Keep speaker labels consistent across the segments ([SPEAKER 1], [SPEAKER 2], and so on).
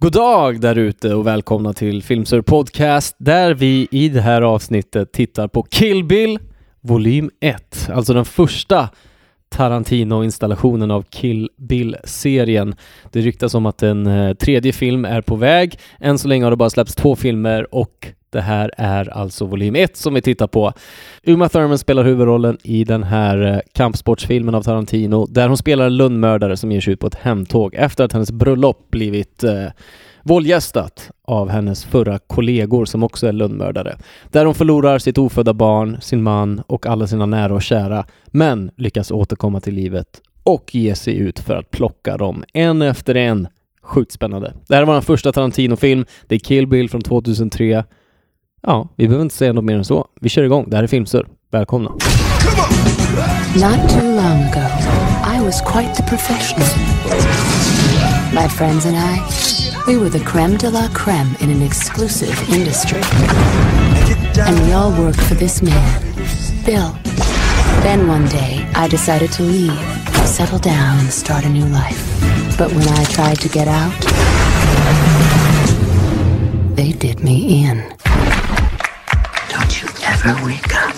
[SPEAKER 1] God dag där ute och välkomna till Filmsur Podcast där vi i det här avsnittet tittar på Kill Bill volym 1, alltså den första Tarantino-installationen av Kill Bill-serien. Det ryktas om att en eh, tredje film är på väg. Än så länge har det bara släppts två filmer och det här är alltså volym 1 som vi tittar på. Uma Thurman spelar huvudrollen i den här eh, kampsportsfilmen av Tarantino där hon spelar en lönnmördare som ger sig ut på ett hemtåg efter att hennes bröllop blivit eh, våldgästat av hennes förra kollegor som också är lönnmördare. Där hon förlorar sitt ofödda barn, sin man och alla sina nära och kära men lyckas återkomma till livet och ge sig ut för att plocka dem en efter en. Sjukt spännande. Det här var den första Tarantino-film. Det är Kill Bill från 2003. Ja, vi behöver inte säga något mer än så. Vi kör igång. Det här är Filmsur. Välkomna.
[SPEAKER 2] Not too long ago, I was quite the professional. My friends and I, we were the creme de la creme in an exclusive industry. And we all worked for this man, Bill. Then one day, I decided to leave, settle down, and start a new life. But when I tried to get out, they did me in. Don't you ever wake up.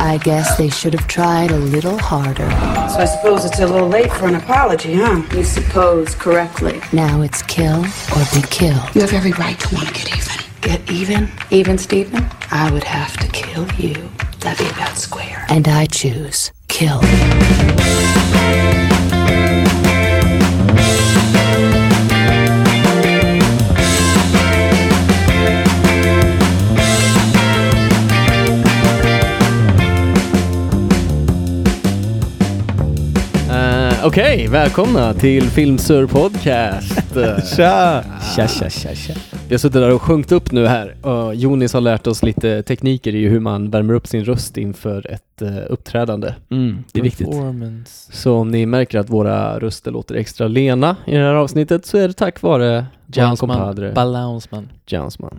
[SPEAKER 2] I guess they should have tried a little harder.
[SPEAKER 3] So I suppose it's a little late for an apology, huh?
[SPEAKER 4] You suppose correctly.
[SPEAKER 2] Now it's kill or be killed.
[SPEAKER 4] You have every right to want to get even. Get even? Even, Steven? I would have to kill you. That'd be about square.
[SPEAKER 2] And I choose kill.
[SPEAKER 1] Eh, Okej, välkomna till Filmsur Podcast. Eh,
[SPEAKER 5] Tja!
[SPEAKER 1] Tja, tja, tja, tja. Vi har suttit där och sjungit upp nu här. Och Jonis har lärt oss lite tekniker i hur man värmer upp sin röst inför ett eh, uppträdande.
[SPEAKER 5] Mm, det är viktigt.
[SPEAKER 1] Performance. Så om ni märker att våra röster låter extra lena i det här avsnittet så är det tack vare vår kompadre
[SPEAKER 5] balansman.
[SPEAKER 1] Jansman.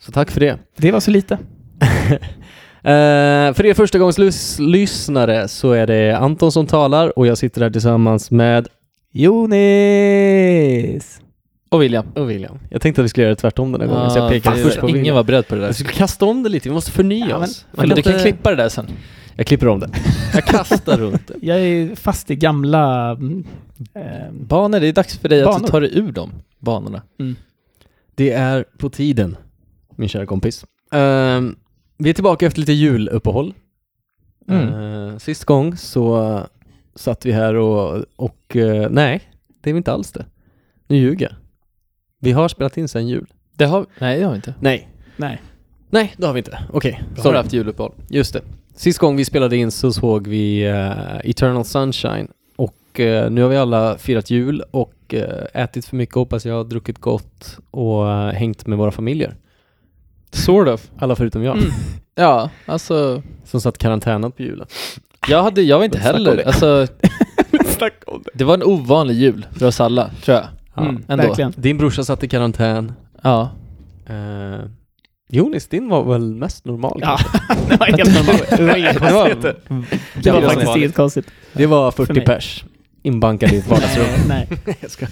[SPEAKER 1] Så tack för det.
[SPEAKER 5] Det var så lite.
[SPEAKER 1] Eh, för er förstagångslyssnare så är det Anton som talar och jag sitter här tillsammans med
[SPEAKER 5] Jonis!
[SPEAKER 1] och William. Och William. Jag tänkte att vi skulle göra det tvärtom den här gången så jag pekade först på
[SPEAKER 5] ingen
[SPEAKER 1] William.
[SPEAKER 5] var beredd på det
[SPEAKER 1] Jag
[SPEAKER 5] där.
[SPEAKER 1] skulle kasta om det lite, vi måste förnya
[SPEAKER 5] Ja, men-
[SPEAKER 1] oss.
[SPEAKER 5] men
[SPEAKER 1] Jag
[SPEAKER 5] du kan
[SPEAKER 1] inte-
[SPEAKER 5] klippa det där sen.
[SPEAKER 1] Jag klipper om det. Jag kastar runt det.
[SPEAKER 6] Jag är fast i gamla... mm, ehm,
[SPEAKER 5] Banor, det är dags för dig att
[SPEAKER 6] Banor.
[SPEAKER 5] du tar dig ur dem banorna.
[SPEAKER 1] Det är på tiden, min kära kompis. Ehm, vi är tillbaka efter lite juluppehåll.
[SPEAKER 5] Mm.
[SPEAKER 1] Ehm, sist gång så eh, satt vi här och, och eh, nej, det är vi inte alls det. Nu ljuger jag. Vi har spelat in sen jul.
[SPEAKER 5] Det har, nej, det har vi inte.
[SPEAKER 1] Nej.
[SPEAKER 6] nej.
[SPEAKER 1] Nej, det har vi inte. Okej,
[SPEAKER 5] Då har
[SPEAKER 1] sorry.
[SPEAKER 5] du haft juluppehåll.
[SPEAKER 1] Just det. Sist gång vi spelade in så såg vi eh, Eternal Sunshine och eh, nu har vi alla firat jul och eh, ätit för mycket hoppas jag, druckit gott och eh, hängt med våra familjer.
[SPEAKER 5] Sort of.
[SPEAKER 1] Alla förutom
[SPEAKER 6] Mm.
[SPEAKER 1] jag,
[SPEAKER 5] Ja, alltså.
[SPEAKER 1] som satt karantänat på julen.
[SPEAKER 5] Jag, hade, jag var inte
[SPEAKER 1] Snacka om
[SPEAKER 5] heller,
[SPEAKER 1] det.
[SPEAKER 5] alltså,
[SPEAKER 6] Snacka om det.
[SPEAKER 5] det var en ovanlig jul för oss alla, tror jag.
[SPEAKER 1] Ja.
[SPEAKER 6] Mm,
[SPEAKER 5] ändå.
[SPEAKER 6] verkligen.
[SPEAKER 1] Din brorsa satt i karantän.
[SPEAKER 5] Ja.
[SPEAKER 1] Eh, Jonis, din var väl mest normal?
[SPEAKER 6] Ja,
[SPEAKER 1] kanske?
[SPEAKER 6] det var helt normalt. Det var inga
[SPEAKER 5] Det var-
[SPEAKER 6] konstigheter. Det var faktiskt inget konstigt.
[SPEAKER 1] Det var
[SPEAKER 6] För
[SPEAKER 1] 40
[SPEAKER 6] mig.
[SPEAKER 1] pers inbankade i ett vardagsrum.
[SPEAKER 6] Nej, Eh, nej,
[SPEAKER 1] Jag ska-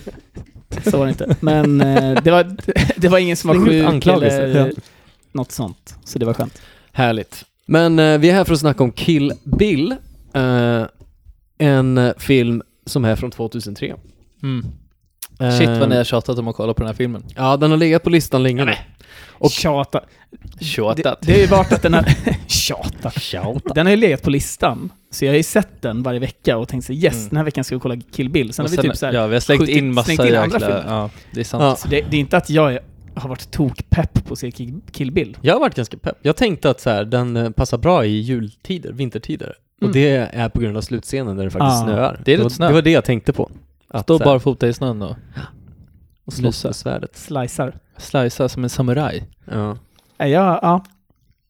[SPEAKER 6] så var det inte. Men eh, det var, det var ingen som var
[SPEAKER 1] Släng ut
[SPEAKER 6] sjuk
[SPEAKER 1] anklagelser.
[SPEAKER 6] eller
[SPEAKER 1] Ja.
[SPEAKER 6] något sånt. Så det var skönt.
[SPEAKER 1] Härligt. Men eh, vi är här för att snacka om Kill Bill. Eh, en eh, film som är från 2003.
[SPEAKER 5] Mm.
[SPEAKER 1] Eh,
[SPEAKER 5] Shit vad ni har tjatat om att kolla på den här filmen.
[SPEAKER 1] Ja, den har legat på listan länge nu. Och-
[SPEAKER 6] Och tjata. Det,
[SPEAKER 5] Tjatat.
[SPEAKER 6] det har ju varit att den har... tjata.
[SPEAKER 1] Shouta.
[SPEAKER 6] Den har ju legat på listan. Så jag har ju sett den varje vecka och tänkt så yes,
[SPEAKER 5] Mm.
[SPEAKER 6] den här veckan ska vi kolla Kill Bill. Sen
[SPEAKER 5] Och
[SPEAKER 6] har vi typ så här,
[SPEAKER 5] ja, vi har slängt
[SPEAKER 6] skjutit-
[SPEAKER 5] in massa
[SPEAKER 6] slängt in andra
[SPEAKER 5] jäkla...
[SPEAKER 6] filmer.
[SPEAKER 5] Ja, det är sant.
[SPEAKER 1] Ja.
[SPEAKER 6] så det, det är inte att jag är, har varit tokpepp på att se Kill- Kill Bill.
[SPEAKER 1] Jag har varit ganska pepp. Jag tänkte att så här, den eh, passar bra i jultider, vintertider. Och
[SPEAKER 6] Mm.
[SPEAKER 1] det är på grund av slutscenen där det faktiskt
[SPEAKER 6] Ah.
[SPEAKER 1] snöar.
[SPEAKER 5] Det är lite
[SPEAKER 1] var,
[SPEAKER 5] snö.
[SPEAKER 1] det var det jag tänkte på. Att
[SPEAKER 5] Stå
[SPEAKER 1] så här,
[SPEAKER 5] barfota i snön och
[SPEAKER 1] och slåss
[SPEAKER 5] lysa.
[SPEAKER 1] med svärdet.
[SPEAKER 6] Slicer.
[SPEAKER 5] slicea som en samuraj.
[SPEAKER 1] Ja.
[SPEAKER 6] Ja, ja.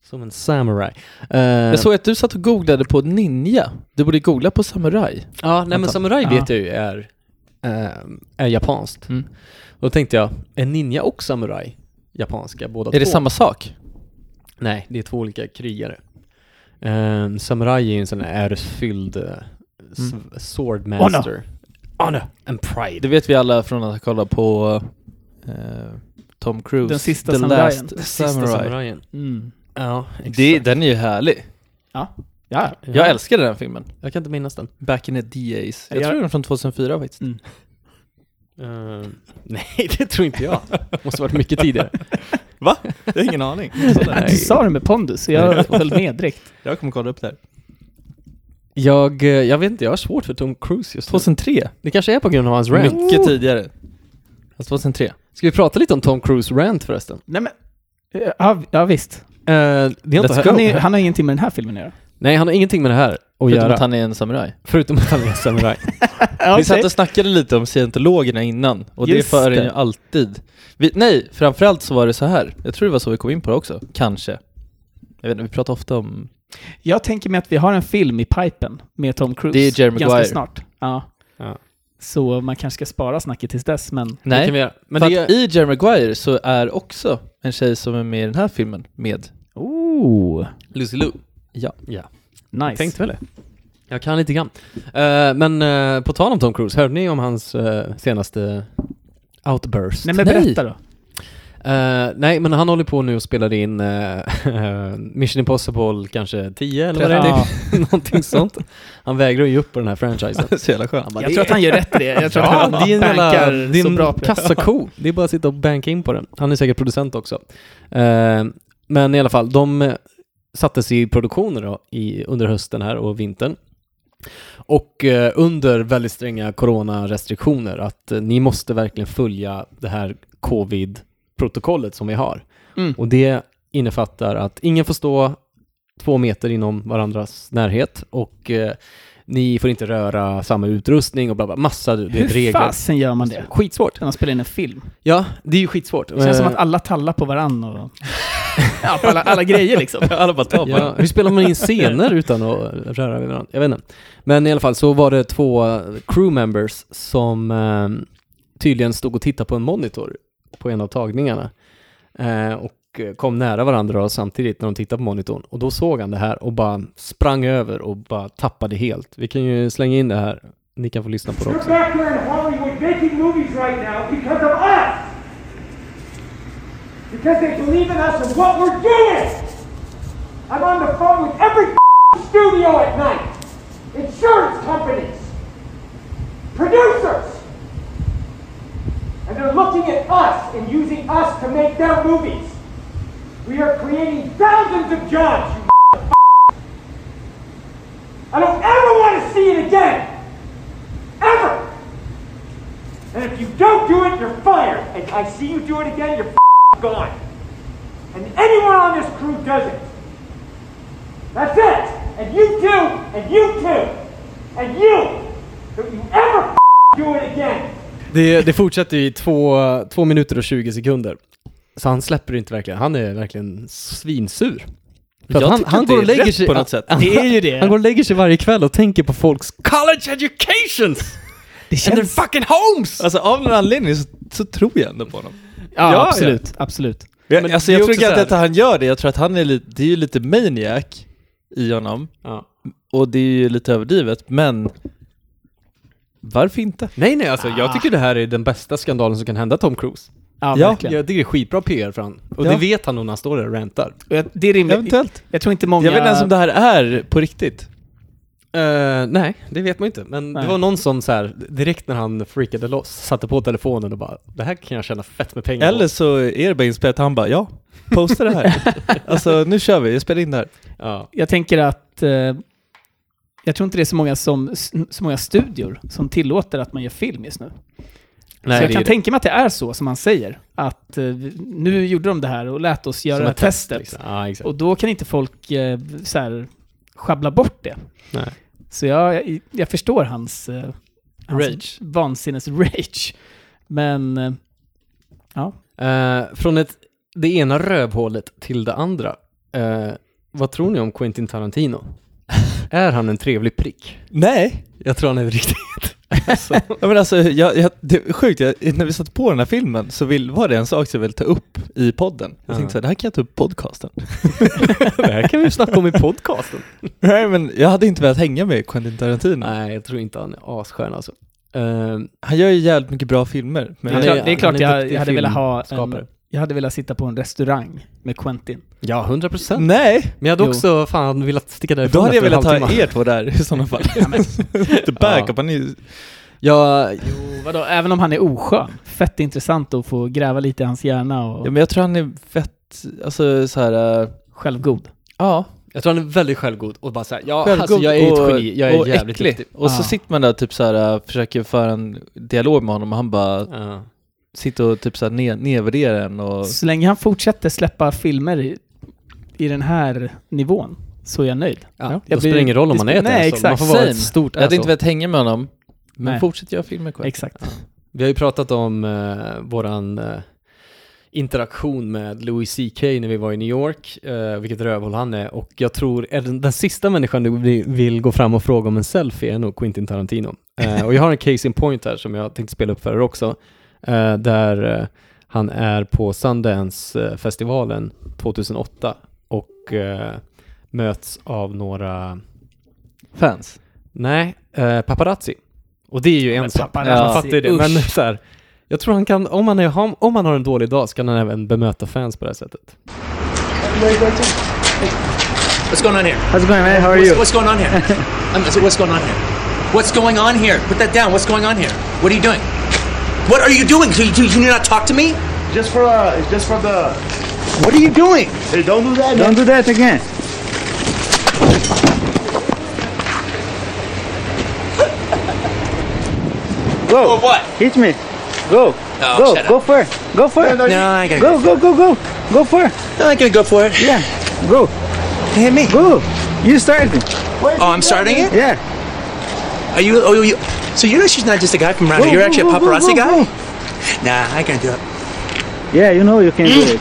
[SPEAKER 1] Som en samurai. Eh,
[SPEAKER 5] Jag såg att du satt och googlade på ninja. Du borde googla på samuraj.
[SPEAKER 1] Ja, nej men
[SPEAKER 5] Vänta.
[SPEAKER 1] samurai
[SPEAKER 6] Ja.
[SPEAKER 1] vet jag ju är, ehm, är japanskt.
[SPEAKER 5] Mm.
[SPEAKER 1] Då tänkte jag, är ninja och samurai japanska båda två?
[SPEAKER 5] Är det samma sak?
[SPEAKER 1] Nej, det är två olika krigare. Ehm, samurai är ju en sån här äresfylld uh,
[SPEAKER 5] Mm.
[SPEAKER 1] swordmaster. Honor. and pride.
[SPEAKER 5] Det vet vi alla från att kolla på eh, Tom Cruise.
[SPEAKER 6] Den sista
[SPEAKER 5] The
[SPEAKER 6] samurajen.
[SPEAKER 5] Last
[SPEAKER 6] Den
[SPEAKER 1] Sista
[SPEAKER 5] Samurai.
[SPEAKER 1] samurajen.
[SPEAKER 6] Mm.
[SPEAKER 1] Ja,
[SPEAKER 5] Det, den är ju härlig.
[SPEAKER 6] Ja,
[SPEAKER 1] Ja.
[SPEAKER 5] Jag älskar den här filmen.
[SPEAKER 1] Jag kan inte minnas den.
[SPEAKER 5] Back in the D-A's. Jag
[SPEAKER 6] Jag-
[SPEAKER 5] tror den är från 2004 faktiskt.
[SPEAKER 1] Eh, nej, det tror inte jag. Måste varit mycket tidigare.
[SPEAKER 5] Jag har ingen aning.
[SPEAKER 6] du sa det med pondus, så jag höll med direkt.
[SPEAKER 5] Jag kommer kolla upp det här.
[SPEAKER 1] Jag, eh, jag vet inte, jag har svårt för Tom Cruise just nu.
[SPEAKER 5] 2003.
[SPEAKER 1] Det kanske är på grund av hans rant.
[SPEAKER 5] Mycket tidigare. Alltså 2003.
[SPEAKER 1] Ska vi prata lite om Tom Cruise rant förresten?
[SPEAKER 6] Nej men, ja, ja visst.
[SPEAKER 1] Eh, det har
[SPEAKER 5] Let's
[SPEAKER 1] inte
[SPEAKER 5] go.
[SPEAKER 6] Han, är, han har ingenting med den här filmen att göra.
[SPEAKER 1] Nej, han har ingenting med det här att
[SPEAKER 5] Förutom
[SPEAKER 1] göra.
[SPEAKER 5] att han är en samuraj.
[SPEAKER 1] Förutom att han är samurai.
[SPEAKER 5] Vi satt och snackade lite om scientologerna innan och
[SPEAKER 6] Just
[SPEAKER 5] det för en
[SPEAKER 6] det.
[SPEAKER 5] ju alltid. Vi, nej, framförallt så var det så här. Jag tror det var så vi kom in på det också. Kanske. Jag vet inte, vi pratar ofta om...
[SPEAKER 6] Jag tänker mig att vi har en film i pipen med Tom Cruise.
[SPEAKER 5] Det är Jerry Maguire.
[SPEAKER 6] Ganska snart. Ja.
[SPEAKER 1] Ja.
[SPEAKER 6] Så man kanske ska spara snacket tills dess, men...
[SPEAKER 1] Det
[SPEAKER 5] Nej,
[SPEAKER 1] kan vi göra. Men
[SPEAKER 5] för
[SPEAKER 1] det
[SPEAKER 5] att i Jerry Maguire så är också en tjej som är med i den här filmen med.
[SPEAKER 6] Oh,
[SPEAKER 1] Lucy Lou.
[SPEAKER 5] Ja.
[SPEAKER 1] ja.
[SPEAKER 6] nice.
[SPEAKER 1] Tänkte väl det. Jag kan lite grann. Eh, men eh, på tal om Tom Cruise, hörde ni om hans eh, senaste outburst?
[SPEAKER 6] Nej men
[SPEAKER 5] Nej.
[SPEAKER 6] berätta då.
[SPEAKER 1] Eh, nej, men han håller på nu och spelar in eh, Mission Impossible kanske 10 eller vad det är.
[SPEAKER 6] Ja.
[SPEAKER 1] Någonting sånt. Han vägrar ju upp på den här franchisen.
[SPEAKER 5] Så jävla skön.
[SPEAKER 6] Jag tror att han gör rätt i det. Jag tror att han
[SPEAKER 1] det är en jävla,
[SPEAKER 6] bankar
[SPEAKER 1] det är
[SPEAKER 6] så
[SPEAKER 1] en
[SPEAKER 6] bra på det.
[SPEAKER 1] kassako. Det är bara att sitta och banka in på den. Han är säkert producent också. Eh, men i alla fall, de eh, sattes i produktioner då, i, under hösten här och vintern. Och eh, under väldigt stränga coronarestriktioner att eh, ni måste verkligen följa det här covid-protokollet som vi har.
[SPEAKER 6] Mm.
[SPEAKER 1] Och det innefattar att ingen får stå två meter inom varandras närhet och eh, ni får inte röra samma utrustning och bla bla, massa du vet,
[SPEAKER 6] Hur
[SPEAKER 1] regler.
[SPEAKER 6] fasen gör man det?
[SPEAKER 1] Skitsvårt.
[SPEAKER 6] När man spelar in en film.
[SPEAKER 1] Ja, det är ju skitsvårt.
[SPEAKER 6] Det känns som
[SPEAKER 1] Eh,
[SPEAKER 6] att alla tallar på varann och... Ja, på alla, alla grejer liksom.
[SPEAKER 5] Alla bara tar på
[SPEAKER 1] Ja,
[SPEAKER 5] ja.
[SPEAKER 1] hur spelar man in scener utan att röra vid varandra? Jag vet inte. Men i alla fall så var det två eh, crew members som eh, tydligen stod och tittade på en monitor på en av tagningarna. Eh, och eh, kom nära varandra och samtidigt när de tittade på monitorn. Och då såg han det här och bara sprang över och bara tappade helt. Vi kan ju slänga in det här. Ni kan få lyssna på det
[SPEAKER 7] You're
[SPEAKER 1] också.
[SPEAKER 7] back here in Hollywood making movies right now because of us. Because they believe in us and what we're doing. I'm on the phone with every studio at night, insurance companies, producers. And they're looking at us and using us to make their movies. We are creating thousands of jobs, you I don't ever want to see it again. Ever. And if you don't do it, you're fired. And I see you do it again, you're f***ing gone. And anyone on this crew does it. That's it. And you too. And you too. And you. Don't you ever f***ing do it again.
[SPEAKER 1] Det, det fortsätter i två, två minuter och 20 sekunder. Så han släpper inte verkligen. Han är verkligen svinsur. För att
[SPEAKER 5] Jag
[SPEAKER 1] han,
[SPEAKER 5] tycker
[SPEAKER 1] han
[SPEAKER 5] inte
[SPEAKER 1] går
[SPEAKER 5] det
[SPEAKER 1] och
[SPEAKER 5] är
[SPEAKER 1] lägger
[SPEAKER 5] rätt
[SPEAKER 1] sig
[SPEAKER 5] på något sätt.
[SPEAKER 1] Han,
[SPEAKER 6] Det är ju det.
[SPEAKER 1] han går och lägger sig varje kväll och tänker på folks college educations
[SPEAKER 6] Det
[SPEAKER 1] and their fucking homes!
[SPEAKER 5] Alltså av någon anledning så, så tror jag ändå på honom.
[SPEAKER 6] Ja,
[SPEAKER 5] Ja,
[SPEAKER 6] absolut. Absolut.
[SPEAKER 5] Jag,
[SPEAKER 1] Men
[SPEAKER 5] alltså,
[SPEAKER 1] det är
[SPEAKER 5] jag tror
[SPEAKER 1] också
[SPEAKER 5] inte
[SPEAKER 1] så här-
[SPEAKER 5] att han gör det. Jag tror att han är lite, det är ju lite maniac i honom.
[SPEAKER 1] Ja.
[SPEAKER 5] Och det är ju lite överdrivet, men varför inte?
[SPEAKER 1] Nej, nej, alltså
[SPEAKER 5] Ah.
[SPEAKER 1] jag tycker det här är den bästa skandalen som kan hända Tom Cruise.
[SPEAKER 6] Ja,
[SPEAKER 5] Ja,
[SPEAKER 6] verkligen.
[SPEAKER 1] Jag tycker det är skitbra PR för han. Och
[SPEAKER 5] Ja.
[SPEAKER 1] det vet han nog när han står där och rantar.
[SPEAKER 6] Och jag- Det är rimligt.
[SPEAKER 5] Eventuellt.
[SPEAKER 6] Jag tror inte många...
[SPEAKER 5] Jag vet inte ens om det här är på riktigt.
[SPEAKER 1] Eh, nej, det vet man inte. Men
[SPEAKER 6] Nej.
[SPEAKER 1] det var någon som så här, direkt när han freakade loss, satte på telefonen och bara Det här kan jag tjäna fett med pengar på."
[SPEAKER 5] Eller så är det bara inspelat han bara ja, posta det här. alltså nu kör vi, jag spelar in det här.
[SPEAKER 1] Ja.
[SPEAKER 6] Jag tänker att... Eh, jag tror inte det är så många, som, så många studior som tillåter att man gör film just nu. så jag kan tänka mig att det är så som han säger. Att eh, vi- nu gjorde de det här och lät oss göra
[SPEAKER 1] Som
[SPEAKER 6] det här
[SPEAKER 1] ett test,
[SPEAKER 6] testet.
[SPEAKER 1] liksom. Ja, exakt.
[SPEAKER 6] Och då kan inte folk eh, så här, schabbla bort det.
[SPEAKER 1] Nej.
[SPEAKER 6] Så jag, jag förstår hans, eh, hans
[SPEAKER 1] Rage.
[SPEAKER 6] vansinnes-rage. Men eh, ja,
[SPEAKER 1] Eh, från ett, det ena rövhålet till det andra. Eh, vad tror ni om Quentin Tarantino? är han en trevlig prick?
[SPEAKER 5] Nej!
[SPEAKER 1] Jag tror han är riktigt.
[SPEAKER 5] Ja, men alltså, jag, jag, det är sjukt, jag, när vi satte på den här filmen så vill, var det en sak som jag ville ta upp i podden. Jag
[SPEAKER 1] Ja.
[SPEAKER 5] tänkte så här, det här kan jag ta upp i podcasten.
[SPEAKER 1] det här kan vi snacka om i podcasten.
[SPEAKER 5] Nej men jag hade inte velat hänga med Quentin Tarantino.
[SPEAKER 1] Nej, jag tror inte han är asskön alltså. Ehm,
[SPEAKER 5] Han gör ju jävligt mycket bra filmer. Men
[SPEAKER 1] Han
[SPEAKER 6] det,
[SPEAKER 1] är-
[SPEAKER 6] är, klart- det är klart
[SPEAKER 1] han är en
[SPEAKER 6] jag,
[SPEAKER 1] duktig
[SPEAKER 6] jag hade velat ha
[SPEAKER 1] filmskapare.
[SPEAKER 6] en, Jag hade velat sitta på en restaurang med Quentin.
[SPEAKER 1] ja, 100 procent.
[SPEAKER 5] Nej!
[SPEAKER 1] Men jag hade
[SPEAKER 6] Jo.
[SPEAKER 1] också fan velat sticka därifrån
[SPEAKER 5] Då hade jag
[SPEAKER 1] efter en
[SPEAKER 5] velat ha
[SPEAKER 1] halvtimme.
[SPEAKER 5] er två där i sådana fall. The backup, han är ju...
[SPEAKER 1] Ja, jo,
[SPEAKER 6] Vadå, även om han är oskön. Fett intressant att få gräva lite i hans hjärna och
[SPEAKER 5] Ja, men jag tror han är fett, alltså så här. äh,
[SPEAKER 6] självgod.
[SPEAKER 5] ja,
[SPEAKER 1] jag tror han är väldigt självgod och bara såhär, ja
[SPEAKER 5] självgod
[SPEAKER 1] alltså jag är
[SPEAKER 5] och-
[SPEAKER 1] ett geni, jag är
[SPEAKER 5] och
[SPEAKER 1] jävligt
[SPEAKER 5] äcklig.
[SPEAKER 1] duktig.
[SPEAKER 5] Och så
[SPEAKER 6] Ah.
[SPEAKER 5] sitter man där och typ så här, äh, försöker föra en dialog med honom och han bara
[SPEAKER 1] Ja.
[SPEAKER 5] sitter och typ så här ned, nedvärderar en och...
[SPEAKER 6] Så länge han fortsätter släppa filmer i, i den här nivån så är jag nöjd.
[SPEAKER 1] Ja,
[SPEAKER 6] Ja.
[SPEAKER 1] det
[SPEAKER 6] Jag
[SPEAKER 1] spelar
[SPEAKER 6] blir-
[SPEAKER 1] ingen roll om
[SPEAKER 6] det
[SPEAKER 1] man är
[SPEAKER 6] spe-
[SPEAKER 1] ett
[SPEAKER 6] Nej,
[SPEAKER 1] asshole. Man
[SPEAKER 6] exakt.
[SPEAKER 1] får vara
[SPEAKER 5] Same.
[SPEAKER 1] ett stort
[SPEAKER 5] Jag hade
[SPEAKER 1] asshole.
[SPEAKER 5] inte velat hänga med honom, men
[SPEAKER 6] Nej.
[SPEAKER 5] fortsätter jag filmer kvar.
[SPEAKER 6] Exakt.
[SPEAKER 1] Vi har ju pratat om eh, våran eh, interaktion med Louis CK när vi var i New York, eh, vilket rövhål han är, och jag tror är den, den sista människan du vi- vill gå fram och fråga om en selfie är nog Quentin Tarantino. Eh, och jag har en case in point här som jag tänkte spela upp för er också, eh, där eh, han är på Sundance-festivalen 2008 och eh, möts av några,
[SPEAKER 5] Fans.
[SPEAKER 1] nej, eh, paparazzi. Och det är ju en sak.
[SPEAKER 6] paparazzi,
[SPEAKER 1] Man fattar ju det,
[SPEAKER 6] usch.
[SPEAKER 1] men så här, jag tror han kan, om han, är, om- om han har en dålig dag så kan han även bemöta fans på det här sättet.
[SPEAKER 8] What's going on here?
[SPEAKER 9] How's it going, man? How are you?
[SPEAKER 8] What's going on here? I'm, I said, what's going on here? What's going on here? Put that down. What's going on here? What are you doing? What are you doing? So you, do you not talk to me?
[SPEAKER 9] Just for uh, it's just for the.
[SPEAKER 8] What are you doing?
[SPEAKER 9] Hey, don't do that. Don't do that again.
[SPEAKER 8] Or
[SPEAKER 9] Go,
[SPEAKER 8] what?
[SPEAKER 9] hit me. Go,
[SPEAKER 8] Oh,
[SPEAKER 9] go,
[SPEAKER 8] shut up.
[SPEAKER 9] go for, it. go for. it.
[SPEAKER 8] No, I gotta
[SPEAKER 9] Go, go, go, go, go for. it.
[SPEAKER 8] I'm not gonna go for it.
[SPEAKER 9] Yeah, go,
[SPEAKER 8] Hit me.
[SPEAKER 9] go. You started.
[SPEAKER 8] Oh, I'm starting it.
[SPEAKER 9] Yeah.
[SPEAKER 8] Are you? Oh, you. So you know she's not just a guy from around here. You're actually a paparazzi guy. Nah, I can't do it.
[SPEAKER 9] Yeah, you know you can do it.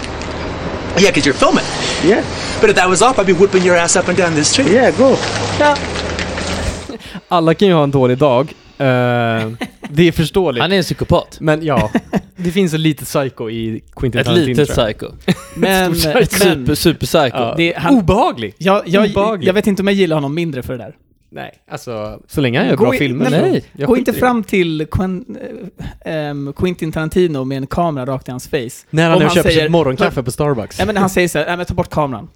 [SPEAKER 8] Yeah, 'cause you're filming.
[SPEAKER 9] Yeah,
[SPEAKER 8] But if that was off, I'd be whooping your ass up and down this street.
[SPEAKER 9] yeah, go.
[SPEAKER 1] Alla kan ju ha en dålig dag, eh, det är förståeligt.
[SPEAKER 5] Han är en psykopat.
[SPEAKER 1] Men ja, det finns ett litet psycho i Quentin
[SPEAKER 5] Ett
[SPEAKER 1] Tarantino
[SPEAKER 5] litet
[SPEAKER 1] tror jag.
[SPEAKER 5] psycho.
[SPEAKER 6] Men, men
[SPEAKER 5] Super, super psycho.
[SPEAKER 1] Ja.
[SPEAKER 6] det, han,
[SPEAKER 1] Obehaglig!
[SPEAKER 6] jag, jag,
[SPEAKER 1] Obehaglig.
[SPEAKER 6] jag vet inte om jag gillar honom mindre för det där.
[SPEAKER 1] Nej, alltså så länge han gör bra
[SPEAKER 6] i-
[SPEAKER 1] filmer
[SPEAKER 6] nej,
[SPEAKER 1] så- jag
[SPEAKER 6] Gå
[SPEAKER 1] skiter
[SPEAKER 6] inte
[SPEAKER 1] i det.
[SPEAKER 6] fram till Quen, eh, ehm, Quentin Tarantino med en kamera rakt i hans face.
[SPEAKER 1] När han
[SPEAKER 6] Om
[SPEAKER 1] nu köper sitt morgonkaffe
[SPEAKER 6] Nej,
[SPEAKER 1] på Starbucks.
[SPEAKER 6] Nej men när han säger så här, nej men ta bort kameran.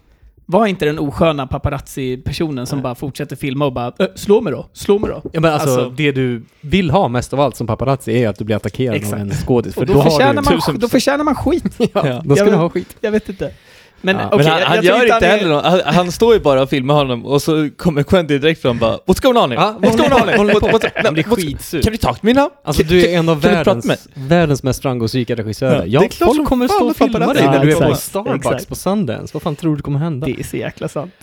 [SPEAKER 6] Var inte den osköna paparazzi-personen som bara fortsätter filma och bara "Ö, slå mig då, slå mig då.
[SPEAKER 1] Ja men alltså,
[SPEAKER 6] Alltså-
[SPEAKER 1] det du vill ha mest av allt som paparazzi är att du blir attackerad av
[SPEAKER 6] Exakt.
[SPEAKER 1] en skådis. För
[SPEAKER 6] Och
[SPEAKER 1] då,
[SPEAKER 6] då,
[SPEAKER 1] har du
[SPEAKER 6] förtjänar man,
[SPEAKER 1] tusen-
[SPEAKER 6] då förtjänar man skit.
[SPEAKER 1] ja, då ska
[SPEAKER 6] Jag
[SPEAKER 1] du
[SPEAKER 6] vet-
[SPEAKER 1] ha skit.
[SPEAKER 6] Jag vet inte. Men,
[SPEAKER 1] Ja,
[SPEAKER 6] okej,
[SPEAKER 5] men han,
[SPEAKER 6] jag,
[SPEAKER 5] han
[SPEAKER 6] jag tror
[SPEAKER 5] gör inte
[SPEAKER 6] han är-
[SPEAKER 5] heller något. Han, han står ju bara och filmar honom och så kommer Quentin direkt fram och bara What's going on here?
[SPEAKER 1] Ja,
[SPEAKER 5] what's going on here?
[SPEAKER 1] håller
[SPEAKER 5] What,
[SPEAKER 1] på.
[SPEAKER 5] what's,
[SPEAKER 1] Han blir
[SPEAKER 5] what's-
[SPEAKER 1] skitsur.
[SPEAKER 5] Can you talk to me now?
[SPEAKER 1] Alltså
[SPEAKER 5] Can-
[SPEAKER 1] du
[SPEAKER 5] can-
[SPEAKER 1] är en av
[SPEAKER 5] kan du prata med
[SPEAKER 1] världens, världens mest framgångsrika regissörer.
[SPEAKER 5] Ja,
[SPEAKER 1] Ja,
[SPEAKER 5] det är klart
[SPEAKER 1] folk
[SPEAKER 5] som
[SPEAKER 1] kommer
[SPEAKER 5] fan
[SPEAKER 1] stå och
[SPEAKER 5] att
[SPEAKER 1] filma
[SPEAKER 5] paparazzi-
[SPEAKER 1] dig när
[SPEAKER 6] Ja,
[SPEAKER 1] du är på
[SPEAKER 6] exakt.
[SPEAKER 1] Starbucks
[SPEAKER 6] Exakt.
[SPEAKER 1] på Sundance. Vad fan tror du kommer hända?
[SPEAKER 6] Det är så jäkla sant.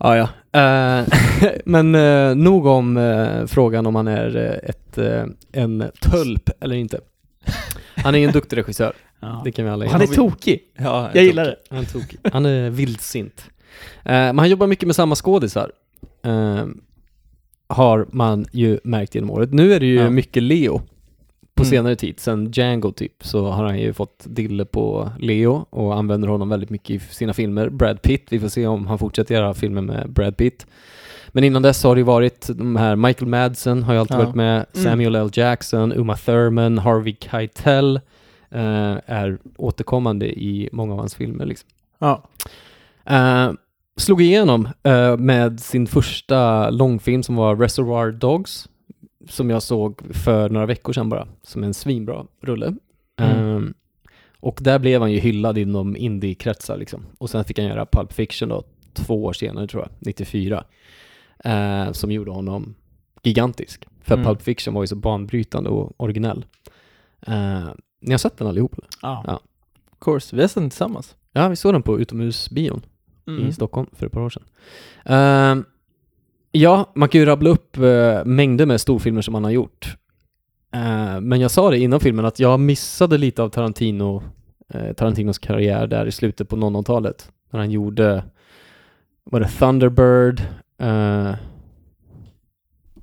[SPEAKER 1] Ja, ja. Eh, men eh, nog om eh, frågan om han är eh, ett, eh, en tölp eller inte. Han är en duktig regissör,
[SPEAKER 6] Ja.
[SPEAKER 1] det kan vi alla
[SPEAKER 6] Han är
[SPEAKER 1] enas om.
[SPEAKER 6] tokig.
[SPEAKER 5] Ja,
[SPEAKER 6] Jag gillar det.
[SPEAKER 1] Han är tokig. Han är vildsint. Eh, men han jobbar mycket med samma skådisar. Eh, har man ju märkt genom året. Nu är det ju
[SPEAKER 5] Ja.
[SPEAKER 1] mycket Leo. På
[SPEAKER 5] Mm.
[SPEAKER 1] senare tid, sen Django typ, så har han ju fått dille på Leo och använder honom väldigt mycket i sina filmer. Brad Pitt, vi får se om han fortsätter göra filmer med Brad Pitt. Men innan dess har det ju varit de här, Michael Madsen har ju alltid
[SPEAKER 5] Ja.
[SPEAKER 1] varit med,
[SPEAKER 6] Mm.
[SPEAKER 1] Samuel L. Jackson, Uma Thurman, Harvey Keitel eh, är återkommande i många av hans filmer. Liksom.
[SPEAKER 6] Ja.
[SPEAKER 1] Eh, slog igenom eh, med sin första långfilm som var Reservoir Dogs, som jag såg för några veckor sedan bara, som en svinbra rulle.
[SPEAKER 5] Mm.
[SPEAKER 1] Eh, och där blev han ju hyllad inom indie-kretsar liksom. Och sen fick han göra Pulp Fiction då, två år senare tror jag, 94, eh, som gjorde honom gigantisk. För
[SPEAKER 5] Mm.
[SPEAKER 1] Pulp Fiction var ju så banbrytande och originell. Eh, ni har sett den allihop? eller?
[SPEAKER 6] Ja.
[SPEAKER 5] Of course, vi har sett den tillsammans.
[SPEAKER 1] Ja, vi såg den på utomhusbion
[SPEAKER 6] Mm.
[SPEAKER 1] i Stockholm för ett par år sedan. Ehm, ja, man kan ju rabbla upp eh, mängder med storfilmer som han har gjort. Eh, men jag sa det innan filmen att jag missade lite av Tarantino, eh, Tarantinos karriär där i slutet på 00-talet. När han gjorde, var det Thunderbird, eh,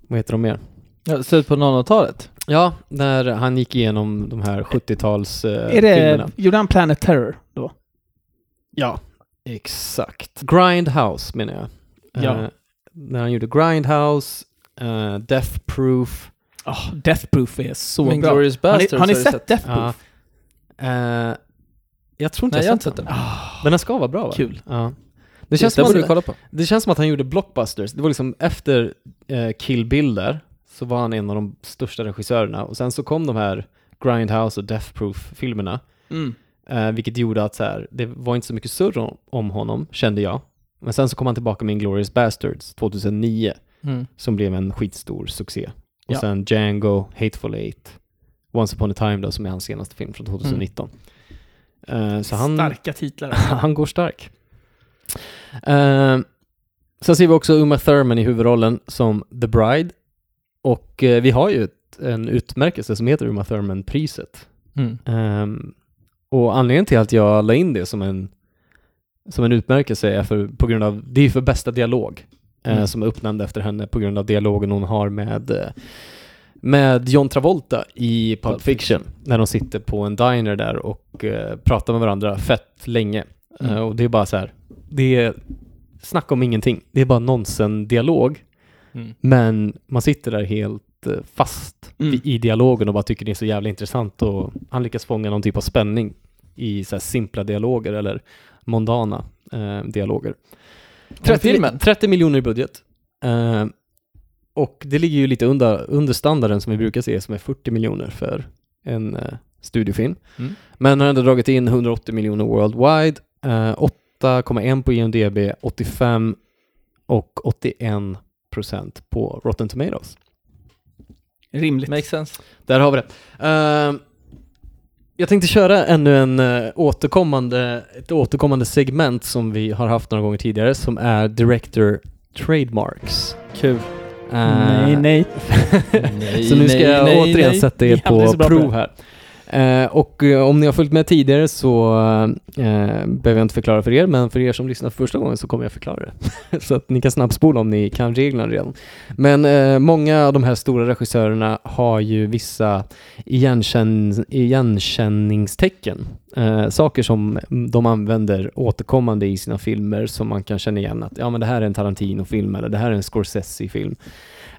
[SPEAKER 1] vad heter de mer?
[SPEAKER 5] Ja, slut på 00-talet.
[SPEAKER 1] Ja, när han gick igenom de här eh, 70-talsfilmerna.
[SPEAKER 6] Är det, gjorde han Planet Terror då?
[SPEAKER 1] Ja, exakt. Grindhouse menar jag.
[SPEAKER 6] Ja.
[SPEAKER 1] Eh, när han gjorde Grindhouse, eh, Death Proof,
[SPEAKER 6] Oh, Death Proof är så
[SPEAKER 5] Men
[SPEAKER 6] bra.
[SPEAKER 5] Glorious
[SPEAKER 6] har ni,
[SPEAKER 5] Bastards
[SPEAKER 6] har ni
[SPEAKER 5] har du
[SPEAKER 6] sett,
[SPEAKER 5] sett?
[SPEAKER 6] Death
[SPEAKER 1] Ja.
[SPEAKER 6] Proof?
[SPEAKER 1] Eh, jag tror inte
[SPEAKER 5] Nej, jag
[SPEAKER 1] jag
[SPEAKER 5] har
[SPEAKER 1] har sett
[SPEAKER 5] inte sett
[SPEAKER 1] den.
[SPEAKER 5] den.
[SPEAKER 6] Ah,
[SPEAKER 1] Men den ska vara bra va?
[SPEAKER 6] Kul.
[SPEAKER 1] Ja. Det,
[SPEAKER 5] Det,
[SPEAKER 1] känns som
[SPEAKER 5] borde du
[SPEAKER 1] att,
[SPEAKER 5] kolla på.
[SPEAKER 1] det känns som att han gjorde blockbusters. Det var liksom efter eh, Kill Bill där, så var han en av de största regissörerna. Och sen så kom de här Grindhouse och Death Proof-filmerna.
[SPEAKER 6] Mm.
[SPEAKER 1] Eh, vilket gjorde att så här, det var inte så mycket surr om, om honom, kände jag. Men sen så kom han tillbaka med Inglourious Bastards 2009, som blev en skitstor succé. Och
[SPEAKER 6] Ja.
[SPEAKER 1] sen Django, Hateful Eight, Once upon a time då, som är hans senaste film från 2019. Eh, så han,
[SPEAKER 6] Starka titlar.
[SPEAKER 1] han går stark. Eh, sen ser vi också Uma Thurman i huvudrollen som The Bride. Och eh, vi har ju ett, en utmärkelse som heter Uma Thurman-priset.
[SPEAKER 5] Mm.
[SPEAKER 1] Ehm, och anledningen till att jag la in det som en, som en utmärkelse är för, på grund av, det är för bästa dialog eh,
[SPEAKER 5] Mm.
[SPEAKER 1] som är uppnämnd efter henne på grund av dialogen hon har med, eh, med John Travolta i Pulp Fiction. När de sitter på en diner där och eh, pratar med varandra fett länge.
[SPEAKER 5] Mm.
[SPEAKER 1] Eh, och det är bara så här, det är snack om ingenting. Det är bara nonsen-dialog.
[SPEAKER 5] Mm.
[SPEAKER 1] Men man sitter där helt eh, fast
[SPEAKER 6] Mm.
[SPEAKER 1] i- i dialogen och bara tycker det är så jävla intressant och han lyckas fånga någon typ av spänning i så här simpla dialoger eller mondana eh, dialoger. 30,
[SPEAKER 5] filmen?
[SPEAKER 1] 30 miljoner i budget. Eh, och det ligger ju lite under, under standarden som vi brukar se som är 40 miljoner för en eh, studiofilm.
[SPEAKER 5] Mm.
[SPEAKER 1] Men har ändå dragit in 180 miljoner worldwide, eh, 8,1 på IMDB, 85 och 81 procent på Rotten Tomatoes.
[SPEAKER 6] Rimligt.
[SPEAKER 5] Makes sense.
[SPEAKER 1] Där har vi det. Ehm, jag tänkte köra ännu en eh, återkommande, ett återkommande segment som vi har haft några gånger tidigare som är Director Trademarks.
[SPEAKER 5] Kul.
[SPEAKER 1] Ehm,
[SPEAKER 6] Nej, nej.
[SPEAKER 5] Nej,
[SPEAKER 1] Så nu ska
[SPEAKER 5] nej,
[SPEAKER 1] jag
[SPEAKER 5] nej,
[SPEAKER 1] återigen
[SPEAKER 5] nej.
[SPEAKER 1] sätta
[SPEAKER 6] Ni
[SPEAKER 1] er
[SPEAKER 6] är aldrig
[SPEAKER 1] på
[SPEAKER 6] så bra på
[SPEAKER 1] prov här. Eh, och eh, om ni har följt med tidigare så eh, behöver jag inte förklara för er, men för er som lyssnar för första gången så kommer jag förklara det. så att ni kan snabbspola om ni kan reglerna redan. Men eh, många av de här stora regissörerna har ju vissa igenkänn- igenkänningstecken. Eh, saker som de använder återkommande i sina filmer som man kan känna igen att ja men det här är en Tarantino-film eller det här är en Scorsese-film.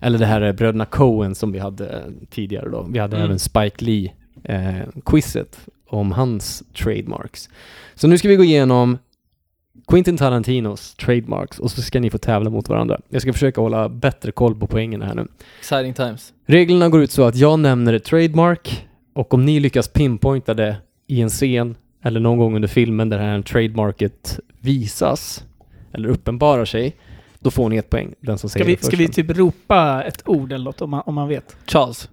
[SPEAKER 1] Eller det här är bröderna Coen som vi hade eh, tidigare då. Vi hade
[SPEAKER 5] Mm.
[SPEAKER 1] även Spike Lee-quizet om hans trademarks. Så nu ska vi gå igenom Quentin Tarantinos trademarks och så ska ni få tävla mot varandra. Jag ska försöka hålla bättre koll på poängen här nu.
[SPEAKER 5] Exciting times.
[SPEAKER 1] Reglerna går ut så att jag nämner ett trademark och om ni lyckas pinpointa det i en scen eller någon gång under filmen där det här trademarket visas eller uppenbarar sig, då får ni ett poäng. Den som
[SPEAKER 6] Ska
[SPEAKER 1] säger
[SPEAKER 6] vi,
[SPEAKER 1] det först.
[SPEAKER 6] ska vi typ ropa ett ord eller något om man, om man vet?
[SPEAKER 5] Charles.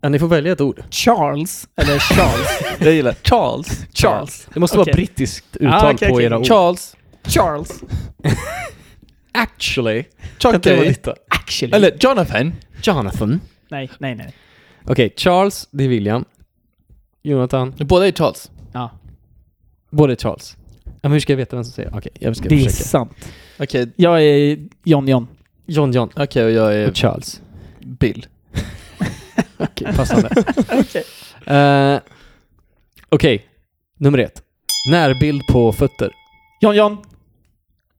[SPEAKER 1] ja, ni får välja ett ord.
[SPEAKER 6] Charles eller Charles?
[SPEAKER 5] Jag gillar Charles.
[SPEAKER 6] Charles.
[SPEAKER 1] Det måste
[SPEAKER 6] Okej.
[SPEAKER 1] vara brittiskt uttal
[SPEAKER 6] Ah, okej,
[SPEAKER 1] på
[SPEAKER 6] okej.
[SPEAKER 1] era ord.
[SPEAKER 5] Charles.
[SPEAKER 6] Charles.
[SPEAKER 1] Actually, kan inte det vara
[SPEAKER 5] Chucky.
[SPEAKER 1] detta?
[SPEAKER 6] Actually.
[SPEAKER 5] Eller Jonathan.
[SPEAKER 1] Jonathan.
[SPEAKER 6] Nej, nej, nej.
[SPEAKER 1] Okej, Charles, det är William. Jonathan,
[SPEAKER 5] Båda är Charles.
[SPEAKER 6] Ja,
[SPEAKER 1] både är Charles. Ja, men hur ska jag veta vem som säger? Okej, jag ska
[SPEAKER 6] det är
[SPEAKER 1] försöka.
[SPEAKER 6] sant.
[SPEAKER 5] Okej, okay,
[SPEAKER 6] Jag är John John.
[SPEAKER 1] John John
[SPEAKER 5] och jag är
[SPEAKER 1] och Charles.
[SPEAKER 5] Bill.
[SPEAKER 1] Okej, passande. Eh, Okej, nummer ett. Närbild på fötter.
[SPEAKER 6] John John!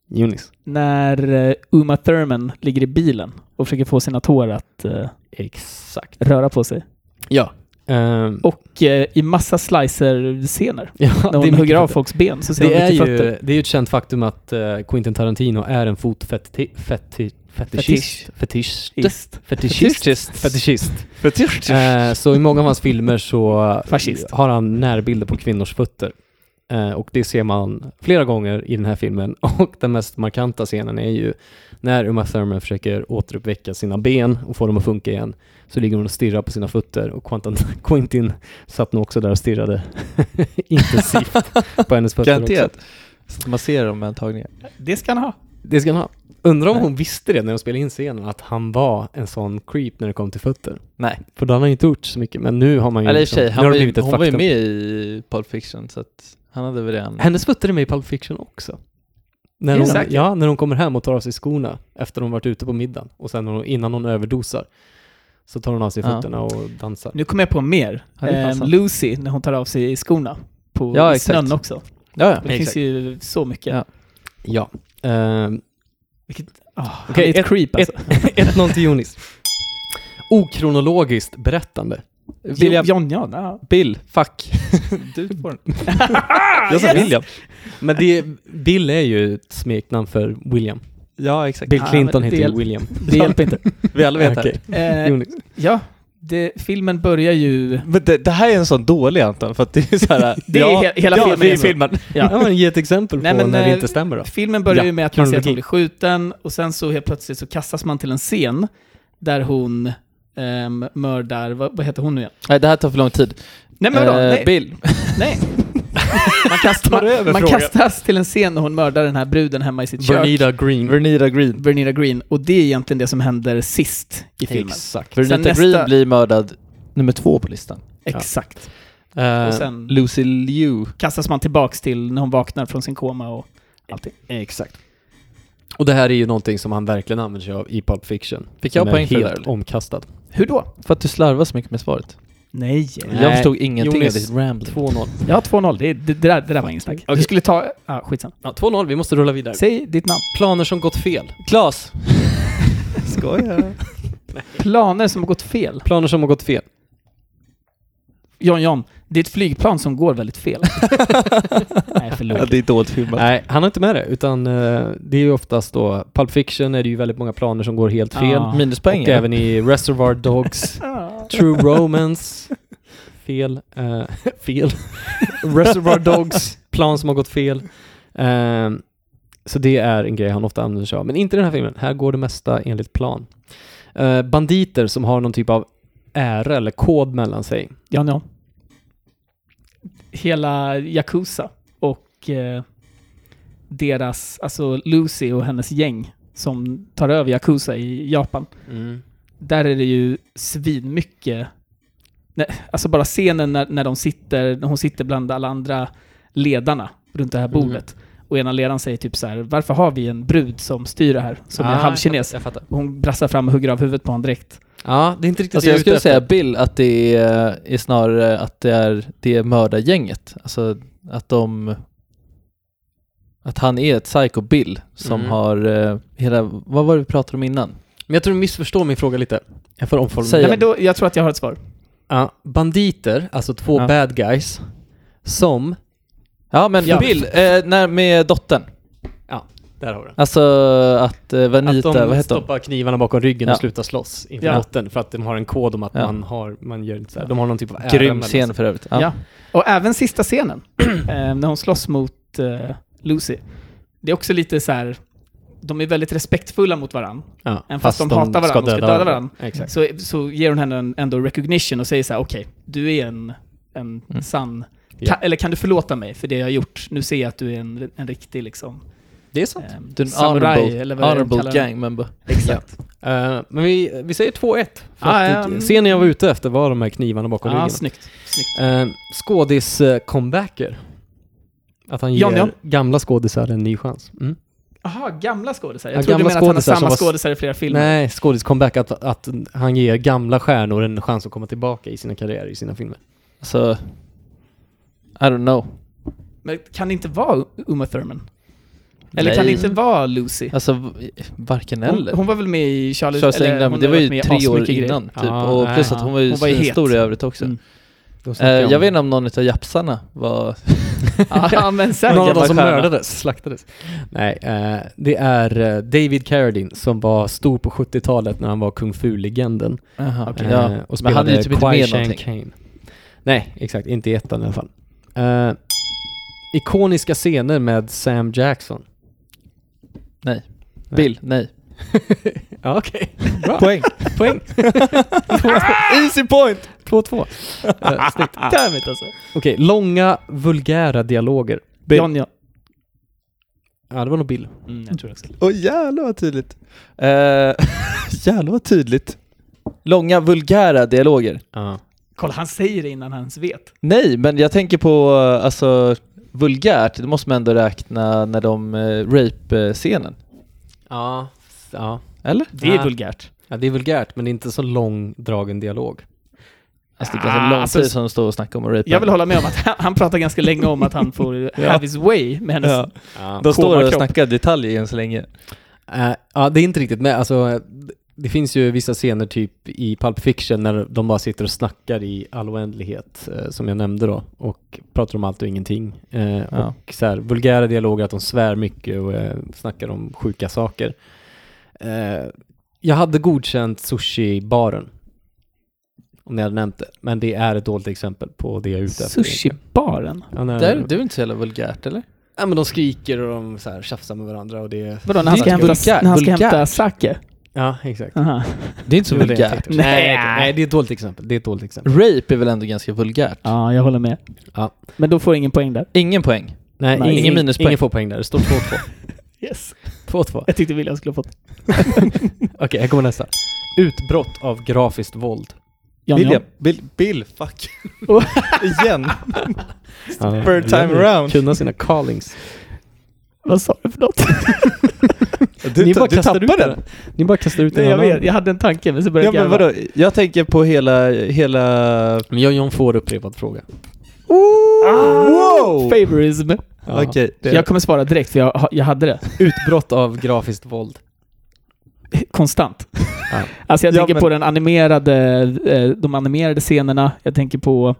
[SPEAKER 1] Jonis.
[SPEAKER 6] När eh, Uma Thurman ligger i bilen och försöker få sina tår att eh,
[SPEAKER 1] Exakt.
[SPEAKER 6] röra på sig.
[SPEAKER 1] Ja. Ehm,
[SPEAKER 6] Och eh, i massa slicer-scener.
[SPEAKER 1] ja,
[SPEAKER 6] När hon
[SPEAKER 1] mycket
[SPEAKER 6] hugger av
[SPEAKER 1] fötter.
[SPEAKER 6] folks ben så ser
[SPEAKER 1] Det
[SPEAKER 6] hon
[SPEAKER 1] är,
[SPEAKER 6] mycket
[SPEAKER 1] ju,
[SPEAKER 6] fötter.
[SPEAKER 1] det är ju ett känt faktum att eh, Quentin Tarantino är en fotfetischist.
[SPEAKER 6] Fetisch.
[SPEAKER 1] Fetischist.
[SPEAKER 6] Ist.
[SPEAKER 1] Fetischist. Fetischist.
[SPEAKER 5] Fetisch.
[SPEAKER 1] Eh, så i många av hans filmer så eh,
[SPEAKER 6] Fascist.
[SPEAKER 1] har han närbilder på kvinnors fötter. Eh, och det ser man flera gånger i den här filmen. Och den mest markanta scenen är ju när Uma Thurman försöker återuppväcka sina ben och få dem att funka igen. Så ligger hon och stirrar på sina fötter och Quentin, Quentin satt nog också där och stirrade intensivt på hennes fötter också.
[SPEAKER 5] Garanterat. Så att man ser dem med en tagning.
[SPEAKER 6] Det ska han ha.
[SPEAKER 1] Det ska han ha. Undrar om hon visste det när de spelade in scenen, att han var en sån creep när det kom till fötter.
[SPEAKER 5] Nej.
[SPEAKER 1] För då har han inte gjort så mycket, men nu har man ju...
[SPEAKER 5] Eller i och
[SPEAKER 1] liksom-
[SPEAKER 5] för sig,
[SPEAKER 1] nu
[SPEAKER 5] han
[SPEAKER 1] har
[SPEAKER 5] var
[SPEAKER 1] det
[SPEAKER 5] ju,
[SPEAKER 1] blivit ett
[SPEAKER 5] hon var ju
[SPEAKER 1] faktum.
[SPEAKER 5] med i Pulp Fiction så att han hade väl redan...
[SPEAKER 1] Hennes fötter är med i Pulp Fiction också. När
[SPEAKER 6] Är det
[SPEAKER 1] hon,
[SPEAKER 6] säkert?
[SPEAKER 1] ja, när hon kommer hem och tar av sig skorna efter hon varit ute på middagen och sen hon, innan hon överdosar så tar hon av sig
[SPEAKER 5] Ja.
[SPEAKER 1] fötterna och dansar.
[SPEAKER 6] Nu kommer jag på mer.
[SPEAKER 5] Ja, det är fan
[SPEAKER 6] Ehm,
[SPEAKER 5] sant.
[SPEAKER 6] Lucy, när hon tar av sig skorna. På
[SPEAKER 5] Ja,
[SPEAKER 6] i
[SPEAKER 5] exakt.
[SPEAKER 6] snön också.
[SPEAKER 5] Ja, ja.
[SPEAKER 6] Det finns ju så mycket.
[SPEAKER 5] Ja.
[SPEAKER 1] Ja. Ehm,
[SPEAKER 6] Vilket, oh,
[SPEAKER 1] Okej,
[SPEAKER 6] han är ett,
[SPEAKER 1] ett-
[SPEAKER 6] creep alltså.
[SPEAKER 1] 1-0 till Jonis. okronologiskt berättande.
[SPEAKER 5] William,
[SPEAKER 6] John, John, ja.
[SPEAKER 5] Bill.
[SPEAKER 1] Fuck.
[SPEAKER 5] Du får den. Jag sa William.
[SPEAKER 1] Men det, Bill är ju ett smeknamn för William.
[SPEAKER 5] Ja, exakt.
[SPEAKER 1] Bill
[SPEAKER 6] men
[SPEAKER 1] Clinton
[SPEAKER 6] det
[SPEAKER 1] heter
[SPEAKER 6] hjäl-
[SPEAKER 1] ju William.
[SPEAKER 6] Det hjälper inte.
[SPEAKER 5] Vi alla vet det.
[SPEAKER 1] Okej.
[SPEAKER 5] här.
[SPEAKER 6] Eh,
[SPEAKER 1] Jo, ni-
[SPEAKER 6] ja, det, filmen börjar ju...
[SPEAKER 5] Men det, det här är en sån dålig Anton, för att det är så här...
[SPEAKER 6] Det är
[SPEAKER 5] ja,
[SPEAKER 6] he- hela
[SPEAKER 5] ja,
[SPEAKER 6] filmen liksom.
[SPEAKER 5] det är
[SPEAKER 6] är så.
[SPEAKER 5] filmen.
[SPEAKER 1] Ja, men ge ett exempel på
[SPEAKER 6] Nej, men,
[SPEAKER 1] när det
[SPEAKER 6] eh,
[SPEAKER 1] inte stämmer då.
[SPEAKER 6] Filmen börjar
[SPEAKER 1] Ja,
[SPEAKER 6] ju med att man ser att
[SPEAKER 1] kronologi.
[SPEAKER 6] hon blir skjuten och sen så helt plötsligt så kastas man till en scen där hon ehm, mördar, vad, vad heter hon nu igen?
[SPEAKER 5] Nej, det här tar för lång tid.
[SPEAKER 6] Nej men vadå?
[SPEAKER 5] Eh,
[SPEAKER 6] nej,
[SPEAKER 5] Bill.
[SPEAKER 6] nej. Man, kastas,
[SPEAKER 5] över
[SPEAKER 6] man, man
[SPEAKER 5] frågan.
[SPEAKER 6] kastas till en scen när hon mördar den här bruden hemma i sitt kök.
[SPEAKER 1] Vernita Green.
[SPEAKER 5] Vernita Green.
[SPEAKER 6] Vernita Green. Och det är egentligen det som händer sist i filmen.
[SPEAKER 1] Exakt.
[SPEAKER 5] Vernita
[SPEAKER 6] Sen nästa-
[SPEAKER 5] Green blir mördad nummer två på listan.
[SPEAKER 6] Exakt.
[SPEAKER 1] Eh,
[SPEAKER 6] Och sen
[SPEAKER 5] Lucy Liu.
[SPEAKER 6] kastas man tillbaks till när hon vaknar från sin koma och allting.
[SPEAKER 1] Exakt. Och det här är ju någonting som han verkligen använder sig av i Pulp Fiction.
[SPEAKER 5] Fick jag
[SPEAKER 1] Som är
[SPEAKER 5] poäng för det där,
[SPEAKER 1] helt
[SPEAKER 5] eller?
[SPEAKER 1] omkastad.
[SPEAKER 6] Hur då?
[SPEAKER 5] För att du slarvar så mycket med svaret.
[SPEAKER 6] Nej.
[SPEAKER 5] Jag
[SPEAKER 1] Nej,
[SPEAKER 5] förstod ingenting
[SPEAKER 1] Jonas,
[SPEAKER 5] av ditt rambling.
[SPEAKER 1] 2-0.
[SPEAKER 6] Ja, 2-0. Det, det, det, där, det där var ingen snack. Du skulle ta... Ja, skitsamma.
[SPEAKER 1] Ja, 2-0, vi måste rulla vidare.
[SPEAKER 6] Säg ditt namn.
[SPEAKER 1] Planer som gått fel.
[SPEAKER 5] Klas! Skojar.
[SPEAKER 6] Planer som har gått fel.
[SPEAKER 1] Planer som har gått fel.
[SPEAKER 6] John John, det är ett flygplan som går väldigt fel. Nej, förlåt.
[SPEAKER 5] det är dåligt filmat.
[SPEAKER 1] Nej, han har inte med det, utan eh, det är ju oftast då, Pulp Fiction är det ju väldigt många planer som går helt fel.
[SPEAKER 6] Ah.
[SPEAKER 5] Minuspoäng.
[SPEAKER 1] Och även i Reservoir Dogs, True Romance, fel, eh, fel. Reservoir Dogs, plan som har gått fel. Eh, så det är en grej han ofta använder sig av, men inte i den här filmen. Här går det mesta enligt plan. Eh, banditer som har någon typ av ära eller kod mellan sig.
[SPEAKER 6] John John. Hela Yakuza och eh, deras, alltså Lucy och hennes gäng som tar över Yakuza i Japan.
[SPEAKER 1] Mm.
[SPEAKER 6] Där är det ju svinmycket. Nej, alltså bara scenen när, när de sitter, när hon sitter bland alla andra ledarna runt det här bordet. Och ena ledaren säger typ så här, varför har vi en brud som styr det här? Som är
[SPEAKER 1] Ah,
[SPEAKER 6] halvkines.
[SPEAKER 1] Jag fattar.
[SPEAKER 6] Och hon brassar fram och hugger av huvudet på honom direkt.
[SPEAKER 1] Ja, det är inte riktigt
[SPEAKER 5] Alltså
[SPEAKER 1] det
[SPEAKER 5] jag skulle
[SPEAKER 1] är ute
[SPEAKER 5] säga
[SPEAKER 1] efter.
[SPEAKER 5] Bill att det är, är snarare att det är, det är mördargänget. Alltså att de... Att han är ett psycho Bill som
[SPEAKER 1] Mm.
[SPEAKER 5] har eh, hela... Vad var det vi pratade om innan?
[SPEAKER 1] Men jag tror du missförstår min fråga lite. Jag får omformulera.
[SPEAKER 5] Säg
[SPEAKER 6] Nej,
[SPEAKER 5] Igen.
[SPEAKER 6] men då, jag tror att jag har ett svar.
[SPEAKER 1] Ja, banditer, alltså två
[SPEAKER 5] Ja.
[SPEAKER 1] bad guys, som...
[SPEAKER 5] Ja men
[SPEAKER 1] Ja.
[SPEAKER 5] Bill, eh, när, med dottern.
[SPEAKER 1] Där har du den.
[SPEAKER 5] Alltså att eh, Vanita,
[SPEAKER 1] Att
[SPEAKER 5] vad
[SPEAKER 1] de
[SPEAKER 5] heter hon?
[SPEAKER 1] stoppar knivarna bakom ryggen
[SPEAKER 5] Ja.
[SPEAKER 1] och slutar slåss inför
[SPEAKER 6] Ja.
[SPEAKER 1] dottern för att de har en kod om att
[SPEAKER 5] Ja.
[SPEAKER 1] man har, man gör inte så här. De har någon typ av ära
[SPEAKER 5] Grym
[SPEAKER 1] mellan sig.
[SPEAKER 5] scen för övrigt.
[SPEAKER 6] Ja. Och även sista scenen, eh, när hon slåss mot eh, Lucy. Det är också lite så här, de är väldigt respektfulla mot varandra.
[SPEAKER 1] Ja,
[SPEAKER 6] Även fast de hatar varandra, de ska döda varandra.
[SPEAKER 1] Exakt.
[SPEAKER 6] Så, så ger hon henne en, ändå recognition och säger så här: okej, du är en, en sann...
[SPEAKER 1] Ja.
[SPEAKER 6] Ka, eller kan du förlåta mig för det jag har gjort? Nu ser jag att du är en, en riktig liksom...
[SPEAKER 1] Det är sant.
[SPEAKER 6] Eh,
[SPEAKER 5] Du är en
[SPEAKER 6] samurai,
[SPEAKER 5] honorable,
[SPEAKER 6] eller vad
[SPEAKER 5] honorable
[SPEAKER 6] det
[SPEAKER 5] gang member.
[SPEAKER 6] Exakt.
[SPEAKER 1] Eh, men vi, vi säger 2-1. För
[SPEAKER 6] Ah,
[SPEAKER 1] att
[SPEAKER 6] ja,
[SPEAKER 1] det-
[SPEAKER 6] mm.
[SPEAKER 1] Scenen jag var ute efter var de här knivarna bakom
[SPEAKER 6] Ja,
[SPEAKER 1] ryggen.
[SPEAKER 6] snyggt. snyggt.
[SPEAKER 1] Uh, Skådis-comebacker. Att han ger
[SPEAKER 6] Jan, Jan.
[SPEAKER 1] gamla skådisar en ny chans. Mm.
[SPEAKER 6] Aha, gamla skådisar.
[SPEAKER 1] Ja,
[SPEAKER 6] Jag trodde du
[SPEAKER 1] gamla
[SPEAKER 6] menade att han
[SPEAKER 1] skådisar
[SPEAKER 6] har
[SPEAKER 1] som
[SPEAKER 6] samma
[SPEAKER 1] var-
[SPEAKER 6] skådisar i flera filmer.
[SPEAKER 1] Nej, skådis-comeback, att, att han ger gamla stjärnor en chans att komma tillbaka i sina karriärer, i sina filmer.
[SPEAKER 5] Alltså... I don't know.
[SPEAKER 6] Men kan det inte vara Uma Thurman? Eller kan det
[SPEAKER 5] Nej.
[SPEAKER 6] inte vara Lucy?
[SPEAKER 5] Alltså v- varken
[SPEAKER 6] Hon,
[SPEAKER 5] eller.
[SPEAKER 6] hon var väl med i Charlie...
[SPEAKER 5] Charles
[SPEAKER 6] eller
[SPEAKER 5] England,
[SPEAKER 6] hon
[SPEAKER 5] men det
[SPEAKER 6] har
[SPEAKER 5] var
[SPEAKER 6] varit med
[SPEAKER 5] ju
[SPEAKER 6] i
[SPEAKER 5] tre år
[SPEAKER 6] asmycket grejer.
[SPEAKER 5] innan. Typ.
[SPEAKER 1] Ah,
[SPEAKER 5] och plus
[SPEAKER 1] nej,
[SPEAKER 5] att hon var ju
[SPEAKER 6] hon var ju het.
[SPEAKER 5] stor i övrigt också.
[SPEAKER 6] Mm.
[SPEAKER 5] Eh, jag vet inte om någon av japsarna var...
[SPEAKER 6] Ja, men säkert.
[SPEAKER 1] Någon av dem som
[SPEAKER 5] stjärna.
[SPEAKER 1] mördades, slaktades. Nej, eh, det är eh, David Carradine som var stor på 70-talet när han var kung fu-legenden.
[SPEAKER 5] Jaha,
[SPEAKER 1] Eh,
[SPEAKER 5] ja.
[SPEAKER 1] och
[SPEAKER 5] Men han är
[SPEAKER 1] spelade
[SPEAKER 5] ju typ inte
[SPEAKER 1] Qui
[SPEAKER 5] med
[SPEAKER 1] Shang
[SPEAKER 5] någonting.
[SPEAKER 1] Kane. Nej, exakt. Inte i ettan i alla fall. Eh, ikoniska scener med Sam Jackson.
[SPEAKER 5] Bill, nej.
[SPEAKER 1] Ja, okej.
[SPEAKER 5] Poäng.
[SPEAKER 1] Poäng.
[SPEAKER 5] Easy point!
[SPEAKER 1] 2-2. Eh, snyggt.
[SPEAKER 6] Damn it alltså.
[SPEAKER 1] Okej, långa vulgära dialoger.
[SPEAKER 6] John, ja.
[SPEAKER 1] Ja, det var nog Bill.
[SPEAKER 6] Mm, jag tror också.
[SPEAKER 5] Åh jävlar vad tydligt. Uh, jävlar vad tydligt. Långa vulgära dialoger.
[SPEAKER 1] Ja.
[SPEAKER 6] Kolla, han säger det innan han ens vet.
[SPEAKER 5] Nej, men jag tänker på eh, alltså vulgärt, det måste man ändå räkna när de uh, rape-scenen.
[SPEAKER 1] Ja. ja.
[SPEAKER 5] Eller?
[SPEAKER 6] Det är
[SPEAKER 1] Ah.
[SPEAKER 6] vulgärt.
[SPEAKER 1] det är vulgärt, men det är inte så långdragen dialog.
[SPEAKER 5] Alltså det är
[SPEAKER 6] Ah,
[SPEAKER 5] ganska lång
[SPEAKER 6] alltså-
[SPEAKER 5] tid som de står och snackar om att rapa.
[SPEAKER 6] Jag vill hålla med om att han, han pratar ganska länge om att han får have his way med hennes...
[SPEAKER 5] Ja.
[SPEAKER 1] Ja.
[SPEAKER 5] De står och
[SPEAKER 6] Komakropp.
[SPEAKER 5] snackar detaljer än så länge.
[SPEAKER 1] Eh, ja, det är inte riktigt med. Alltså, eh, det finns ju vissa scener typ i Pulp Fiction när de bara sitter och snackar i all oändlighet, eh, som jag nämnde då, och pratar om allt och ingenting. Eh,
[SPEAKER 5] Ja.
[SPEAKER 1] Och så här, vulgära dialoger, att de svär mycket och eh, snackar om sjuka saker. Eh, jag hade godkänt sushi-baren, om ni hade nämnt det, men det är ett dåligt exempel på det jag är ute efter. egentligen.
[SPEAKER 6] Sushibaren?
[SPEAKER 1] Ja, när-
[SPEAKER 5] Det är, det är väl inte så jävla vulgärt eller?
[SPEAKER 1] Ja men de skriker och de så här tjafsar med varandra och det är...
[SPEAKER 6] Vadå, när han
[SPEAKER 5] Det är
[SPEAKER 6] ska, hämta,
[SPEAKER 5] vulgär-
[SPEAKER 6] när han ska
[SPEAKER 5] vulgärt.
[SPEAKER 6] hämta sake?
[SPEAKER 1] Ja, exakt.
[SPEAKER 6] Aha.
[SPEAKER 5] Det är inte så
[SPEAKER 1] Det var det jag
[SPEAKER 5] vulgärt.
[SPEAKER 1] tänkte. Mm. Nej, okej. nej, det är ett dåligt exempel. Det är ett dåligt exempel.
[SPEAKER 5] Rape är väl ändå ganska vulgärt?
[SPEAKER 6] Ja, jag håller med.
[SPEAKER 1] Ja.
[SPEAKER 6] Men då får jag ingen poäng där.
[SPEAKER 5] Ingen poäng.
[SPEAKER 1] Nej,
[SPEAKER 6] Nej,
[SPEAKER 5] ingen minuspoäng.
[SPEAKER 1] Ingen får poäng där. Det står 2-2.
[SPEAKER 6] Yes.
[SPEAKER 1] 2-2.
[SPEAKER 6] Jag tyckte William skulle ha fått.
[SPEAKER 1] Okej, här kommer nästa. Utbrott av grafiskt våld.
[SPEAKER 6] Jan Jan.
[SPEAKER 5] Bill, Bill fuck. Igen.
[SPEAKER 1] Bird
[SPEAKER 5] time around.
[SPEAKER 1] Kunna sina callings.
[SPEAKER 6] Vad sa du för något?
[SPEAKER 5] Du,
[SPEAKER 1] bara kastar ut den. Ni bara kastar ut
[SPEAKER 6] Nej,
[SPEAKER 1] en
[SPEAKER 6] jag
[SPEAKER 1] annan.
[SPEAKER 6] vet. Jag hade en tanke, men så började
[SPEAKER 5] Ja
[SPEAKER 6] jag
[SPEAKER 5] men
[SPEAKER 6] garva.
[SPEAKER 5] vadå, jag tänker på hela, hela...
[SPEAKER 1] Men jag och John får upprepad fråga.
[SPEAKER 5] Wow!
[SPEAKER 6] Favorism.
[SPEAKER 1] Ja.
[SPEAKER 5] Okej, det-
[SPEAKER 6] Jag kommer svara direkt, för jag, ha- jag hade det.
[SPEAKER 1] Utbrott av grafiskt våld.
[SPEAKER 6] Konstant.
[SPEAKER 1] Ja.
[SPEAKER 6] Alltså jag
[SPEAKER 5] Ja,
[SPEAKER 6] tänker
[SPEAKER 5] men-
[SPEAKER 6] på den animerade, eh, de animerade scenerna. Jag tänker på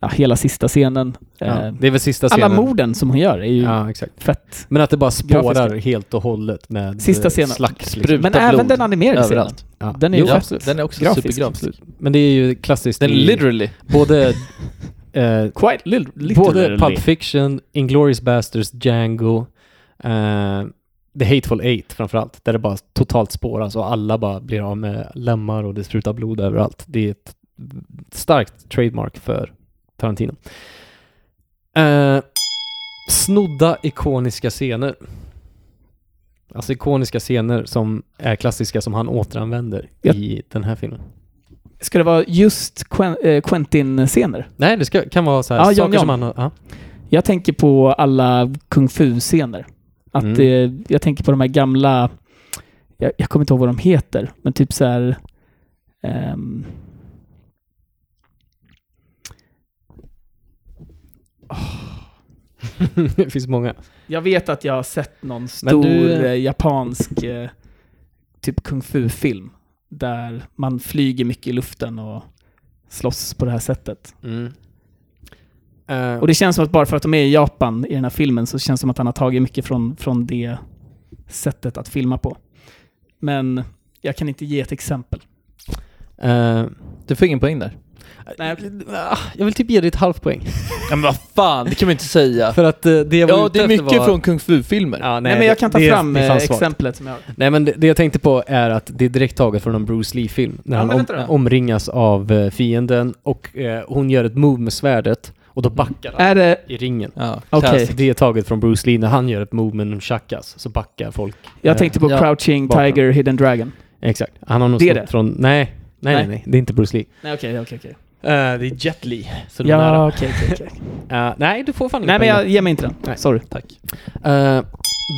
[SPEAKER 6] ja, hela sista scenen.
[SPEAKER 1] Ja.
[SPEAKER 6] Eh,
[SPEAKER 1] Det är väl sista
[SPEAKER 6] alla
[SPEAKER 1] scenen.
[SPEAKER 6] morden som hon gör är ju
[SPEAKER 1] Ja, exakt.
[SPEAKER 6] fett.
[SPEAKER 1] Men att det bara spårar
[SPEAKER 6] Grafiska.
[SPEAKER 1] helt och hållet med
[SPEAKER 6] Sista
[SPEAKER 1] eh,
[SPEAKER 6] scenen.
[SPEAKER 1] slacks. Liksom.
[SPEAKER 5] Spruta
[SPEAKER 6] Men
[SPEAKER 5] blod
[SPEAKER 6] även den animerade
[SPEAKER 5] överallt.
[SPEAKER 6] scenen.
[SPEAKER 1] Ja.
[SPEAKER 6] Den är ju
[SPEAKER 1] Jo,
[SPEAKER 5] Ja, Mm.
[SPEAKER 6] faktiskt
[SPEAKER 5] den är också
[SPEAKER 6] grafisk.
[SPEAKER 5] supergrafisk.
[SPEAKER 1] Men det är ju klassiskt
[SPEAKER 5] Den är
[SPEAKER 1] i
[SPEAKER 5] literally.
[SPEAKER 1] både eh,
[SPEAKER 6] Quite little, little
[SPEAKER 1] Både Pulp Fiction, Inglourious Basterds, Django, eh, The Hateful Eight framförallt, där det bara totalt spåras och alla bara blir av med lemmar och det sprutar blod överallt. Det är ett starkt trademark för Tarantino. Eh, snodda ikoniska scener. Alltså ikoniska scener som är klassiska som han återanvänder
[SPEAKER 6] Ja.
[SPEAKER 1] i den här filmen.
[SPEAKER 6] Ska det vara just Quen- eh, Quentin-scener?
[SPEAKER 1] Nej, det ska, kan vara så här
[SPEAKER 6] Ja, John,
[SPEAKER 1] saker som han
[SPEAKER 6] John.
[SPEAKER 1] har... ja.
[SPEAKER 6] Jag tänker på alla kung fu-scener. Att
[SPEAKER 1] Mm.
[SPEAKER 6] eh, jag tänker på de här gamla, jag, jag kommer inte ihåg vad de heter, men typ så här... ehm,
[SPEAKER 1] det finns många.
[SPEAKER 6] jag vet att jag har sett någon
[SPEAKER 1] Men
[SPEAKER 6] stor
[SPEAKER 1] du-
[SPEAKER 6] eh, japansk eh, typ kung fu-film där man flyger mycket i luften och slåss på det här sättet.
[SPEAKER 5] Mm.
[SPEAKER 1] Eh,
[SPEAKER 6] Och det känns som att bara för att de är i Japan i den här filmen så känns det som att han har tagit mycket från, från det sättet att filma på. Men jag kan inte ge ett exempel.
[SPEAKER 1] eh,
[SPEAKER 5] Du får ingen poäng där.
[SPEAKER 6] Nej.
[SPEAKER 1] Ah, Jag vill typ ge dig ett halvt poäng.
[SPEAKER 5] Ja men vad fan, det kan man inte säga.
[SPEAKER 1] För att eh, det jag var
[SPEAKER 5] Ja
[SPEAKER 1] ute
[SPEAKER 5] det är
[SPEAKER 1] efter
[SPEAKER 5] mycket
[SPEAKER 1] var...
[SPEAKER 5] från kung fu-filmer.
[SPEAKER 1] Ja, nej,
[SPEAKER 6] Nej, men jag kan ta
[SPEAKER 1] det-
[SPEAKER 6] fram
[SPEAKER 1] det är
[SPEAKER 6] eh,
[SPEAKER 1] fan svagt.
[SPEAKER 6] exemplet som jag har.
[SPEAKER 1] Nej men det, det jag tänkte på är att det är direkt taget från en Bruce Lee-film. När
[SPEAKER 6] Ja,
[SPEAKER 1] han
[SPEAKER 6] men
[SPEAKER 1] om,
[SPEAKER 6] vänta då.
[SPEAKER 1] omringas av eh, fienden och eh, hon gör ett move med svärdet och då
[SPEAKER 5] Mm.
[SPEAKER 1] backar han
[SPEAKER 6] Är det...
[SPEAKER 1] i ringen.
[SPEAKER 5] Ja,
[SPEAKER 6] Okej.
[SPEAKER 5] klass.
[SPEAKER 1] Det är taget från Bruce Lee när han gör ett move med en chackas så backar folk.
[SPEAKER 6] Jag tänkte på
[SPEAKER 5] Ja,
[SPEAKER 6] Crouching
[SPEAKER 1] bakom.
[SPEAKER 6] Tiger, Hidden Dragon.
[SPEAKER 1] Exakt. Han har nog
[SPEAKER 6] Det är
[SPEAKER 1] snott
[SPEAKER 6] det.
[SPEAKER 1] från... Nej. Nej, nej,
[SPEAKER 6] Nej.
[SPEAKER 1] nej, det är inte Bruce Lee.
[SPEAKER 6] Nej, okej, okej, okej.
[SPEAKER 1] Eh, det är Jet Li. Så det var
[SPEAKER 6] Ja,
[SPEAKER 1] nära.
[SPEAKER 6] okej, okej, okej.
[SPEAKER 1] Eh, nej, du får fan
[SPEAKER 6] Nej, men
[SPEAKER 1] poäng.
[SPEAKER 6] jag ger mig inte den.
[SPEAKER 1] Nej.
[SPEAKER 6] Sorry. Tack.
[SPEAKER 1] Eh,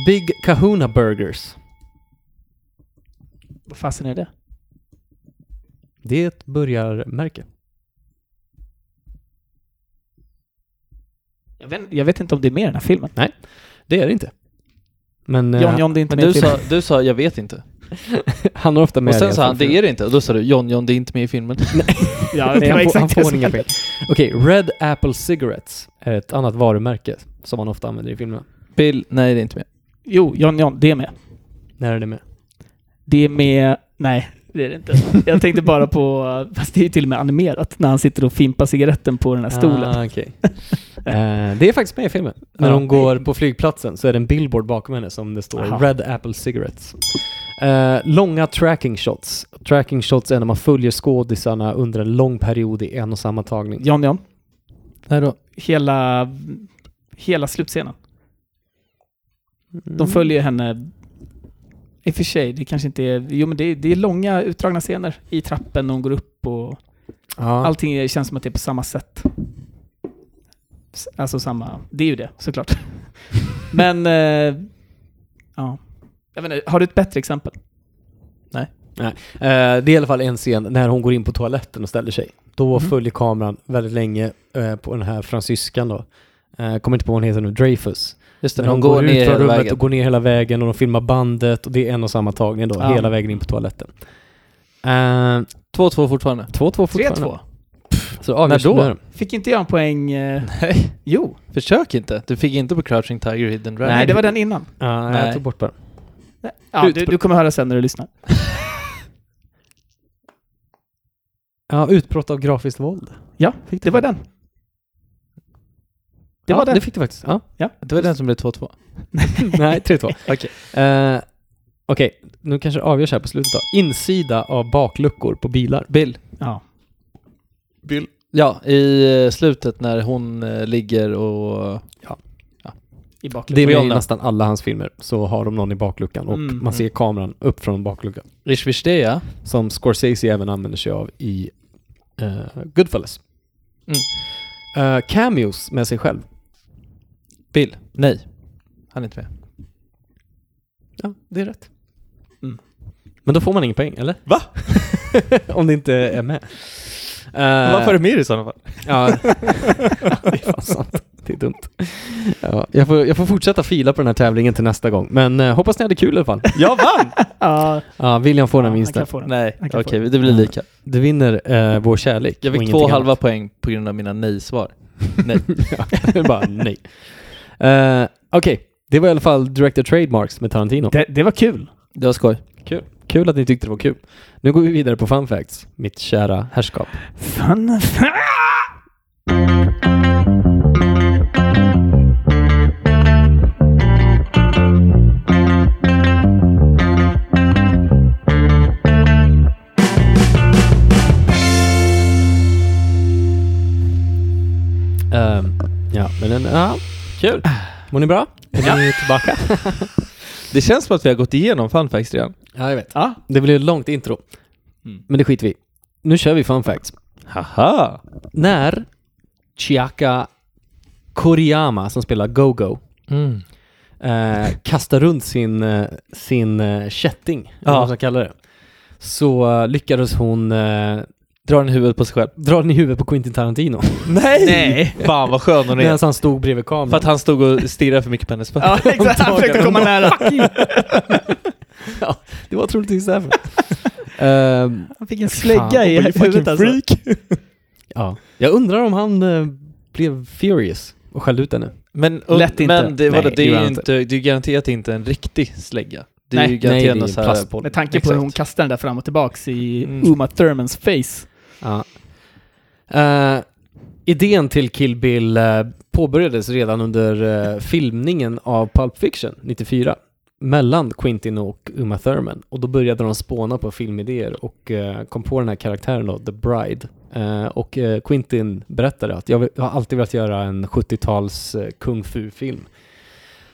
[SPEAKER 1] Big Kahuna Burgers.
[SPEAKER 6] Vad fasen är det?
[SPEAKER 1] Det är ett burgarmärke.
[SPEAKER 6] Jag vet, jag vet inte om det är med i den här filmen.
[SPEAKER 1] Det är det inte. Men eh,
[SPEAKER 6] John John, det är inte
[SPEAKER 5] Men
[SPEAKER 6] med i
[SPEAKER 5] du
[SPEAKER 6] filmen.
[SPEAKER 5] sa, du sa jag vet inte.
[SPEAKER 1] han har ofta med
[SPEAKER 5] Och sen
[SPEAKER 1] det
[SPEAKER 5] sa han
[SPEAKER 1] från
[SPEAKER 5] det är det inte. Och då sa du John John det är inte med i filmen.
[SPEAKER 6] Ja,
[SPEAKER 1] Nej,
[SPEAKER 6] det var
[SPEAKER 1] han, får, han
[SPEAKER 6] exakt det
[SPEAKER 1] får
[SPEAKER 6] som
[SPEAKER 1] inga
[SPEAKER 6] hände.
[SPEAKER 1] pengar. Okej, Red Apple Cigarettes är ett annat varumärke som man ofta använder i filmerna.
[SPEAKER 5] Bill, nej det är inte med.
[SPEAKER 6] Jo, John John, det är med.
[SPEAKER 1] När är det med?
[SPEAKER 6] Det är med... Nej, det är det inte. Jag tänkte bara på... Fast det är ju till och med animerat när han sitter och fimpar cigaretten på den här stolen.
[SPEAKER 1] Ah, okej. Eh, det är faktiskt med i filmen. När
[SPEAKER 6] Ja.
[SPEAKER 1] de går på flygplatsen så är det en billboard bakom henne som det står
[SPEAKER 6] Aha.
[SPEAKER 1] Red Apple Cigarettes. Eh, långa tracking shots. Tracking shots är när man följer skådisarna under en lång period i en och samma tagning.
[SPEAKER 6] John John,
[SPEAKER 5] Nej då.
[SPEAKER 6] hela... Hela slutscenen. De följer ju henne... I och för sig, det kanske inte är... Jo men det är, det är långa utdragna scener i trappen när hon går upp och...
[SPEAKER 1] Ja.
[SPEAKER 6] Allting känns som att det är på samma sätt. S- Alltså samma... Det är ju det, såklart. men... Eh, ja. Jag vet inte, har du ett bättre exempel?
[SPEAKER 1] Eh, det är i alla fall en scen när hon går in på toaletten och ställer sig. Då
[SPEAKER 6] Mm.
[SPEAKER 1] följer kameran väldigt länge eh, på den här fransyskan då. Eh, kommer inte på vad hon heter nu, Dreyfus.
[SPEAKER 5] Just det,
[SPEAKER 1] När
[SPEAKER 5] de,
[SPEAKER 1] hon
[SPEAKER 5] går,
[SPEAKER 1] går
[SPEAKER 5] ner
[SPEAKER 1] ut från
[SPEAKER 5] hela
[SPEAKER 1] rummet
[SPEAKER 5] vägen.
[SPEAKER 1] och går ner hela vägen och de filmar bandet och det är en och samma tagning då,
[SPEAKER 6] Ja.
[SPEAKER 1] hela vägen in på toaletten. Eh,
[SPEAKER 5] 2-2 fortfarande.
[SPEAKER 1] 2-2 fortfarande.
[SPEAKER 6] 3-2.
[SPEAKER 1] Så det avgörs
[SPEAKER 5] När då?
[SPEAKER 1] nu.
[SPEAKER 6] Fick inte jag en poäng... Eh,
[SPEAKER 5] Nej.
[SPEAKER 6] jo.
[SPEAKER 5] Försök inte. Du fick inte på Crouching Tiger Hidden Dragon.
[SPEAKER 6] Nej, det var den innan.
[SPEAKER 1] Ja,
[SPEAKER 5] Nej.
[SPEAKER 1] jag tog bort bara.
[SPEAKER 6] Ja,
[SPEAKER 1] Ut
[SPEAKER 6] du,
[SPEAKER 1] på-
[SPEAKER 6] du kommer höra sen när du lyssnar.
[SPEAKER 1] Ja, utbrott av grafiskt våld.
[SPEAKER 6] Ja,
[SPEAKER 1] Fick
[SPEAKER 6] det var den. Det
[SPEAKER 1] ja,
[SPEAKER 6] var den.
[SPEAKER 1] Det fick du faktiskt. Ja.
[SPEAKER 5] Det var den som blev 2-2.
[SPEAKER 1] Nej, 3-2.
[SPEAKER 5] Okej.
[SPEAKER 1] Eh, Okej, nu kanske det avgörs här på slutet då. Insida av bakluckor på bilar.
[SPEAKER 5] Bill.
[SPEAKER 6] Ja.
[SPEAKER 5] Ja, i eh, slutet när hon eh, ligger och...
[SPEAKER 6] I
[SPEAKER 1] Det är med i
[SPEAKER 5] Rihanna.
[SPEAKER 1] nästan alla hans filmer, så har de någon i bakluckan och
[SPEAKER 6] Mm,
[SPEAKER 1] man ser kameran upp från bakluckan.
[SPEAKER 5] Rish Vishdea.
[SPEAKER 1] Som Scorsese även använder sig av i eh, Goodfellas.
[SPEAKER 5] Mm.
[SPEAKER 1] Eh, cameos med sig själv.
[SPEAKER 5] Bill. Nej. Han är inte med.
[SPEAKER 1] Ja, det är rätt.
[SPEAKER 6] Mm.
[SPEAKER 1] Men då får man ingen poäng, eller? Va? Om det inte är med. Eh,
[SPEAKER 5] det med i sådana fall?
[SPEAKER 1] Ja. det är fan sant. Det är dumt. Ja, jag, får, jag får fortsätta fila på den här tävlingen till nästa gång. Men eh, hoppas ni hade kul i alla fall.
[SPEAKER 5] Jag vann!
[SPEAKER 6] Ja,
[SPEAKER 1] Ja, William får den
[SPEAKER 6] han
[SPEAKER 1] vinsten.
[SPEAKER 6] kan få den.
[SPEAKER 5] Nej,
[SPEAKER 6] Han
[SPEAKER 5] okej,
[SPEAKER 6] kan få
[SPEAKER 5] det blir lika.
[SPEAKER 1] Du vinner eh, Vår kärlek.
[SPEAKER 5] Jag
[SPEAKER 1] och
[SPEAKER 5] fick två
[SPEAKER 1] ingenting
[SPEAKER 5] halva
[SPEAKER 1] annat.
[SPEAKER 5] poäng på grund av mina nej-svar. Nej.
[SPEAKER 1] Ja, det är bara nej. Eh, Okej, det var i alla fall Director Trademarks med Tarantino.
[SPEAKER 6] Det, det var kul.
[SPEAKER 5] Det var skoj.
[SPEAKER 1] Kul att ni tyckte det var kul. Nu går vi vidare på Fun Facts, mitt kära herrskap.
[SPEAKER 6] Fun
[SPEAKER 1] Ehm, ja, men den, ja, kul. Mår ni bra? Är ni tillbaka?
[SPEAKER 5] Det känns som att vi har gått igenom fun facts redan.
[SPEAKER 1] Ja, jag vet.
[SPEAKER 6] Ja.
[SPEAKER 1] Det blir ett långt intro.
[SPEAKER 5] Mm.
[SPEAKER 1] Men det skiter vi i. Nu kör vi Fun Facts.
[SPEAKER 5] Haha!
[SPEAKER 1] När Chiaka Koriyama, som spelar Go-Go,
[SPEAKER 5] Mm.
[SPEAKER 1] eh, kastar runt sin, eh, sin eh, kätting,
[SPEAKER 5] Ja.
[SPEAKER 1] eller vad man ska kalla det, så eh, lyckades hon eh,
[SPEAKER 5] Drar den i huvudet på sig själv.
[SPEAKER 1] dra den i huvudet på Quentin Tarantino.
[SPEAKER 5] Nej! Fan vad skön hon
[SPEAKER 1] Medan
[SPEAKER 5] är.
[SPEAKER 1] han stod bredvid
[SPEAKER 5] För
[SPEAKER 1] kameran.
[SPEAKER 5] att han stod och stirrade för mycket på hennes fötter.
[SPEAKER 6] Ja, exakt. Han försökte komma nära.
[SPEAKER 1] Det var troligtvis därför. Ehm,
[SPEAKER 6] Han fick en slägga i
[SPEAKER 5] Fan, you fucking
[SPEAKER 6] huvudet alltså.
[SPEAKER 1] ja. Jag undrar om han eh, blev furious och skällde ut henne.
[SPEAKER 5] Men,
[SPEAKER 6] Lätt inte.
[SPEAKER 5] men det,
[SPEAKER 1] Nej,
[SPEAKER 5] vadå, det,
[SPEAKER 1] det gör
[SPEAKER 5] är
[SPEAKER 1] han
[SPEAKER 5] ju
[SPEAKER 1] inte.
[SPEAKER 5] inte, det är ju garanterat inte en riktig slägga. Det är
[SPEAKER 6] Nej.
[SPEAKER 5] ju
[SPEAKER 1] Nej, det
[SPEAKER 5] garanterat
[SPEAKER 1] är
[SPEAKER 5] någon
[SPEAKER 1] ju
[SPEAKER 5] så här...
[SPEAKER 1] plastboll.
[SPEAKER 6] Med tanke på hur hon
[SPEAKER 5] Exakt.
[SPEAKER 6] kastar den där fram och tillbaks i
[SPEAKER 5] Mm.
[SPEAKER 6] Uma Thurmans face.
[SPEAKER 1] Ja. Eh, idén till Kill Bill eh, påbörjades redan under eh, filmningen av Pulp Fiction 94 mellan Quentin och Uma Thurman och då började de spåna på filmidéer och eh, kom på den här karaktären då, The Bride. Eh, och eh, Quentin berättade att jag, vill, jag har alltid velat göra en 70-tals eh, kung fu-film.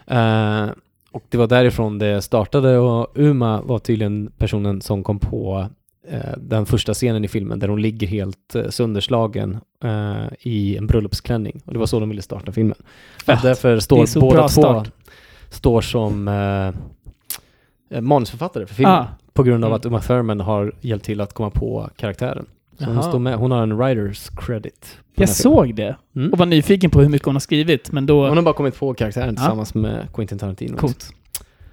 [SPEAKER 1] Eh, och det var därifrån det startade och Uma var tydligen personen som kom på eh, den första scenen i filmen där hon ligger helt eh, sönderslagen eh, i en bröllopsklänning. Och det var så de ville starta filmen.
[SPEAKER 6] Ah,
[SPEAKER 1] därför
[SPEAKER 6] det är så
[SPEAKER 1] står båda
[SPEAKER 6] bra
[SPEAKER 1] två
[SPEAKER 6] start.
[SPEAKER 1] står som eh, eh, manusförfattare för filmen.
[SPEAKER 6] Ah.
[SPEAKER 1] På grund av
[SPEAKER 5] Mm.
[SPEAKER 1] att Uma Thurman har hjälpt till att komma på karaktären. Så hon,
[SPEAKER 5] Jaha.
[SPEAKER 1] står med, hon har en writers credit. på den
[SPEAKER 6] Jag
[SPEAKER 1] här filmen.
[SPEAKER 6] såg det
[SPEAKER 1] Mm.
[SPEAKER 6] och Ah. var nyfiken på hur mycket hon har skrivit, men
[SPEAKER 1] Hon
[SPEAKER 6] då...
[SPEAKER 1] har bara kommit på karaktären
[SPEAKER 6] Ja.
[SPEAKER 1] tillsammans med Quentin Tarantino.
[SPEAKER 6] Coolt.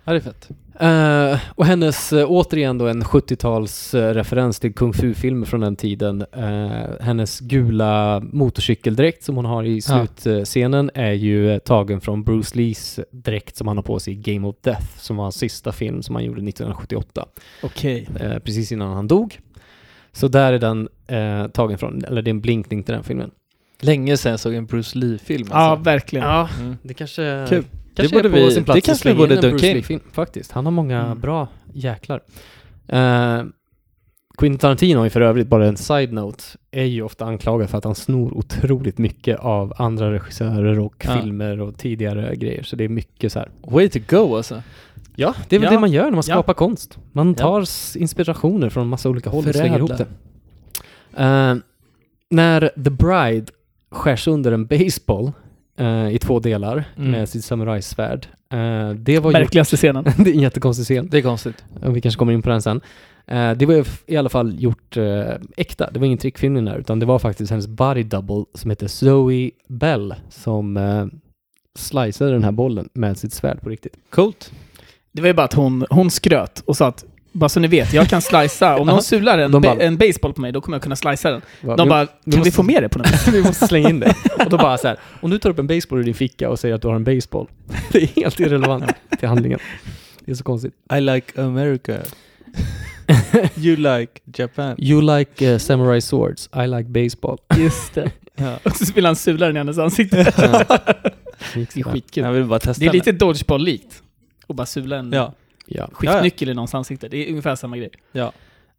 [SPEAKER 5] Ja, det är fett.
[SPEAKER 1] Eh, och hennes, eh, återigen då en 70-tals eh, referens till kung fu-filmer från den tiden. Eh, hennes gula motorcykeldräkt som hon har i
[SPEAKER 5] Ja.
[SPEAKER 1] slutscenen är ju eh, tagen från Bruce Lees dräkt som han har på sig i Game of Death, som var hans sista film som han gjorde 1978,
[SPEAKER 6] Okej.
[SPEAKER 1] eh, precis innan han dog. Så där är den eh, tagen från, eller det är en blinkning till den filmen.
[SPEAKER 5] Länge sedan jag såg en Bruce Lee-film
[SPEAKER 6] Ja,
[SPEAKER 5] alltså.
[SPEAKER 6] verkligen.
[SPEAKER 1] Ja,
[SPEAKER 5] Mm.
[SPEAKER 1] det kanske...
[SPEAKER 5] Kul.
[SPEAKER 1] Kanske
[SPEAKER 5] Det
[SPEAKER 1] det
[SPEAKER 5] borde
[SPEAKER 1] är på
[SPEAKER 5] vi-
[SPEAKER 1] sin
[SPEAKER 5] det
[SPEAKER 1] plats
[SPEAKER 5] kanske
[SPEAKER 1] att slänga
[SPEAKER 5] vi borde
[SPEAKER 1] in en
[SPEAKER 5] dunka
[SPEAKER 1] Bruce
[SPEAKER 5] in.
[SPEAKER 1] Lee-film faktiskt. Han har många
[SPEAKER 6] Mm.
[SPEAKER 1] bra jäklar. Eh, Quentin Tarantino har ju för övrigt, bara en side-note, är ju ofta anklagad för att han snor otroligt mycket av andra regissörer och
[SPEAKER 5] Ja.
[SPEAKER 1] filmer och tidigare grejer. Så det är mycket så här.
[SPEAKER 5] Way to go alltså.
[SPEAKER 1] Ja, det är väl
[SPEAKER 6] Ja.
[SPEAKER 1] det man gör när man
[SPEAKER 6] Ja.
[SPEAKER 1] skapar konst. Man
[SPEAKER 5] Ja.
[SPEAKER 1] tar s- inspirationer från massa olika håll och slänger ihop
[SPEAKER 5] Förädla.
[SPEAKER 1] det. Eh, när The Bride skärs under en baseball eh, i två delar
[SPEAKER 5] Mm.
[SPEAKER 1] med sitt samurajsvärd. Eh, det var gjort,
[SPEAKER 6] Märkligaste scenen.
[SPEAKER 1] det är en jättekonstig scen.
[SPEAKER 5] Det är konstigt.
[SPEAKER 1] Och Vi kanske kommer in på den sen. Eh, det var ju f- i alla fall gjort eh, äkta. Det var ingen trickfilm i den här, utan det var faktiskt hennes body double som heter Zoe Bell som eh, sliceade den här bollen med sitt svärd på riktigt.
[SPEAKER 5] Coolt.
[SPEAKER 6] Det var ju bara att hon, hon skröt och sa att Bara så ni vet, jag kan slicea. Om någon sular en,
[SPEAKER 1] De
[SPEAKER 6] ba-
[SPEAKER 1] bara-
[SPEAKER 6] en baseball på mig, då kommer jag kunna slicea den.
[SPEAKER 1] Va,
[SPEAKER 6] De
[SPEAKER 1] vi-
[SPEAKER 6] bara,
[SPEAKER 1] vi
[SPEAKER 6] kan vi
[SPEAKER 1] måste-
[SPEAKER 6] få med det på något sätt?
[SPEAKER 1] Vi måste slänga in det. Och då bara så här, om du tar upp en baseball ur din ficka och säger att du har en baseball. Det är helt irrelevant till handlingen. Det är så konstigt.
[SPEAKER 5] I like America. you like Japan.
[SPEAKER 1] You like eh, samurai swords, I like baseball.
[SPEAKER 6] Just det.
[SPEAKER 5] Ja.
[SPEAKER 6] Och så vill han sula den i hennes ansikte. Det är skitkul.
[SPEAKER 5] Jag vill bara testa
[SPEAKER 6] Det är lite Dodgeball-likt. Och bara sula en
[SPEAKER 5] Ja.
[SPEAKER 1] Ja.
[SPEAKER 6] skiftnyckel i någons ansikte. Det är ungefär samma grej.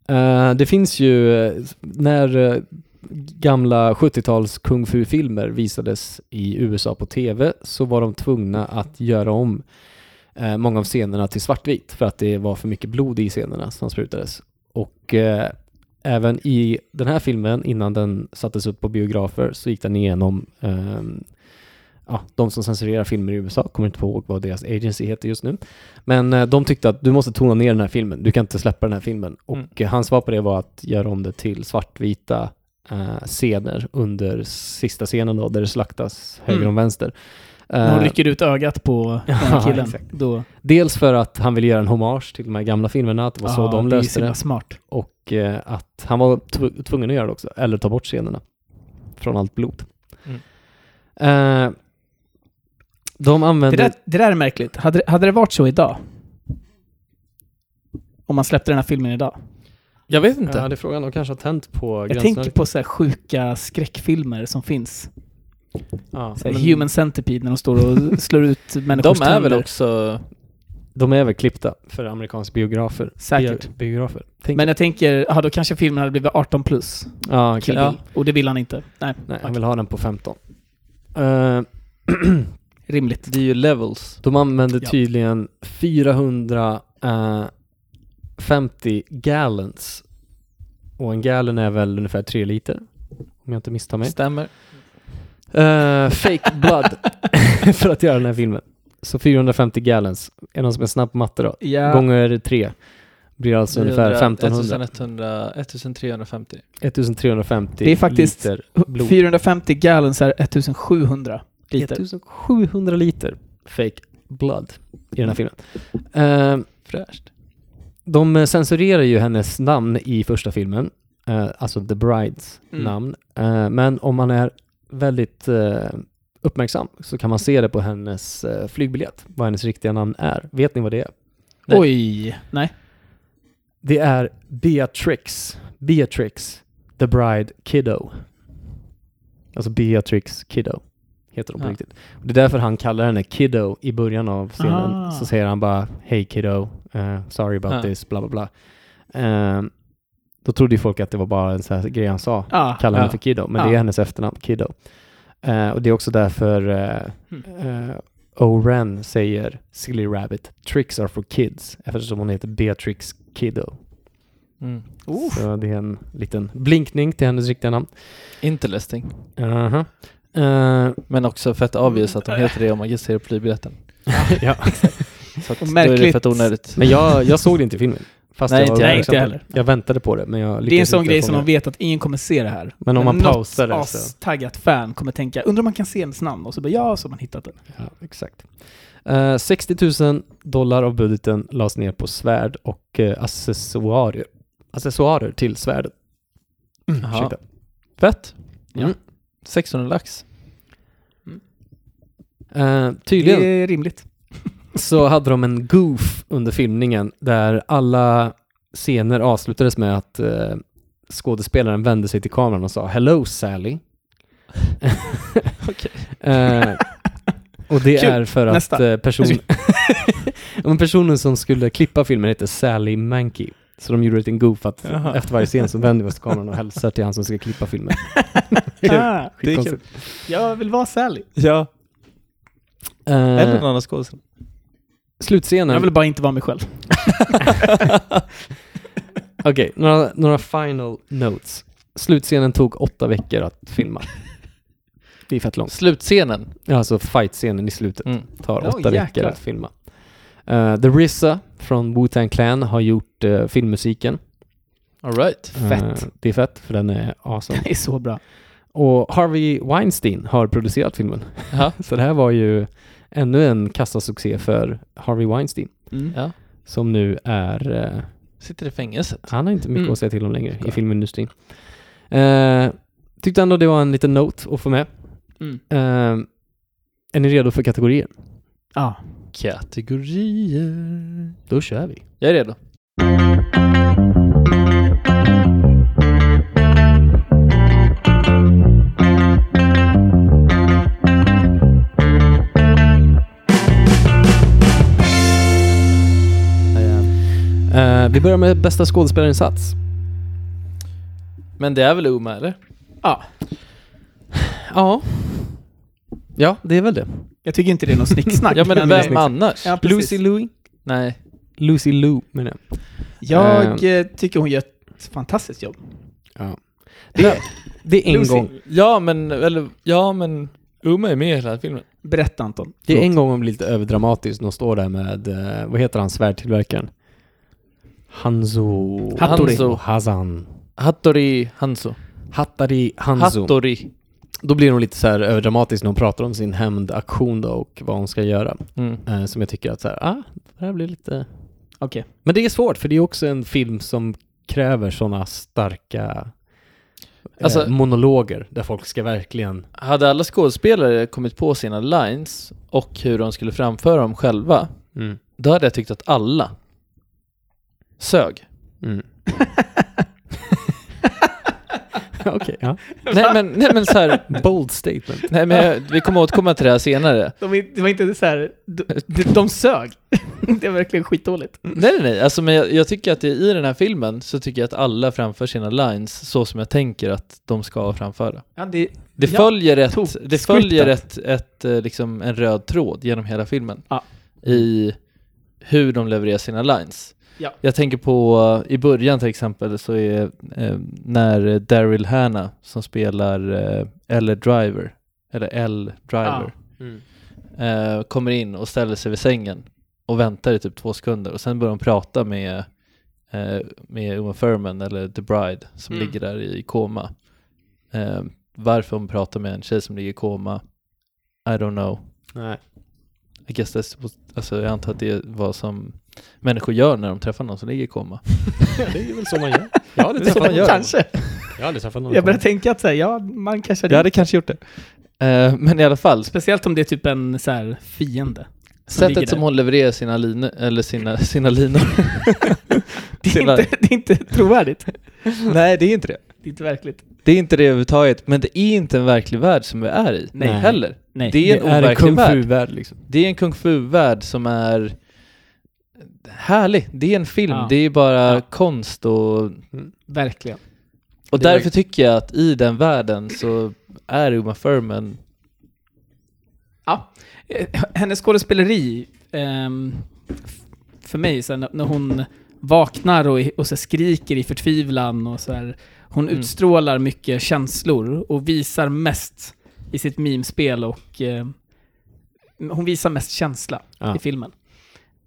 [SPEAKER 1] Eh, det finns ju eh, när eh, gamla 70-tals kung fu-filmer visades i USA på tv så var de tvungna att göra om eh, många av scenerna till svartvitt för att det var för mycket blod i scenerna som sprutades. Och eh, även i den här filmen innan den sattes upp på biografer så gick den igenom ehm, Ja, de som censurerar filmer i USA, kommer inte ihåg vad deras agency heter just nu. Men eh, de tyckte att du måste tona ner den här filmen, du kan inte släppa den här filmen. Och
[SPEAKER 5] Mm.
[SPEAKER 1] eh, hans svar på det var att göra om det till svartvita eh, scener under sista scenen då, där det slaktas höger
[SPEAKER 6] Mm.
[SPEAKER 1] och vänster.
[SPEAKER 6] När
[SPEAKER 1] Eh,
[SPEAKER 6] hon rycker ut ögat på den här
[SPEAKER 1] Ja,
[SPEAKER 6] killen.
[SPEAKER 1] exakt.
[SPEAKER 6] Då,
[SPEAKER 1] Dels för att han ville göra en hommage till de här gamla filmerna, att det var så
[SPEAKER 6] Ja,
[SPEAKER 1] de
[SPEAKER 6] det är ju
[SPEAKER 1] löste
[SPEAKER 6] så
[SPEAKER 1] det.
[SPEAKER 6] himla smart.
[SPEAKER 1] Och eh, att han var tv- tvungen att göra det också, eller ta bort scenerna från allt blod.
[SPEAKER 5] Mm.
[SPEAKER 1] Eh, de
[SPEAKER 6] Det
[SPEAKER 1] använder...
[SPEAKER 6] där, det där är märkligt. Hade, det- hade det varit så idag? Om man släppte den här filmen idag?
[SPEAKER 1] jag vet inte. Ja, det är frågan. De kanske har tänt på
[SPEAKER 6] Jag tänker på så här sjuka skräckfilmer som finns.
[SPEAKER 1] Ja,
[SPEAKER 6] Så här
[SPEAKER 1] men
[SPEAKER 6] Human Centipede när de står och slår ut människors
[SPEAKER 5] De är väl
[SPEAKER 6] tänder.
[SPEAKER 5] också...
[SPEAKER 1] De är väl klippta för amerikanska biografer.
[SPEAKER 6] Säkert.
[SPEAKER 1] Bio- Biografer. Tänk
[SPEAKER 6] Men jag tänker, ja då kanske filmen hade blivit 18 plus.
[SPEAKER 1] ja,
[SPEAKER 6] Kill
[SPEAKER 1] okej.
[SPEAKER 6] Bill. Och det vill han inte. Nej,
[SPEAKER 1] Nej,
[SPEAKER 6] okej.
[SPEAKER 1] han vill ha den på 15. Eh,
[SPEAKER 6] rimligt.
[SPEAKER 5] Det är ju levels.
[SPEAKER 1] De använde
[SPEAKER 6] Ja.
[SPEAKER 1] tydligen 450 eh, gallons. Och en gallon är väl ungefär tre liter. Om jag inte misstar mig.
[SPEAKER 5] Stämmer.
[SPEAKER 1] Eh, fake blood. för att göra den här filmen. Så 450 gallons. Är det någon som är snabb på matte då?
[SPEAKER 6] Ja.
[SPEAKER 1] Gånger tre. Blir alltså ungefär 1500.
[SPEAKER 5] 1100, 1350.
[SPEAKER 1] 1350
[SPEAKER 6] Det är faktiskt
[SPEAKER 1] liter blod.
[SPEAKER 6] 450 gallons är 1700 liter.
[SPEAKER 1] 1700 liter fake blood i den här filmen. Eh,
[SPEAKER 5] Fräscht.
[SPEAKER 1] De censurerar ju hennes namn i första filmen, eh, alltså The Brides
[SPEAKER 6] Mm.
[SPEAKER 1] namn. Eh, men om man är väldigt eh, uppmärksam så kan man se det på hennes eh, flygbiljett, vad hennes riktiga namn är. Vet ni vad det är?
[SPEAKER 5] Nej.
[SPEAKER 6] Oj! Nej.
[SPEAKER 1] Det är Beatrix, Beatrix The Bride Kiddo. Alltså Beatrix Kiddo heter hon på
[SPEAKER 5] Ja.
[SPEAKER 1] riktigt. Och det är därför han kallar henne Kiddo i början av scenen.
[SPEAKER 6] Ah.
[SPEAKER 1] Så säger han bara Hey Kiddo, eh, sorry about
[SPEAKER 5] Ja.
[SPEAKER 1] this, bla bla bla. Ehm, då trodde ju folk att det var bara en sån här grej han sa.
[SPEAKER 6] Ah,
[SPEAKER 1] Kallar henne
[SPEAKER 5] Ja.
[SPEAKER 1] för Kiddo, men
[SPEAKER 6] Ja.
[SPEAKER 1] det är hennes efternamn, Kiddo. Eh, och det är också därför
[SPEAKER 5] Hmm.
[SPEAKER 1] eh, eh, Oren säger Silly Rabbit, Tricks are for kids, eftersom hon heter Beatrix Kiddo.
[SPEAKER 5] Mm.
[SPEAKER 1] Så det är en liten blinkning till hennes riktiga namn.
[SPEAKER 5] Interesting.
[SPEAKER 1] Aha. Eh,
[SPEAKER 5] Men också fett obvious att de heter det om man ser flygbiljetten.
[SPEAKER 1] ja.
[SPEAKER 5] Så att
[SPEAKER 6] Och
[SPEAKER 5] då är det
[SPEAKER 6] märkligt.
[SPEAKER 5] fett onödigt.
[SPEAKER 1] Men jag, jag såg det inte i filmen. Fast
[SPEAKER 5] Nej,
[SPEAKER 1] jag, var
[SPEAKER 5] inte jag
[SPEAKER 1] verksam
[SPEAKER 6] inte
[SPEAKER 1] på det.
[SPEAKER 6] heller.
[SPEAKER 1] jag väntade på det, men jag
[SPEAKER 6] Det är en
[SPEAKER 1] lyckades
[SPEAKER 6] sån
[SPEAKER 1] inte
[SPEAKER 6] grej som
[SPEAKER 1] fånga
[SPEAKER 6] de vet att ingen kommer se det här.
[SPEAKER 1] Men om man
[SPEAKER 6] något
[SPEAKER 1] pausar det så-
[SPEAKER 6] astaggat fan kommer tänka, undrar om man kan se ens namn? Och så bara, ja, så har man hittat den.
[SPEAKER 1] det. Ja, exakt. Eh, 60 000 dollar av budgeten lades ner på svärd och eh, accessoarer. Accessoarer till svärdet.
[SPEAKER 5] Mm. Jaha.
[SPEAKER 1] Ursäkta.
[SPEAKER 5] Fett.
[SPEAKER 1] Ja.
[SPEAKER 5] Mm. 600 lax.
[SPEAKER 1] Eh, tydligen.
[SPEAKER 6] Det är rimligt.
[SPEAKER 1] så hade de en goof under filmningen där alla scener avslutades med att eh, skådespelaren vände sig till kameran och sa “Hello Sally”. eh, och det
[SPEAKER 6] Kul.
[SPEAKER 1] är för att
[SPEAKER 6] Nästa.
[SPEAKER 1] eh, person... Men personen som skulle klippa filmen heter Sally Mankey. Så de gjorde en liten goof att
[SPEAKER 5] Jaha.
[SPEAKER 1] efter varje scen så vänder vi oss till kameran och hälsar till han som ska klippa filmen.
[SPEAKER 6] Ah,
[SPEAKER 1] Det är
[SPEAKER 5] kul.
[SPEAKER 6] jag vill vara Sally.
[SPEAKER 5] Ja,
[SPEAKER 1] Eh,
[SPEAKER 5] annan skådespelare.
[SPEAKER 1] slutscenen...
[SPEAKER 6] Jag vill bara inte vara mig själv.
[SPEAKER 1] Okej, några, några final notes. Slutscenen tog åtta veckor att filma. Det är fett långt.
[SPEAKER 5] Slutscenen.
[SPEAKER 1] Alltså fight-scenen i slutet
[SPEAKER 5] Mm.
[SPEAKER 1] tar
[SPEAKER 6] Oj,
[SPEAKER 1] åtta veckor
[SPEAKER 6] jäklar.
[SPEAKER 1] att filma. Eh, The RZA från Wu-Tang Clan har gjort eh, filmmusiken.
[SPEAKER 5] All right.
[SPEAKER 1] Eh,
[SPEAKER 6] Fett.
[SPEAKER 1] det är fett, för den är awesome.
[SPEAKER 6] Det är så bra.
[SPEAKER 1] Och Harvey Weinstein har producerat filmen.
[SPEAKER 5] Ja.
[SPEAKER 1] Så det här var ju
[SPEAKER 6] Mm.
[SPEAKER 1] ännu en kassasuccé för Harvey Weinstein,
[SPEAKER 5] Ja.
[SPEAKER 1] som nu är eh,
[SPEAKER 5] Sitter i fängelset.
[SPEAKER 1] Han har inte mycket
[SPEAKER 5] Mm.
[SPEAKER 1] att säga till om längre i
[SPEAKER 5] Såklart.
[SPEAKER 1] filmindustrin. Eh, tyckte ändå det var en liten note att få med.
[SPEAKER 5] Mm.
[SPEAKER 1] Eh, är ni redo för kategorier?
[SPEAKER 6] Ja.
[SPEAKER 5] Kategorier.
[SPEAKER 1] Då kör vi.
[SPEAKER 5] Jag är redo.
[SPEAKER 1] Eh, vi börjar med bästa skådespelarinsats.
[SPEAKER 5] Men det är väl Uma eller?
[SPEAKER 1] Ja. Ja, det är väl det.
[SPEAKER 6] Jag tycker inte det är något snicksnack.
[SPEAKER 5] Ja men,
[SPEAKER 6] men- eh,
[SPEAKER 5] vem annars?
[SPEAKER 6] Ja, precis.
[SPEAKER 1] Louie?
[SPEAKER 5] Nej.
[SPEAKER 1] Lucy Lou menar jag.
[SPEAKER 6] Jag eh, tycker hon gör ett fantastiskt jobb.
[SPEAKER 1] Det, det är en
[SPEAKER 6] Lucy.
[SPEAKER 1] gång.
[SPEAKER 5] Ja men, eller, ja men Uma är med i hela filmen.
[SPEAKER 6] Berätta Anton.
[SPEAKER 1] Det är en gång hon blir lite överdramatisk när hon står där med, eh, vad heter han, svärdtillverkaren? Hanzo...
[SPEAKER 5] Hattori.
[SPEAKER 1] Hanzo Hazan.
[SPEAKER 5] Hattori Hanzo.
[SPEAKER 1] Hattari Hanzo.
[SPEAKER 5] Hattori.
[SPEAKER 1] Då blir hon lite så här överdramatisk när hon pratar om sin hämndaktion då och vad hon ska göra.
[SPEAKER 5] Mm.
[SPEAKER 1] Eh, som jag tycker att så här, ah, det här blir lite...
[SPEAKER 6] Okej.
[SPEAKER 1] Men det är svårt för det är också en film som kräver sådana starka eh,
[SPEAKER 5] Alltså-
[SPEAKER 1] monologer där folk ska verkligen...
[SPEAKER 5] Hade alla skådespelare kommit på sina lines och hur de skulle framföra dem själva,
[SPEAKER 1] Mm.
[SPEAKER 5] då hade jag tyckt att alla sög.
[SPEAKER 1] Mm. Okej, ja.
[SPEAKER 5] Nej men, nej men så här,
[SPEAKER 1] Bold statement.
[SPEAKER 5] nej men jag, vi kommer återkomma till det här senare.
[SPEAKER 6] De, är- det var inte så här, de, de sög. det var verkligen skitdåligt.
[SPEAKER 5] Nej nej nej, alltså men jag, jag tycker att i den här filmen så tycker jag att alla framför sina lines så som jag tänker att de ska framföra.
[SPEAKER 6] Ja, det,
[SPEAKER 5] Det
[SPEAKER 6] Ja,
[SPEAKER 5] följer,
[SPEAKER 6] tok-
[SPEAKER 5] ett, det följer ett, ett, eh, liksom en röd tråd genom hela filmen
[SPEAKER 6] Ja.
[SPEAKER 5] i hur de levererar sina lines.
[SPEAKER 6] Ja.
[SPEAKER 5] Jag tänker på eh, i början till exempel så är eh, när Daryl Hannah som spelar eh, L Driver, eller L Driver,
[SPEAKER 1] Mm.
[SPEAKER 5] eh, kommer in och ställer sig vid sängen och väntar i typ två sekunder och sen börjar de prata med, eh, med Uma Thurman eller The Bride som ligger där i koma. Eh, varför hon pratar med en tjej som ligger i koma, I don't know.
[SPEAKER 1] Nej.
[SPEAKER 5] I guess that's, what- alltså jag antar att det är vad som människor gör när de träffar någon som ligger i koma.
[SPEAKER 1] Det är väl så man gör. Jag hade
[SPEAKER 6] så
[SPEAKER 1] träffat
[SPEAKER 6] man
[SPEAKER 1] någon.
[SPEAKER 6] Kanske.
[SPEAKER 1] Jag har aldrig träffat någon.
[SPEAKER 6] Jag börjar tänka att så här, ja, man kanske hade...
[SPEAKER 5] Jag hade kanske gjort det. Eh, men i alla fall,
[SPEAKER 6] Speciellt om det är typ en så här, fiende. ligger
[SPEAKER 5] sättet
[SPEAKER 6] där.
[SPEAKER 5] som hon levererar sina linor, eller sina, sina linor.
[SPEAKER 6] Det är,
[SPEAKER 5] Silla.
[SPEAKER 6] inte, det är inte trovärdigt.
[SPEAKER 5] Nej, det är inte det.
[SPEAKER 6] Det är inte verkligt.
[SPEAKER 5] Det är inte det överhuvudtaget, men det är inte en verklig värld som vi är i.
[SPEAKER 6] Nej.
[SPEAKER 5] Heller.
[SPEAKER 6] Nej.
[SPEAKER 5] Det är en
[SPEAKER 1] är en
[SPEAKER 5] overklig
[SPEAKER 1] kung
[SPEAKER 5] värld.
[SPEAKER 1] fu-värld liksom.
[SPEAKER 5] Det är en kung fu-värld som är härlig. Det är en film,
[SPEAKER 6] Ja.
[SPEAKER 5] det är bara
[SPEAKER 6] Ja.
[SPEAKER 5] konst och...
[SPEAKER 6] Verkligen.
[SPEAKER 5] Och
[SPEAKER 1] Det är-
[SPEAKER 5] därför tycker jag att i den världen så är Uma Thurman...
[SPEAKER 6] Ja. Eh, Hennes skådespeleri, ehm, f- för mig, så här, när- när hon vaknar och, och så här, skriker i förtvivlan och så här, hon
[SPEAKER 5] Mm.
[SPEAKER 6] utstrålar mycket känslor och visar mest i sitt mimspel och eh, hon visar mest känsla
[SPEAKER 1] Ja.
[SPEAKER 6] i filmen.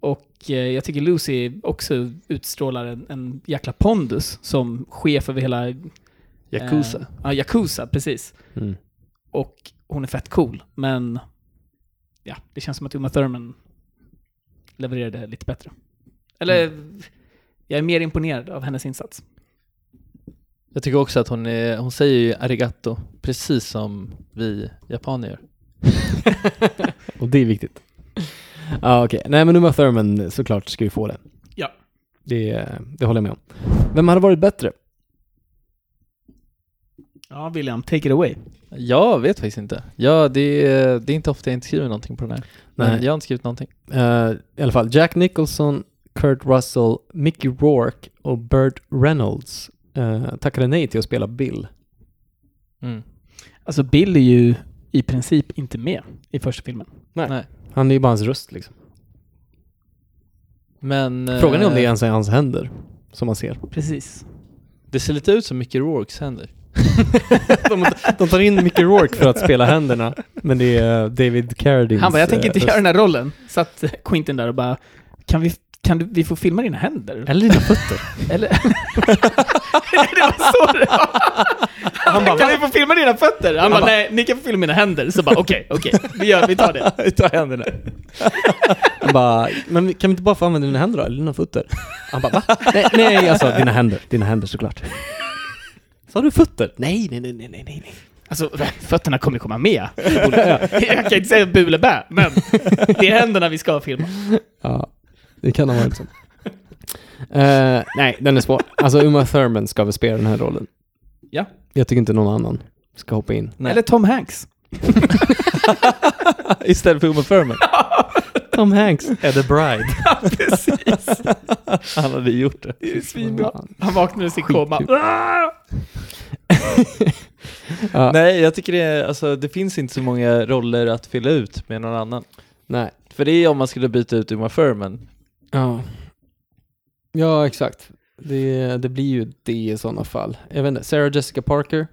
[SPEAKER 6] Och eh, jag tycker Lucy också utstrålar en, en jäkla pondus som chef över hela... eh,
[SPEAKER 5] Yakuza.
[SPEAKER 6] Ja, Yakuza, precis.
[SPEAKER 1] Mm.
[SPEAKER 6] Och hon är fett cool, men ja, det känns som att Uma Thurman levererade lite bättre. Eller, jag är mer imponerad av hennes insats.
[SPEAKER 5] Jag tycker också att hon, är, hon säger ju arigato, precis som vi japaner gör.
[SPEAKER 1] Och det är viktigt. Ja, okej. Nej, men Uma Thurman såklart ska ju få den.
[SPEAKER 6] Ja.
[SPEAKER 1] Det, det håller jag med om. Vem hade varit bättre?
[SPEAKER 6] Ja, William, take it away.
[SPEAKER 5] Jag vet faktiskt inte. Ja, det är, det är inte ofta jag inte skriver någonting på den här. Men
[SPEAKER 1] Nej.
[SPEAKER 5] jag har inte skrivit någonting.
[SPEAKER 1] Eh, I alla fall Jack Nicholson, Kurt Russell, Mickey Rourke och Burt Reynolds eh, tackade nej till att spela Bill.
[SPEAKER 5] Mm.
[SPEAKER 6] Alltså, Bill är ju i princip inte med i första filmen.
[SPEAKER 1] Han är ju bara hans röst liksom.
[SPEAKER 5] Men... eh,
[SPEAKER 1] Frågan är om det ens är hans händer som man ser.
[SPEAKER 6] Precis.
[SPEAKER 5] Det ser lite ut som Mickey Rourkes händer.
[SPEAKER 1] De, de tar in Mickey Rourke för att spela händerna, men det är eh, David Carradines
[SPEAKER 6] Han bara, jag tänker inte
[SPEAKER 1] eh,
[SPEAKER 6] göra den här rollen. Satt Quentin där och bara, kan vi, kan du, vi få filma dina händer?
[SPEAKER 1] Eller dina fötter.
[SPEAKER 6] Eller? det var så det var. Han bara, kan vi få filma dina fötter? Han, bara, nej, ni kan få filma mina händer. Så bara, okej, okej, vi gör, vi tar det.
[SPEAKER 5] Vi tar händerna.
[SPEAKER 1] Han bara, men kan vi inte bara få använda dina händer då? Eller dina fötter? Han bara, va? Nej, nej alltså dina händer. Dina händer såklart. Sa du fötter? Nej, nej, nej, nej, nej, nej.
[SPEAKER 6] Alltså, fötterna kommer komma med. Jag kan inte säga bulebä, men det är händerna vi ska filma.
[SPEAKER 1] Ja, det kan ha varit så. Eh, nej, den är svår. Alltså Uma Thurman ska väl spela den här rollen.
[SPEAKER 6] Ja.
[SPEAKER 1] Jag tycker inte någon annan ska hoppa in.
[SPEAKER 5] Nej.
[SPEAKER 6] Eller Tom Hanks.
[SPEAKER 5] Istället för Uma Thurman.
[SPEAKER 1] Tom Hanks.
[SPEAKER 5] Eddie Bride.
[SPEAKER 6] Precis.
[SPEAKER 5] Han hade gjort det.
[SPEAKER 6] Det är svinbra. Mm. Han vaknar ur sin koma. Ah!
[SPEAKER 5] Nej, jag tycker det, är- alltså, det finns inte så många roller att fylla ut med någon annan.
[SPEAKER 1] Nej.
[SPEAKER 5] För det är om man skulle byta ut Uma Thurman.
[SPEAKER 1] Ja. Ja, exakt. Det, det blir ju det i sådana fall. Jag vet inte, Sarah Jessica Parker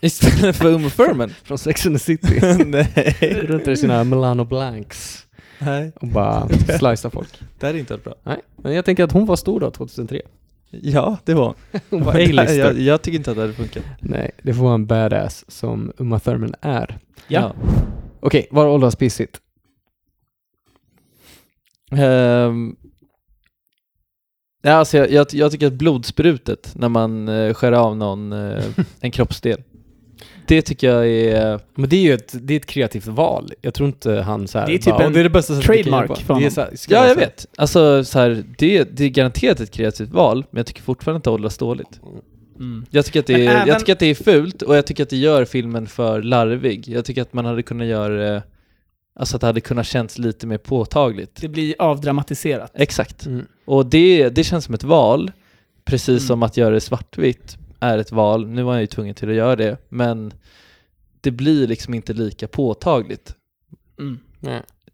[SPEAKER 5] Istället för Uma Thurman.
[SPEAKER 1] från Sex and the City.
[SPEAKER 5] Nej.
[SPEAKER 1] Runt i sina Milano Blanks
[SPEAKER 5] Nej,
[SPEAKER 1] och bara slicear folk.
[SPEAKER 5] det hade inte varit bra.
[SPEAKER 1] Nej, men jag tänker att hon var stor då 2003.
[SPEAKER 5] Ja, det var
[SPEAKER 1] Hon var
[SPEAKER 5] Nej, jag,
[SPEAKER 1] A-lister.
[SPEAKER 5] jag tycker inte att det hade funkat.
[SPEAKER 1] Nej, det får vara en badass som Uma Thurman är.
[SPEAKER 6] Ja.
[SPEAKER 1] Okej, var åldras pissigt?
[SPEAKER 5] Ehm, ja, alltså jag, jag, jag tycker att blodsprutet när man eh, skär av någon eh, en kroppsdel. Det tycker jag är...
[SPEAKER 1] Men det är ju ett, det är ett kreativt val. Jag tror inte han så här,
[SPEAKER 6] Det är typ
[SPEAKER 1] "Åh,
[SPEAKER 6] en
[SPEAKER 1] det är det bästa sättet vi kan
[SPEAKER 6] trademark
[SPEAKER 1] jobba."
[SPEAKER 6] för
[SPEAKER 1] Det är
[SPEAKER 6] honom.
[SPEAKER 1] så här, ska
[SPEAKER 5] Ja,
[SPEAKER 1] vara
[SPEAKER 5] jag
[SPEAKER 1] så här,
[SPEAKER 5] vet. Alltså så här, det, det är garanterat ett kreativt val, men jag tycker fortfarande inte åldras dåligt.
[SPEAKER 6] Mm.
[SPEAKER 5] Jag tycker, att
[SPEAKER 6] Men
[SPEAKER 5] det är,
[SPEAKER 6] även-
[SPEAKER 5] jag tycker att det är fult och jag tycker att det gör filmen för larvig. Jag tycker att man hade kunnat göra... eh, Alltså att det hade kunnat känns lite mer påtagligt.
[SPEAKER 6] Det blir avdramatiserat.
[SPEAKER 5] Exakt.
[SPEAKER 1] Mm.
[SPEAKER 5] Och det, det känns som ett val, precis
[SPEAKER 6] Mm.
[SPEAKER 5] som att göra det svartvitt är ett val. Nu var jag ju tvungen till att göra det, men det blir liksom inte lika påtagligt
[SPEAKER 6] Mm.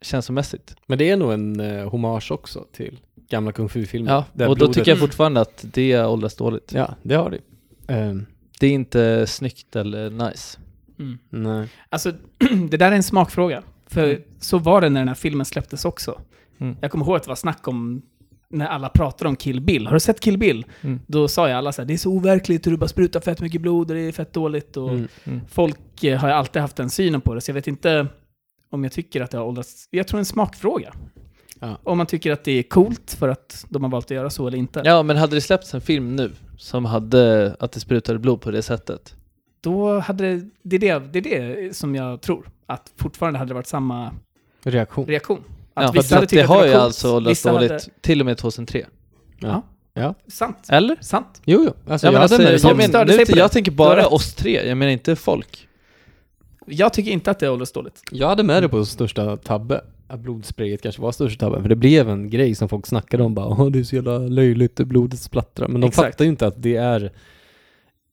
[SPEAKER 5] känslomässigt.
[SPEAKER 1] Men det är nog en eh, hommage också till gamla kung fu-filmer.
[SPEAKER 5] Mm. Ja,
[SPEAKER 1] Där
[SPEAKER 5] och då
[SPEAKER 1] blodet-
[SPEAKER 5] tycker jag fortfarande att det åldras dåligt.
[SPEAKER 1] Ja, det har du. Ehm,
[SPEAKER 5] Det är inte snyggt eller nice.
[SPEAKER 6] Mm.
[SPEAKER 1] nej.
[SPEAKER 6] Alltså, det där är en smakfråga. För så var det när den här filmen släpptes också.
[SPEAKER 5] Mm.
[SPEAKER 6] Jag kommer ihåg att det var snack om när alla pratade om Kill Bill. Har du sett Kill Bill?
[SPEAKER 5] Mm.
[SPEAKER 6] Då sa ju alla så här, det är så overkligt hur du bara sprutar fett mycket blod och det är fett dåligt. Och
[SPEAKER 1] Mm,
[SPEAKER 5] mm.
[SPEAKER 6] Folk eh, har ju alltid haft den synen på det, så jag vet inte om jag tycker att det har åldrats. Jag tror det är en smakfråga.
[SPEAKER 1] Ja.
[SPEAKER 6] Om man tycker att det är coolt för att de har valt att göra så eller inte.
[SPEAKER 5] Ja, men hade det släppts en film nu som hade att det sprutade blod på det sättet?
[SPEAKER 6] Då hade det, det, är det, det är det som jag tror. Att fortfarande hade det varit samma
[SPEAKER 1] Reaktion.
[SPEAKER 6] reaktion. Att
[SPEAKER 5] Ja,
[SPEAKER 6] vissa
[SPEAKER 5] för
[SPEAKER 6] hade
[SPEAKER 5] att det
[SPEAKER 6] tyckt att det
[SPEAKER 5] har
[SPEAKER 6] var
[SPEAKER 5] ju
[SPEAKER 6] coolt,
[SPEAKER 5] alltså åldrats
[SPEAKER 6] vissa
[SPEAKER 5] dåligt
[SPEAKER 6] hade-
[SPEAKER 5] till och med 2003.
[SPEAKER 1] Ja. Ja.
[SPEAKER 6] Sant.
[SPEAKER 5] Eller?
[SPEAKER 6] Sant.
[SPEAKER 1] Jo, jo. Alltså,
[SPEAKER 5] Ja, men
[SPEAKER 1] jag
[SPEAKER 5] alltså,
[SPEAKER 1] hade nöjt
[SPEAKER 5] jag,
[SPEAKER 1] mig.
[SPEAKER 5] menar,
[SPEAKER 6] störde
[SPEAKER 5] nu,
[SPEAKER 6] sig på det.
[SPEAKER 5] jag tänker
[SPEAKER 6] Du
[SPEAKER 5] bara
[SPEAKER 6] har rätt.
[SPEAKER 5] oss tre, jag menar inte folk.
[SPEAKER 6] Jag tycker inte att det är åldrats dåligt.
[SPEAKER 1] jag hade med det på största tabbe. Att Blodsprayet kanske var största tabben, för det blev en grej som folk snackade om bara Åh, det är så jävla löjligt, blodet splattrar. Men de
[SPEAKER 6] Exakt.
[SPEAKER 1] fattar ju inte att det är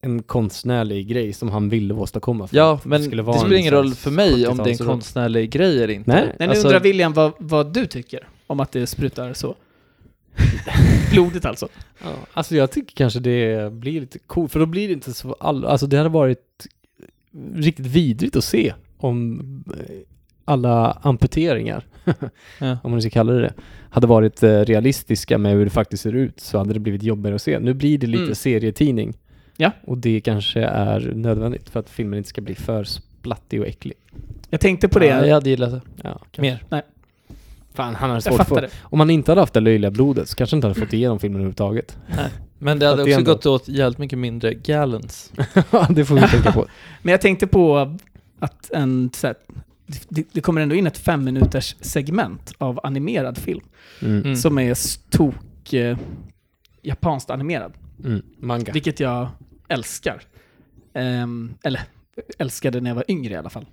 [SPEAKER 1] en konstnärlig grej som han ville åstadkomma. för
[SPEAKER 5] Ja,
[SPEAKER 1] att
[SPEAKER 5] men
[SPEAKER 1] skulle
[SPEAKER 5] det,
[SPEAKER 1] vara en
[SPEAKER 5] spelar ingen
[SPEAKER 1] sån här
[SPEAKER 5] roll för mig om det är en
[SPEAKER 1] 70-talsroll.
[SPEAKER 5] konstnärlig grej eller inte.
[SPEAKER 1] Nej.
[SPEAKER 6] Nej, nu
[SPEAKER 5] Alltså,
[SPEAKER 6] undrar William vad, vad du tycker om att det sprutar så. Blodigt alltså.
[SPEAKER 1] Ja, alltså jag tycker kanske det blir lite coolt, för då blir det inte så all... Alltså det hade varit riktigt vidrigt att se om eh, alla amputeringar,
[SPEAKER 5] Ja.
[SPEAKER 1] om man nu ska kalla det det, hade varit eh, realistiska med hur det faktiskt ser ut så hade det blivit jobbigare att se. Nu blir det lite
[SPEAKER 6] Mm.
[SPEAKER 1] serietidning.
[SPEAKER 6] Ja.
[SPEAKER 1] Och det kanske är nödvändigt för att filmen inte ska bli för splattig och äcklig.
[SPEAKER 6] Jag tänkte på det.
[SPEAKER 5] ja, jag hade gillat det.
[SPEAKER 1] Ja,
[SPEAKER 5] Mer.
[SPEAKER 1] Fan, han hade
[SPEAKER 6] jag
[SPEAKER 1] svårt att
[SPEAKER 6] fattar
[SPEAKER 1] få...
[SPEAKER 6] det.
[SPEAKER 1] Om man inte hade haft det löjliga blodet så kanske inte hade fått igenom filmen överhuvudtaget.
[SPEAKER 5] Men det
[SPEAKER 1] Att
[SPEAKER 5] hade
[SPEAKER 1] det
[SPEAKER 5] också
[SPEAKER 1] ändå-
[SPEAKER 5] gått åt jävligt mycket mindre gallons.
[SPEAKER 6] Mm.
[SPEAKER 1] det får vi tänka på.
[SPEAKER 6] Men jag tänkte på att en, så här, det, det kommer ändå in ett fem minuters segment av animerad film
[SPEAKER 1] Mm.
[SPEAKER 5] Mm.
[SPEAKER 6] som är stok eh, japanskt animerad.
[SPEAKER 1] Mm. Manga.
[SPEAKER 6] Vilket jag älskar. Ehm, eller älskade när jag var yngre i alla fall.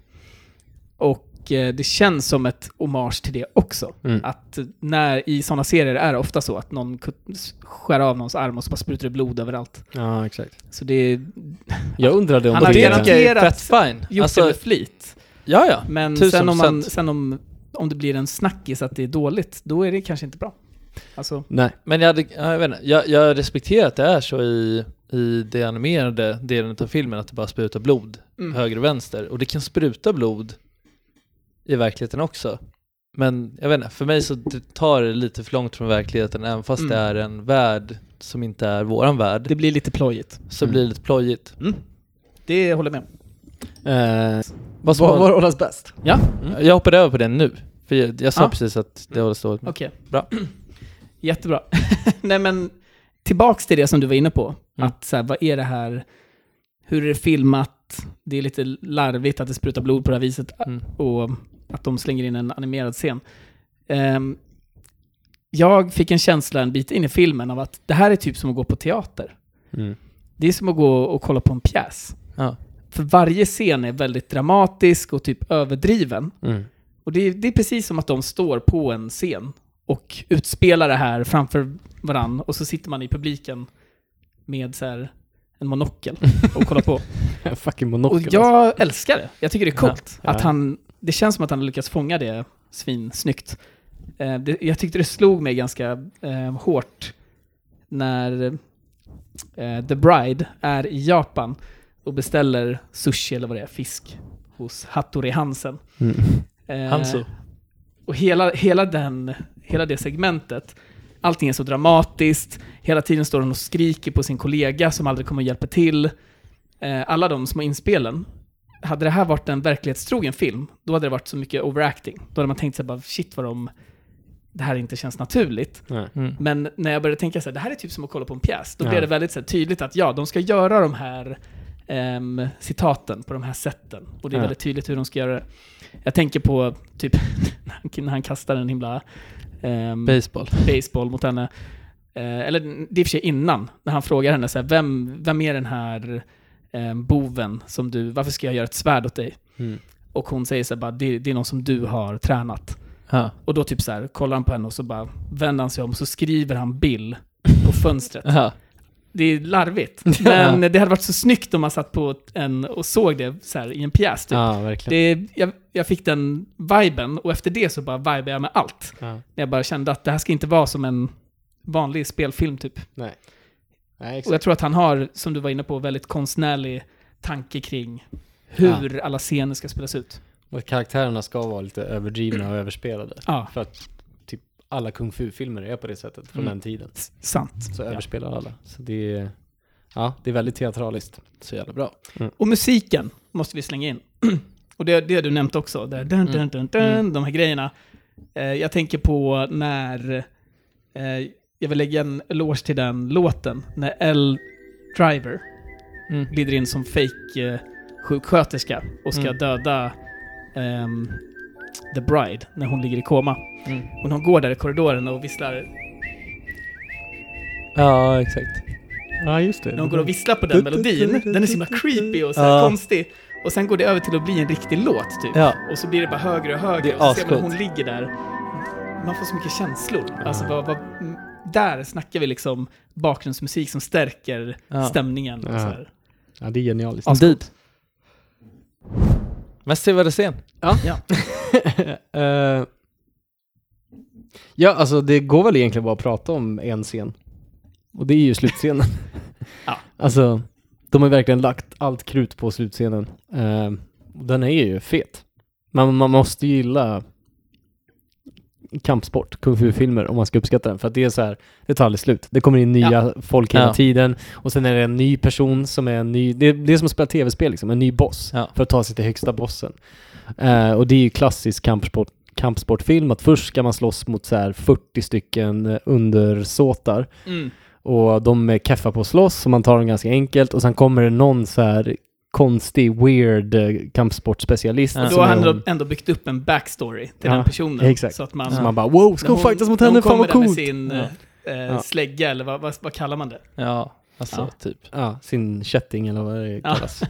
[SPEAKER 6] Och eh, det känns som ett hommage till det också.
[SPEAKER 1] Mm.
[SPEAKER 6] Att när, i sådana serier är det ofta så att någon kut- skär av någons arm och så bara sprutar det blod överallt.
[SPEAKER 1] Ja, exakt.
[SPEAKER 6] Så det är
[SPEAKER 1] Jag undrade om
[SPEAKER 6] Han har
[SPEAKER 1] det...
[SPEAKER 5] det tycker jag är
[SPEAKER 6] garanterat
[SPEAKER 5] fett fine.
[SPEAKER 6] gjort
[SPEAKER 5] Alltså,
[SPEAKER 6] det med flit.
[SPEAKER 5] ja, ja.
[SPEAKER 6] Men
[SPEAKER 5] tusen
[SPEAKER 6] sen, om, man,
[SPEAKER 5] procent.
[SPEAKER 6] sen om, om det blir en snackis att det är dåligt, då är det kanske inte bra. Alltså,
[SPEAKER 1] Nej.
[SPEAKER 5] Men jag, hade, ja, jag, vet inte, jag, jag respekterar att det är så i, i det animerade delen av filmen, att det bara sprutar blod
[SPEAKER 6] Mm.
[SPEAKER 5] höger och vänster. Och det kan spruta blod i verkligheten också. Men jag vet inte, för mig så det tar det lite för långt från verkligheten, även fast
[SPEAKER 6] Mm.
[SPEAKER 5] det är en värld som inte är våran värld,
[SPEAKER 6] det blir lite plojigt.
[SPEAKER 5] så
[SPEAKER 1] Mm.
[SPEAKER 5] blir det lite plojigt.
[SPEAKER 6] Mm. Det håller jag med om.
[SPEAKER 1] Eh, vad var vad hållas bäst?
[SPEAKER 6] Ja,
[SPEAKER 5] Jag hoppade över på den nu, för jag, jag sa
[SPEAKER 6] Ah.
[SPEAKER 5] precis att det håller ståligt med.
[SPEAKER 6] okej.
[SPEAKER 5] Bra.
[SPEAKER 6] Jättebra. Nej men, tillbaks till det som du var inne på.
[SPEAKER 5] Mm.
[SPEAKER 6] Att så här, vad är det här? Hur är det filmat? Det är lite larvigt att det sprutar blod på det här viset.
[SPEAKER 5] Mm.
[SPEAKER 6] och att de slänger in en animerad scen. Ehm, jag fick en känsla en bit in i filmen av att det här är typ som att gå på teater.
[SPEAKER 1] Mm.
[SPEAKER 6] Det är som att gå och kolla på en pjäs.
[SPEAKER 5] Ja.
[SPEAKER 6] För varje scen är väldigt dramatisk och typ överdriven.
[SPEAKER 1] Mm.
[SPEAKER 6] Och det är, det är precis som att de står på en scen och utspelar det här framför varann och så sitter man i publiken med så här en monokel och kollar på.
[SPEAKER 1] Fucking monokel. alltså.
[SPEAKER 6] Och jag älskar det. Jag tycker det är coolt.
[SPEAKER 1] Ja.
[SPEAKER 6] Att han, det känns som att han har lyckats fånga det svinsnyggt. Eh, det, jag tyckte det slog mig ganska eh, hårt när eh, The Bride är i Japan och beställer sushi eller vad det är, fisk hos Hattori Hansen.
[SPEAKER 1] Mm.
[SPEAKER 6] Eh,
[SPEAKER 5] Hanzo.
[SPEAKER 6] Och hela, hela, den, hela det segmentet, allting är så dramatiskt, hela tiden står hon och skriker på sin kollega som aldrig kommer att hjälpa till. Eh, alla de små inspelen. Hade det här varit en verklighetstrogen film, då hade det varit så mycket overacting. Då hade man tänkt sig bara shit vad de, det här inte känns naturligt.
[SPEAKER 1] Nej.
[SPEAKER 5] Mm.
[SPEAKER 6] Men när jag började tänka så här, det här är typ som att kolla på en pjäs, då
[SPEAKER 1] Ja.
[SPEAKER 6] blev det väldigt så här, tydligt att ja, de ska göra de här ehm, citaten på de här sätten. Och det är
[SPEAKER 1] Ja.
[SPEAKER 6] väldigt tydligt hur de ska göra det. Jag tänker på typ när han- när han kastar en himla ehm,
[SPEAKER 5] Baseball.
[SPEAKER 6] baseball mot henne. Eh, eller det är i och för sig innan, när han frågar henne så här, vem, vem är den här eh, boven som du, varför ska jag göra ett svärd åt dig?
[SPEAKER 1] Mm.
[SPEAKER 6] Och hon säger så här, bara, det, det är någon som du har tränat.
[SPEAKER 5] Ja.
[SPEAKER 6] Och då typ så här, kollar han på henne och så bara vänder han sig om och så skriver han Bill på fönstret.
[SPEAKER 5] Ja.
[SPEAKER 6] Det är larvigt. Men det hade varit så snyggt om man satt på en och såg det så här, i en pjäs typ.
[SPEAKER 1] Ja, verkligen.
[SPEAKER 6] Det, jag, jag fick den viben och efter det så bara vibade jag med allt.
[SPEAKER 1] Ja.
[SPEAKER 6] När jag bara kände att det här ska inte vara som en vanlig spelfilm typ.
[SPEAKER 1] Nej. Nej,
[SPEAKER 6] Och
[SPEAKER 1] exakt.
[SPEAKER 6] jag tror att han har, som du var inne på, väldigt konstnärlig tanke kring hur alla scener ska spelas ut.
[SPEAKER 1] Och att karaktärerna ska vara lite överdrivna och överspelade.
[SPEAKER 6] Ja,
[SPEAKER 1] För att typ alla kung fu-filmer är på det sättet från den tiden.
[SPEAKER 6] s- sant.
[SPEAKER 1] Så överspelar alla. Så det är, ja, det är väldigt teatraliskt.
[SPEAKER 5] Så jävla bra.
[SPEAKER 6] Och musiken måste vi slänga in. Och det, det har du nämnt också, där, dun,
[SPEAKER 5] Mm.
[SPEAKER 6] dun, dun, dun, de här grejerna. Eh, jag tänker på när, eh, jag vill lägga en eloge till den låten, när L Driver
[SPEAKER 5] Mm.
[SPEAKER 6] glider in som fake eh, sjuksköterska och ska
[SPEAKER 5] Mm.
[SPEAKER 6] döda ehm, The Bride när hon ligger i koma.
[SPEAKER 5] Mm.
[SPEAKER 6] Och när hon går där i korridoren och visslar
[SPEAKER 5] Ja, exakt.
[SPEAKER 1] Ja, just det.
[SPEAKER 6] När de går och visslar på den melodin, den är så himla creepy och så här
[SPEAKER 5] Ja.
[SPEAKER 6] konstig. Och sen går det över till att bli en riktig låt typ.
[SPEAKER 5] Ja.
[SPEAKER 6] Och så blir det bara högre och högre.
[SPEAKER 5] Det är
[SPEAKER 6] och så ser man
[SPEAKER 5] ascoolt.
[SPEAKER 6] hur hon ligger där. Man får så mycket känslor. Alltså, vad, vad, m- där snackar vi liksom bakgrundsmusik som stärker
[SPEAKER 5] Ja.
[SPEAKER 6] stämningen. Och
[SPEAKER 1] Ja.
[SPEAKER 6] så här.
[SPEAKER 1] Ja, det är genialiskt.
[SPEAKER 5] Indeed. Mest sevärde scen.
[SPEAKER 1] Eh, ja, alltså det går väl egentligen bara att prata om en scen. Och det är ju slutscenen.
[SPEAKER 6] Ja.
[SPEAKER 1] Alltså, de har verkligen lagt allt krut på slutscenen. Eh, och den är ju fet. Man, man måste ju gilla kampsport, kung fu-filmer om man ska uppskatta den. För att det är så här, det tar aldrig slut. Det kommer in nya folk hela
[SPEAKER 5] Ja.
[SPEAKER 1] tiden. Och sen är det en ny person som är en ny, det, det är som att spela tv-spel liksom, en ny boss.
[SPEAKER 5] Ja.
[SPEAKER 1] För att ta sig till högsta bossen. Eh, och det är ju klassisk kampsport, kampsportfilm, att först ska man slåss mot så här 40 stycken eh, undersåtar.
[SPEAKER 6] Mm.
[SPEAKER 1] Och de är keffa på att slåss, så man tar dem ganska enkelt. Och sen kommer det någon så här konstig, weird eh, kampsportspecialist.
[SPEAKER 5] Ja.
[SPEAKER 6] Och
[SPEAKER 1] som
[SPEAKER 6] då
[SPEAKER 1] är
[SPEAKER 6] har han
[SPEAKER 1] hon-
[SPEAKER 6] ändå- ändå byggt upp en backstory till
[SPEAKER 1] Ja,
[SPEAKER 6] den personen.
[SPEAKER 1] exakt.
[SPEAKER 6] Så att man...
[SPEAKER 1] Så man bara wow, ska
[SPEAKER 6] när
[SPEAKER 1] hon fightas mot
[SPEAKER 6] när
[SPEAKER 1] henne? Fan
[SPEAKER 6] kommer
[SPEAKER 1] vad
[SPEAKER 6] där med
[SPEAKER 1] coolt!
[SPEAKER 6] sin eh, eh, slägga, eller vad, vad, vad kallar man det?
[SPEAKER 5] Ja, alltså
[SPEAKER 6] Ja.
[SPEAKER 5] typ.
[SPEAKER 1] Ja, sin kätting eller vad det
[SPEAKER 6] Ja.
[SPEAKER 1] kallas.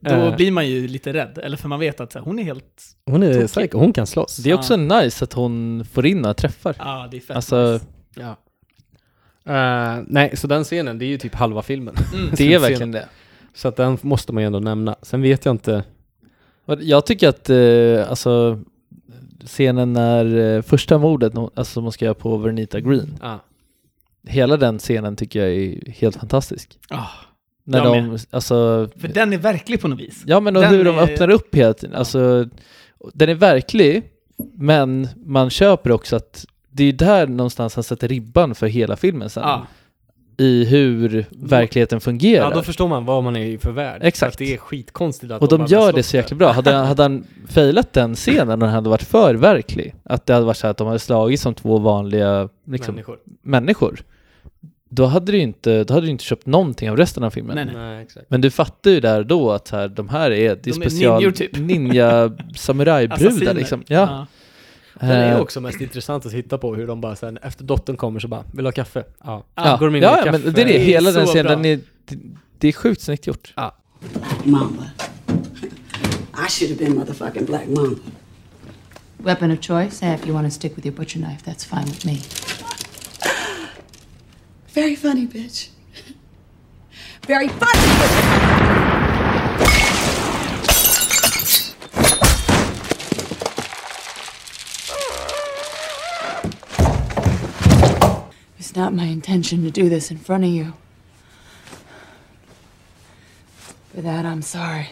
[SPEAKER 6] Då
[SPEAKER 1] Eh.
[SPEAKER 6] blir man ju lite rädd, eller för man vet att så här, hon är helt...
[SPEAKER 1] Hon är
[SPEAKER 6] Tokig.
[SPEAKER 1] säker, hon kan slåss.
[SPEAKER 5] Det är också nice att hon får in några träffar.
[SPEAKER 6] Ja, ah, det är fett
[SPEAKER 5] Alltså,
[SPEAKER 6] nice.
[SPEAKER 1] Ja. Eh, nej, så den scenen, det är ju typ halva filmen.
[SPEAKER 5] det är verkligen det.
[SPEAKER 1] Så att den måste man ju ändå nämna. Sen vet jag inte.
[SPEAKER 5] Och Jag tycker att eh, alltså, scenen när eh, första mordet nå- alltså, som man ska göra på Vernita Green, hela den scenen tycker jag är helt fantastisk.
[SPEAKER 6] Ah.
[SPEAKER 5] När
[SPEAKER 6] Jag
[SPEAKER 5] de, alltså,
[SPEAKER 6] För den är verklig på något vis.
[SPEAKER 5] ja men och
[SPEAKER 6] den
[SPEAKER 5] hur de
[SPEAKER 6] är-
[SPEAKER 5] öppnar upp hela tiden. Alltså, den är verklig, men
[SPEAKER 6] Ah.
[SPEAKER 5] man köper också att det är där någonstans han sätter ribban för hela filmen sen.
[SPEAKER 6] Ja,
[SPEAKER 5] i hur verkligheten fungerar.
[SPEAKER 1] Ja, då förstår man vad man är i för värld.
[SPEAKER 5] Exakt.
[SPEAKER 1] Att det är skitkonstigt att
[SPEAKER 5] Och de
[SPEAKER 1] bara
[SPEAKER 5] gör
[SPEAKER 1] slåss
[SPEAKER 5] det så
[SPEAKER 1] där.
[SPEAKER 5] jäkla bra. Hade han, hade han failat den scenen och den hade varit för verklig, att det hade varit så här att de hade slagit som två vanliga liksom, människor.
[SPEAKER 1] Människor.
[SPEAKER 5] då hade du ju inte, då hade du inte köpt någonting av resten av filmen.
[SPEAKER 6] Nej, nej.
[SPEAKER 1] Nej, exakt.
[SPEAKER 5] Men du fattar ju där och då att så här, de här är, det är
[SPEAKER 6] De är
[SPEAKER 5] special
[SPEAKER 6] ninjor typ.
[SPEAKER 5] ninja samurajbrudar
[SPEAKER 6] Assassiner.
[SPEAKER 5] liksom. Ja.
[SPEAKER 1] Det är
[SPEAKER 5] Eh,
[SPEAKER 1] ju också mest intressant att titta på hur de bara sen efter dottern kommer så bara, vill du ha kaffe? Ja.
[SPEAKER 5] ja.
[SPEAKER 1] Går de in och
[SPEAKER 5] ja,
[SPEAKER 1] gör
[SPEAKER 5] ja
[SPEAKER 1] kaffe?
[SPEAKER 5] men det är det.
[SPEAKER 6] Det är
[SPEAKER 5] Hela
[SPEAKER 6] så
[SPEAKER 5] den scenen,
[SPEAKER 6] bra.
[SPEAKER 5] den är, det, det är sjukt snyggt gjort.
[SPEAKER 4] Mamba. I should have been motherfucking Black Mamba.
[SPEAKER 2] Weapon of choice? Eh, if you want to stick with your butcher knife, that's fine with me.
[SPEAKER 4] Very funny, bitch. Very funny.
[SPEAKER 2] It's not my intention to do this in front of you. For that, I'm sorry.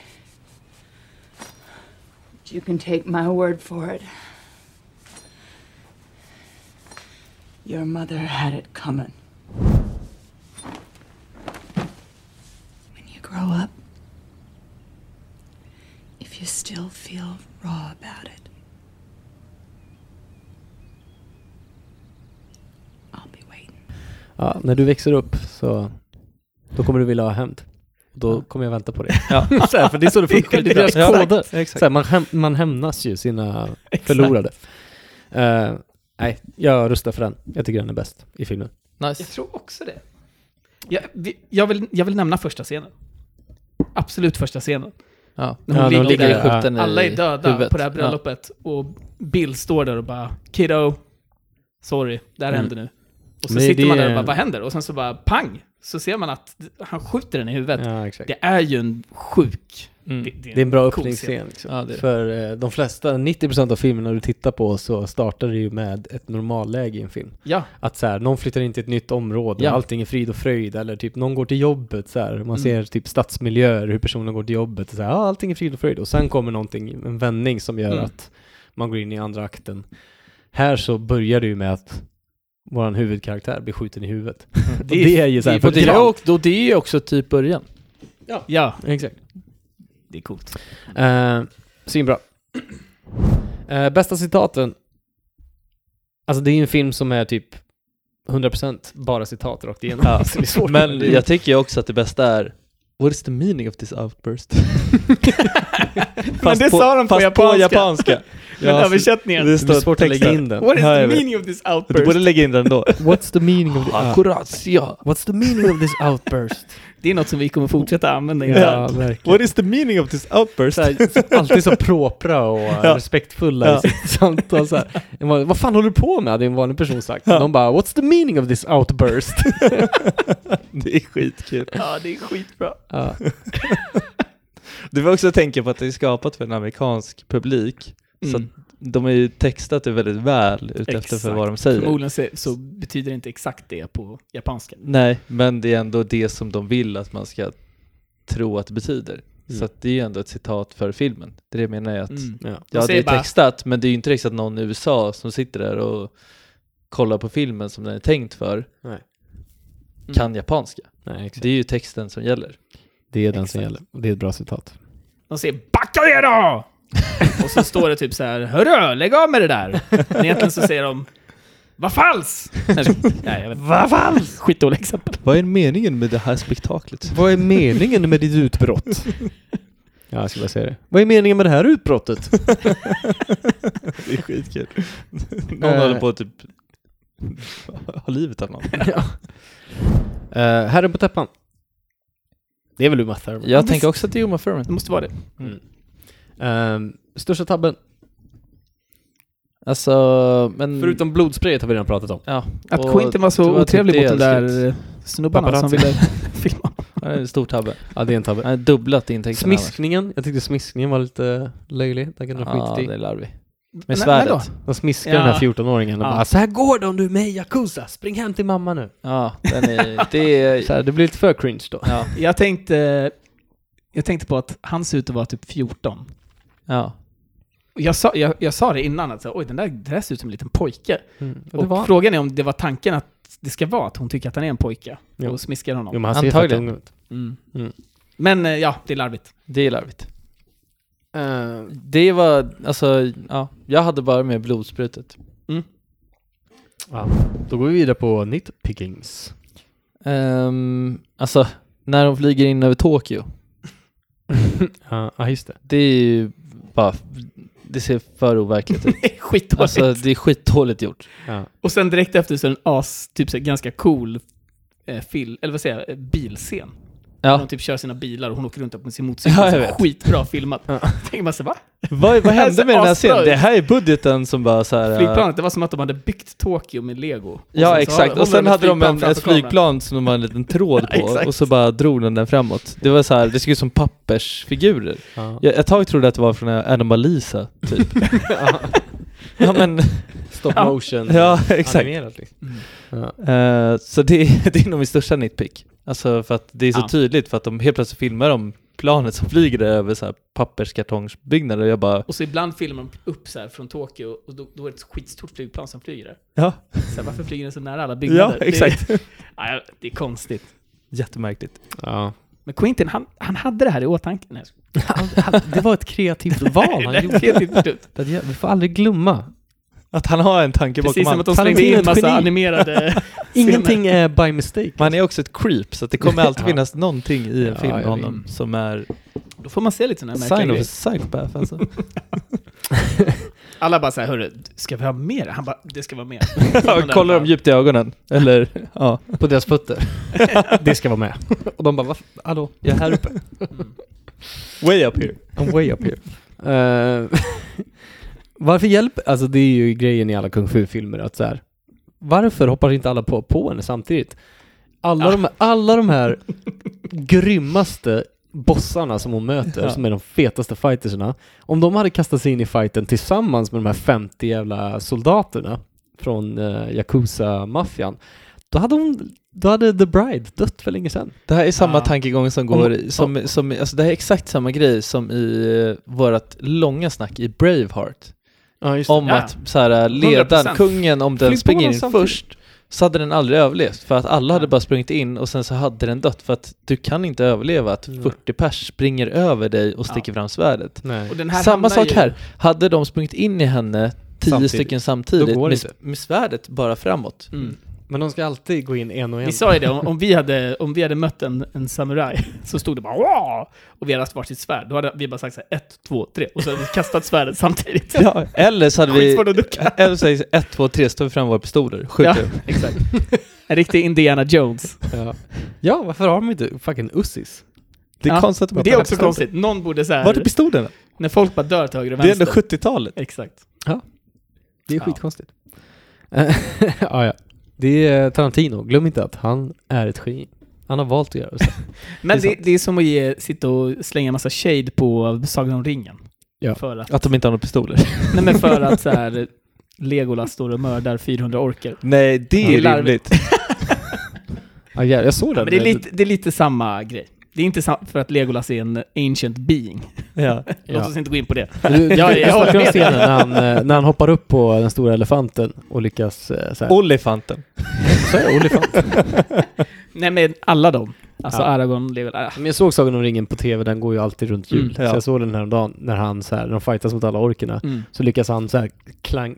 [SPEAKER 2] But you can take my word for it. Your mother had it coming. When you grow up, if you still feel raw about it, I'll be waiting.
[SPEAKER 1] Ja, när du växer upp så då kommer du vilja ha hämnd. Och Då kommer jag vänta på det. så här, för det är så det funkar, det är deras
[SPEAKER 5] Ja,
[SPEAKER 1] koder.
[SPEAKER 5] exakt.
[SPEAKER 1] Så här, man, häm man hämnas ju sina förlorade. Eh, nej, jag röstar för den. Jag tycker den är bäst i filmen.
[SPEAKER 5] Nice.
[SPEAKER 6] Jag tror också det. Jag, vi- jag, vill, jag vill nämna första scenen. Absolut första scenen.
[SPEAKER 5] Ja.
[SPEAKER 6] När hon
[SPEAKER 1] Ja, när
[SPEAKER 6] ligger
[SPEAKER 1] hon ligger
[SPEAKER 6] där,
[SPEAKER 1] i skjortan
[SPEAKER 5] i
[SPEAKER 6] alla är döda
[SPEAKER 5] huvudet.
[SPEAKER 6] på det här
[SPEAKER 5] Ja.
[SPEAKER 6] bröllopet och Bill står där och bara “Kiddo, sorry, det här
[SPEAKER 1] Mm.
[SPEAKER 6] händer nu”. Och så
[SPEAKER 1] Men
[SPEAKER 6] sitter man
[SPEAKER 1] det
[SPEAKER 6] där och
[SPEAKER 1] är-
[SPEAKER 6] bara “Vad händer?” och sen så bara pang! Så ser man att han skjuter den i huvudet.
[SPEAKER 1] Ja, exakt.
[SPEAKER 6] Det är ju en sjuk...
[SPEAKER 5] Mm.
[SPEAKER 1] Det är en bra
[SPEAKER 6] cool
[SPEAKER 1] öppningsscen. liksom.
[SPEAKER 5] Ja, det är det.
[SPEAKER 1] För eh, de flesta, 90% av filmerna du tittar på så startar det ju med ett normalläge i en film.
[SPEAKER 6] Ja,
[SPEAKER 1] Att så här, någon flyttar in till ett nytt område,
[SPEAKER 5] Ja. Mm.
[SPEAKER 1] allting är frid och fröjd, eller typ någon går till jobbet så här, man ser typ stadsmiljöer, hur personen går till jobbet, och så här, ah, allting är frid och fröjd, och sen kommer någonting, en vändning som gör
[SPEAKER 5] Mm.
[SPEAKER 1] att man går in i andra akten. Här så börjar det ju med att våran huvudkaraktär blir skjuten i huvudet. och det är ju så här,
[SPEAKER 5] Och det, är
[SPEAKER 1] ja,
[SPEAKER 5] också, det är ju också typ början.
[SPEAKER 6] ja.
[SPEAKER 1] exakt.
[SPEAKER 6] Det är coolt.
[SPEAKER 1] Eh, Svinbra. Eh, bästa citaten. Alltså det är ju en film som är typ 100% bara citat rakt igenom.
[SPEAKER 5] Ja.
[SPEAKER 1] Så det är svårt.
[SPEAKER 5] Men jag tycker ju också att det bästa är What is the meaning of this outburst?
[SPEAKER 6] Men det sa de på
[SPEAKER 5] fast
[SPEAKER 6] japanska.
[SPEAKER 5] japanska.
[SPEAKER 6] Men
[SPEAKER 5] Ja,
[SPEAKER 6] översättningen.
[SPEAKER 5] det
[SPEAKER 1] det
[SPEAKER 5] står
[SPEAKER 1] är svårt att
[SPEAKER 5] texten.
[SPEAKER 1] lägga in den.
[SPEAKER 6] What is
[SPEAKER 5] Ja,
[SPEAKER 6] the
[SPEAKER 5] jag vet.
[SPEAKER 6] meaning of this
[SPEAKER 5] Du borde
[SPEAKER 6] outburst?
[SPEAKER 5] lägga in den då. Ah.
[SPEAKER 1] What's the meaning of this?
[SPEAKER 5] Akuratia.
[SPEAKER 1] What's the meaning of this outburst?
[SPEAKER 6] Det är något som vi kommer fortsätta använda.
[SPEAKER 1] ja,
[SPEAKER 6] Ja.
[SPEAKER 1] verkligen.
[SPEAKER 5] What is the meaning of this outburst?
[SPEAKER 1] Så här, så- alltid så propra och eh,
[SPEAKER 5] Ja.
[SPEAKER 1] respektfulla
[SPEAKER 5] Ja.
[SPEAKER 1] i sitt samtal. Så här. Jag bara, Vad fan håller du på med? hade en vanlig person sagt. De bara, what's the meaning of this outburst?
[SPEAKER 5] Det är skitkul.
[SPEAKER 6] ja, det är skitbra.
[SPEAKER 1] Ja.
[SPEAKER 5] Du får också tänka på att det är skapat för en amerikansk publik. Så
[SPEAKER 6] Mm.
[SPEAKER 5] att de har ju textat det väldigt väl utefter för
[SPEAKER 6] Exakt.
[SPEAKER 5] vad de säger.
[SPEAKER 6] Förmodligen så, så betyder det inte exakt det på japanska.
[SPEAKER 5] Nej, men det är ändå det som de vill att man ska tro att det betyder.
[SPEAKER 1] Mm.
[SPEAKER 5] Så att det är ju ändå ett citat för filmen. Det är det jag menar jag att
[SPEAKER 6] Mm.
[SPEAKER 1] Ja.
[SPEAKER 5] Ja,
[SPEAKER 6] De
[SPEAKER 5] det
[SPEAKER 6] säger
[SPEAKER 5] är
[SPEAKER 6] bara-
[SPEAKER 5] textat, men det är ju inte textat någon i USA som sitter där och kollar på filmen som den är tänkt för,
[SPEAKER 1] Nej.
[SPEAKER 5] kan japanska.
[SPEAKER 1] Nej, exakt.
[SPEAKER 5] Det är ju texten som gäller.
[SPEAKER 1] Det är den som gäller. Och Det är ett bra citat.
[SPEAKER 6] De säger ”backa ner då!” och så står det typ så här ”Hörru, lägg av med det där!” Men egentligen så säger de ”Vad falskt!” Eller, Nej, jag vet inte. Vad falskt? Skitdåligt exempel.
[SPEAKER 5] Vad är meningen med det här spektaklet?
[SPEAKER 1] Vad är meningen med ditt utbrott? Ja, jag skulle bara säga det. Vad är meningen med det här utbrottet?
[SPEAKER 5] Det är skitkul. Någon
[SPEAKER 1] Eh.
[SPEAKER 5] håller på att typ ha livet av någon.
[SPEAKER 1] Uh, herren på täppan. Det är väl Uma Thurman?
[SPEAKER 5] Jag tänker också att det är Uma
[SPEAKER 6] Det
[SPEAKER 5] Thurman.
[SPEAKER 6] måste vara det.
[SPEAKER 1] Ehm, största tabben?
[SPEAKER 5] Alltså, men...
[SPEAKER 1] Förutom blodsprayet har vi redan pratat om.
[SPEAKER 5] Ja,
[SPEAKER 6] Att
[SPEAKER 5] och
[SPEAKER 6] Quentin var
[SPEAKER 5] det
[SPEAKER 6] så
[SPEAKER 5] var
[SPEAKER 6] otrevlig
[SPEAKER 5] typ
[SPEAKER 6] mot de
[SPEAKER 5] det jag
[SPEAKER 6] där eh, snubbarna som
[SPEAKER 1] Paparazzi.
[SPEAKER 6] ville filma.
[SPEAKER 5] Det är en stor tabbe.
[SPEAKER 1] Ja, det är en tabbe.
[SPEAKER 5] Han har dubblat intäkterna.
[SPEAKER 1] Smiskningen. Jag tyckte smiskningen var lite löjlig. Den kunde
[SPEAKER 5] annars.
[SPEAKER 1] ha
[SPEAKER 5] Ja,
[SPEAKER 1] skitit
[SPEAKER 5] det
[SPEAKER 1] i.
[SPEAKER 5] är larvig.
[SPEAKER 6] Men-
[SPEAKER 5] Med svärdet.
[SPEAKER 6] men då?
[SPEAKER 1] De smiskar
[SPEAKER 6] Ja.
[SPEAKER 1] den här 14-åringen och
[SPEAKER 6] Ja.
[SPEAKER 1] bara så här går det om du är med i Yakuza. Spring hem till mamma nu.
[SPEAKER 5] Ja, den är... Det
[SPEAKER 1] Så
[SPEAKER 5] är...
[SPEAKER 1] här, det blir lite för cringe då.
[SPEAKER 5] Ja,
[SPEAKER 6] Jag tänkte, jag tänkte på att han ser ut att vara typ 14.
[SPEAKER 5] ja.
[SPEAKER 6] Och Jag sa, jag, jag sa det innan, att så, oj den där, det där ser ut som en liten pojke.
[SPEAKER 1] Mm. Och det
[SPEAKER 6] Och
[SPEAKER 1] var han.
[SPEAKER 6] frågan är om det var tanken att det ska vara att hon tycker att han är en pojke
[SPEAKER 1] Ja.
[SPEAKER 6] och smiskar honom.
[SPEAKER 1] Jo, men han ser fett
[SPEAKER 5] Antagligen.
[SPEAKER 1] ung ut.
[SPEAKER 6] Mm.
[SPEAKER 1] Mm.
[SPEAKER 6] Men eh, ja, det är larvigt.
[SPEAKER 5] Det är larvigt.
[SPEAKER 1] Eh,
[SPEAKER 5] Det var, alltså, ja. Jag hade bara med blodsprutet.
[SPEAKER 1] Ja. Då går vi vidare på nitpickings.
[SPEAKER 5] Ehm, alltså, när de flyger in över Tokyo.
[SPEAKER 1] Ja, ah, just det.
[SPEAKER 5] Det är ju bara, det ser för overkligt ut.
[SPEAKER 6] Skitdåligt.
[SPEAKER 5] Alltså det är skitdåligt gjort.
[SPEAKER 6] och sen direkt efter så är det en as, typ så här, ganska cool eh, fil, eller vad säger jag, eh, bilscen.
[SPEAKER 5] Ja.
[SPEAKER 6] De typ kör sina bilar och hon åker runt på sin motorcykel.
[SPEAKER 5] Ja, jag
[SPEAKER 6] Så
[SPEAKER 5] vet.
[SPEAKER 6] Skitbra filmat. Tänker man sig, va?
[SPEAKER 5] Vad, vad hände med den här
[SPEAKER 6] Alltså, asbra
[SPEAKER 5] scenen? Det
[SPEAKER 6] ut.
[SPEAKER 5] här är budgeten som bara så här. eh,
[SPEAKER 6] Flygplanet, det var som att de hade byggt Tokyo med lego. Och sen
[SPEAKER 5] Ja
[SPEAKER 6] så
[SPEAKER 5] exakt,
[SPEAKER 6] håller
[SPEAKER 5] och sen
[SPEAKER 6] ett
[SPEAKER 5] hade de en,
[SPEAKER 6] flygplan
[SPEAKER 5] ett
[SPEAKER 6] framför kameran.
[SPEAKER 5] flygplan som de hade en liten tråd
[SPEAKER 6] Ja,
[SPEAKER 5] på
[SPEAKER 6] exakt.
[SPEAKER 5] och så bara drog den den framåt. Det var så här, det såg ut som pappersfigurer. Jag, ett tag trodde jag att det var från Animalisa, typ. ja men,
[SPEAKER 1] Stop motion.
[SPEAKER 5] ja exakt.
[SPEAKER 1] Animerat, liksom.
[SPEAKER 5] Eh, så det, det är nog min största nitpick. Alltså för att det är så
[SPEAKER 6] Ja.
[SPEAKER 5] tydligt för att de helt plötsligt filmar om planet som flyger där över så här papperskartongsbyggnader och jag bara
[SPEAKER 6] Och så ibland filmar de upp så här från Tokyo och då, då är det ett skitstort flygplan som flyger där.
[SPEAKER 5] Ja,
[SPEAKER 6] Så här, varför flyger den så nära alla
[SPEAKER 5] ja
[SPEAKER 6] byggnader?
[SPEAKER 5] exakt.
[SPEAKER 6] Det, ja, jag- det är konstigt.
[SPEAKER 5] Jättemärkligt.
[SPEAKER 1] Ja.
[SPEAKER 6] Men Quentin, han, han hade det här i åtanke. Nej,
[SPEAKER 1] Det var ett kreativt val han
[SPEAKER 6] jag skojar. helt dumt.
[SPEAKER 1] Det är- Vi får aldrig glömma.
[SPEAKER 5] Att han har en tanke bakom
[SPEAKER 6] Precis som att de
[SPEAKER 5] allt.
[SPEAKER 6] slängde in
[SPEAKER 1] Tarantino är ett geni.
[SPEAKER 6] en massa animerade...
[SPEAKER 1] Ingenting är by mistake.
[SPEAKER 5] Man är också ett creep så att det kommer alltid finnas någonting i en
[SPEAKER 1] Ja, jag
[SPEAKER 5] film med
[SPEAKER 1] vet.
[SPEAKER 5] honom som är
[SPEAKER 6] Då får man se lite sådana här märkliga
[SPEAKER 5] sign of a
[SPEAKER 6] grejer.
[SPEAKER 5] psychopath alltså.
[SPEAKER 6] Alla bara så här, hörru, ska vi ha mer? Han bara, det ska vara mer.
[SPEAKER 5] ja, kollar dem djupt i ögonen. Eller ja.
[SPEAKER 1] På deras fötter. det ska vara med. Och de bara, "Va? hallå, jag är här uppe.
[SPEAKER 5] Way up here. I'm way up here.
[SPEAKER 1] Eh, varför hjälper, alltså det är ju grejen i alla kung fu-filmer att så här, varför hoppar inte alla på, på henne samtidigt? Alla, de, alla de här grymmaste bossarna som hon möter,
[SPEAKER 5] Ja.
[SPEAKER 1] som är de fetaste fightersna, om de hade kastat sig in i fighten tillsammans med de här 50 jävla soldaterna från uh, Yakuza-maffian, då hade hon, då hade The Bride dött för länge sedan.
[SPEAKER 5] Det här är samma
[SPEAKER 6] Ja.
[SPEAKER 5] tankegång som går, i- som, som, alltså det här är exakt samma grej som i eh, vårat långa snack i Braveheart.
[SPEAKER 1] Ja, just
[SPEAKER 5] Om
[SPEAKER 6] Ja.
[SPEAKER 5] att så här, eh, ledaren,
[SPEAKER 6] 100%.
[SPEAKER 5] kungen, om den
[SPEAKER 1] Flyg på
[SPEAKER 5] springer
[SPEAKER 1] dem
[SPEAKER 5] in
[SPEAKER 1] samtidigt.
[SPEAKER 5] först så hade den aldrig överlevt för att alla hade
[SPEAKER 6] Ja.
[SPEAKER 5] bara sprungit in och sen så hade den dött för att du kan inte överleva att
[SPEAKER 1] Nej.
[SPEAKER 5] 40 pers springer över dig och sticker fram svärdet.
[SPEAKER 1] Nej.
[SPEAKER 6] Och den här
[SPEAKER 5] Samma
[SPEAKER 6] hamnar
[SPEAKER 5] sak
[SPEAKER 6] ju-
[SPEAKER 5] här, hade de sprungit in i henne tio
[SPEAKER 1] Samtidigt.
[SPEAKER 5] stycken samtidigt
[SPEAKER 1] Då går det
[SPEAKER 5] med, med svärdet bara framåt.
[SPEAKER 6] Mm.
[SPEAKER 1] Men de ska alltid gå in en och en.
[SPEAKER 6] Vi sa ju det, om, om, vi hade, om vi hade mött en, en samuraj så stod det bara Wah! och vi hade haft varsitt svärd, då hade vi bara sagt så här, ett, två, tre och så hade vi kastat svärdet samtidigt.
[SPEAKER 5] Ja, Mm. eller så hade vi...
[SPEAKER 6] Skitsvårt att ducka.
[SPEAKER 5] Eller så säger 1, 2, 3, står vi fram våra pistoler,
[SPEAKER 6] Ja,
[SPEAKER 5] skjuter.
[SPEAKER 6] exakt. En riktig Indiana Jones.
[SPEAKER 1] Ja. ja, varför har de inte fucking ussis?
[SPEAKER 5] Det är
[SPEAKER 6] Ja,
[SPEAKER 5] konstigt att man
[SPEAKER 6] Det är
[SPEAKER 5] bara-
[SPEAKER 6] också konstigt, någon borde så
[SPEAKER 5] Vart är
[SPEAKER 6] här,
[SPEAKER 5] pistolerna?
[SPEAKER 6] när folk bara dör till höger och
[SPEAKER 5] Det är ändå
[SPEAKER 6] vänster.
[SPEAKER 5] 70-talet.
[SPEAKER 6] Exakt.
[SPEAKER 1] Det är
[SPEAKER 6] Ja.
[SPEAKER 1] skitkonstigt. Eh, ja, ja. Det är Tarantino. Glöm inte att han är ett geni. Han har valt att göra så.
[SPEAKER 6] Men
[SPEAKER 1] Det är
[SPEAKER 6] det, det är som att ge, sitta och slänga massa shade på Sagan om ringen.
[SPEAKER 1] Ja.
[SPEAKER 6] För att,
[SPEAKER 5] Att de inte har några pistoler.
[SPEAKER 6] nej men för att så här, Legolas står och mördar 400 orker.
[SPEAKER 5] Nej, det
[SPEAKER 6] är
[SPEAKER 5] är
[SPEAKER 6] larvigt.
[SPEAKER 5] rimligt.
[SPEAKER 1] ja, jä- jag såg den.
[SPEAKER 6] Men det är, lite, det är lite samma grej. Det är inte sam- för att Legolas är en ancient being.
[SPEAKER 5] Ja.
[SPEAKER 6] Låt
[SPEAKER 1] Ja.
[SPEAKER 6] oss inte gå in på det.
[SPEAKER 1] Du, du,
[SPEAKER 6] Ja,
[SPEAKER 1] jag,
[SPEAKER 6] jag håller
[SPEAKER 1] snackar om
[SPEAKER 6] med.
[SPEAKER 1] scenen när han, eh, när han hoppar upp på den stora elefanten och lyckas eh, så här.
[SPEAKER 5] Olifanten.
[SPEAKER 1] Så är det, olifant.
[SPEAKER 6] Nej men alla de. Alltså
[SPEAKER 1] Ja.
[SPEAKER 6] Aragorn, Legolas. Ah.
[SPEAKER 1] Men jag såg Sagan om ringen på tv, den går ju alltid runt jul.
[SPEAKER 6] Mm,
[SPEAKER 5] ja.
[SPEAKER 1] Så jag såg den häromdagen när han så här, när de fightas mot alla orkerna.
[SPEAKER 6] Mm.
[SPEAKER 1] Så lyckas han så här klang,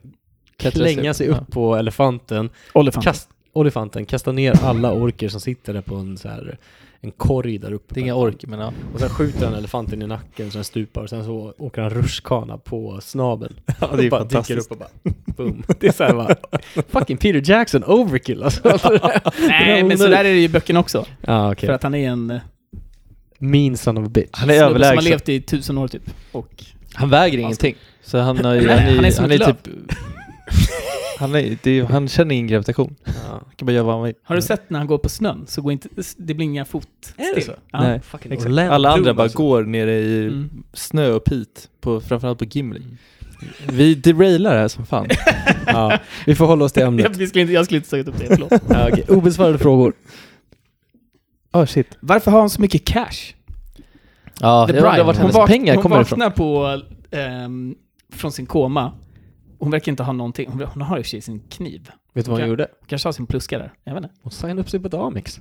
[SPEAKER 5] Klättra sig
[SPEAKER 1] klänga
[SPEAKER 5] upp,
[SPEAKER 1] sig upp på elefanten
[SPEAKER 6] Olifant.
[SPEAKER 1] Kast, olifanten kastar ner alla orker som sitter där på en, så här, en korg där uppe.
[SPEAKER 5] Det är inga orker, men ja.
[SPEAKER 1] Och sen skjuter han elefanten i nacken så den stupar och sen så åker han rutschkana på snabeln.
[SPEAKER 5] Ja,
[SPEAKER 1] Och bara dyker upp och bara boom. Det är så här bara, fucking Peter Jackson overkill alltså.
[SPEAKER 6] Nej men sådär är det ju i böckerna också.
[SPEAKER 1] Ja okej.
[SPEAKER 6] För att han är en eh,
[SPEAKER 1] Mean son of a bitch.
[SPEAKER 5] Han är
[SPEAKER 6] snubbe som har
[SPEAKER 5] överlägsen.
[SPEAKER 6] levt i tusen år typ. Och
[SPEAKER 5] Han väger ingenting. Så han, har ju,
[SPEAKER 6] Nej,
[SPEAKER 5] han, är,
[SPEAKER 6] han
[SPEAKER 5] han,
[SPEAKER 6] är
[SPEAKER 5] är,
[SPEAKER 6] som
[SPEAKER 5] han
[SPEAKER 6] ett löv.
[SPEAKER 5] typ... Han, är, det är, ju- han känner ingen gravitation. Han kan bara göra vad han vill.
[SPEAKER 6] har du sett när han går på snön så går inte, det blir inga fotsteg.
[SPEAKER 1] Är det så?
[SPEAKER 6] Ja.
[SPEAKER 5] Nej.
[SPEAKER 1] Fucking
[SPEAKER 5] Exakt.
[SPEAKER 1] Orlando
[SPEAKER 5] Alla andra
[SPEAKER 1] Bloom,
[SPEAKER 5] bara
[SPEAKER 1] alltså.
[SPEAKER 5] går nere i
[SPEAKER 6] Mm.
[SPEAKER 5] snö och pit, på, framförallt på Gimli. Vi derailar här som fan.
[SPEAKER 1] Ja, vi får hålla oss till ämnet.
[SPEAKER 6] Jag, vi skulle inte, jag skulle inte tagit upp det, förlåt.
[SPEAKER 1] ja, okej. Obesvarade frågor. Ah,
[SPEAKER 5] Oh shit.
[SPEAKER 6] Varför har han så mycket cash?
[SPEAKER 5] Ja,
[SPEAKER 6] The
[SPEAKER 5] jag undrar
[SPEAKER 6] Bride.
[SPEAKER 5] vart
[SPEAKER 6] Hon
[SPEAKER 5] hennes
[SPEAKER 6] vak-
[SPEAKER 5] pengar
[SPEAKER 6] hon
[SPEAKER 5] kommer ifrån.
[SPEAKER 6] vaknar på ehm, från sin koma. Hon verkar inte ha någonting. Hon, hon har i och för sig sin kniv.
[SPEAKER 1] Vet du vad hon
[SPEAKER 6] Okej.
[SPEAKER 1] gjorde?
[SPEAKER 6] Hon kanske har sin pluska där. Jag vet inte.
[SPEAKER 1] Hon signade upp sig på Damix.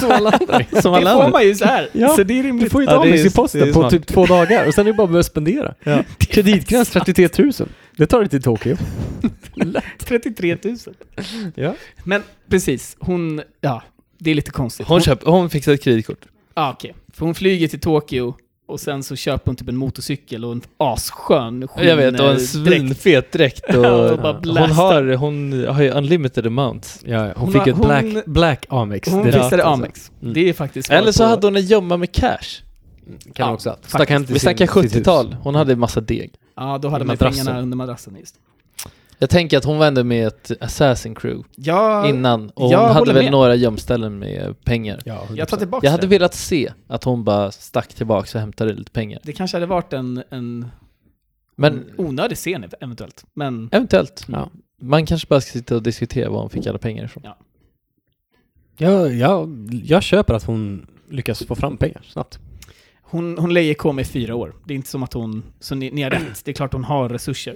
[SPEAKER 1] Som alla andra.
[SPEAKER 6] Som
[SPEAKER 5] alla
[SPEAKER 6] det får
[SPEAKER 5] andra.
[SPEAKER 6] man ju så här.
[SPEAKER 1] Ja.
[SPEAKER 6] Så det är
[SPEAKER 1] Du
[SPEAKER 6] rimligt.
[SPEAKER 1] får ju
[SPEAKER 5] Ja, det
[SPEAKER 1] Damix
[SPEAKER 5] är-
[SPEAKER 1] i
[SPEAKER 5] det
[SPEAKER 1] posten
[SPEAKER 5] är
[SPEAKER 1] på
[SPEAKER 5] smart.
[SPEAKER 1] typ två dagar och sen är det bara att börja spendera.
[SPEAKER 5] Ja.
[SPEAKER 1] Kreditgräns 33 000. Det tar dig till Tokyo.
[SPEAKER 6] 33 000.
[SPEAKER 1] Ja.
[SPEAKER 6] Men precis, hon... Ja, det är lite konstigt.
[SPEAKER 5] Hon, köp, hon fixar ett kreditkort.
[SPEAKER 6] Ja, okej. För hon flyger till Tokyo och sen så köper hon typ en motorcykel och en asskön skinn,
[SPEAKER 5] Jag vet, och
[SPEAKER 6] eh,
[SPEAKER 5] en
[SPEAKER 6] dräkt.
[SPEAKER 5] svinfet dräkt. Och,
[SPEAKER 6] Ja, och bara
[SPEAKER 5] hon,
[SPEAKER 6] blastar.
[SPEAKER 5] har, hon har ju unlimited amounts.
[SPEAKER 1] Ja, hon,
[SPEAKER 6] Hon
[SPEAKER 1] fick
[SPEAKER 6] har-
[SPEAKER 1] ett black,
[SPEAKER 6] hon-
[SPEAKER 1] black Amex
[SPEAKER 6] Hon
[SPEAKER 1] direkt,
[SPEAKER 6] fixade
[SPEAKER 1] alltså.
[SPEAKER 6] Amex. Det är faktiskt...
[SPEAKER 5] Mm. Eller så
[SPEAKER 6] på-
[SPEAKER 5] hade hon en gömma med cash.
[SPEAKER 1] Kan
[SPEAKER 6] Ja,
[SPEAKER 1] också. Stack
[SPEAKER 6] faktiskt.
[SPEAKER 1] hem till
[SPEAKER 5] Vi
[SPEAKER 1] sin-
[SPEAKER 5] snackar
[SPEAKER 1] sitt hus.
[SPEAKER 5] 70-tal. Hon hade en massa deg.
[SPEAKER 6] Ja, då hade man ju
[SPEAKER 1] Madrassen.
[SPEAKER 6] pengarna under madrassen, just.
[SPEAKER 5] Jag tänker att hon vände med ett assassin crew
[SPEAKER 6] Ja,
[SPEAKER 5] innan och
[SPEAKER 6] jag
[SPEAKER 5] hon hade
[SPEAKER 6] håller
[SPEAKER 5] väl
[SPEAKER 6] med.
[SPEAKER 5] några gömställen med pengar.
[SPEAKER 1] Ja,
[SPEAKER 6] jag tar tillbaka
[SPEAKER 5] Jag hade
[SPEAKER 6] det.
[SPEAKER 5] velat se att hon bara stack tillbaka och hämtade lite pengar.
[SPEAKER 6] Det kanske hade varit en, en
[SPEAKER 5] Men
[SPEAKER 6] onödig scen ev- eventuellt, men...
[SPEAKER 5] eventuellt.
[SPEAKER 1] Ja.
[SPEAKER 5] Man kanske bara ska sitta och diskutera var hon fick alla pengar ifrån.
[SPEAKER 1] jag, jag, jag köper att hon lyckas få fram pengar snabbt.
[SPEAKER 6] Hon, hon lejer KM i fyra år. Det är inte som att hon... Så ni, ni har rätt, det är klart hon har resurser.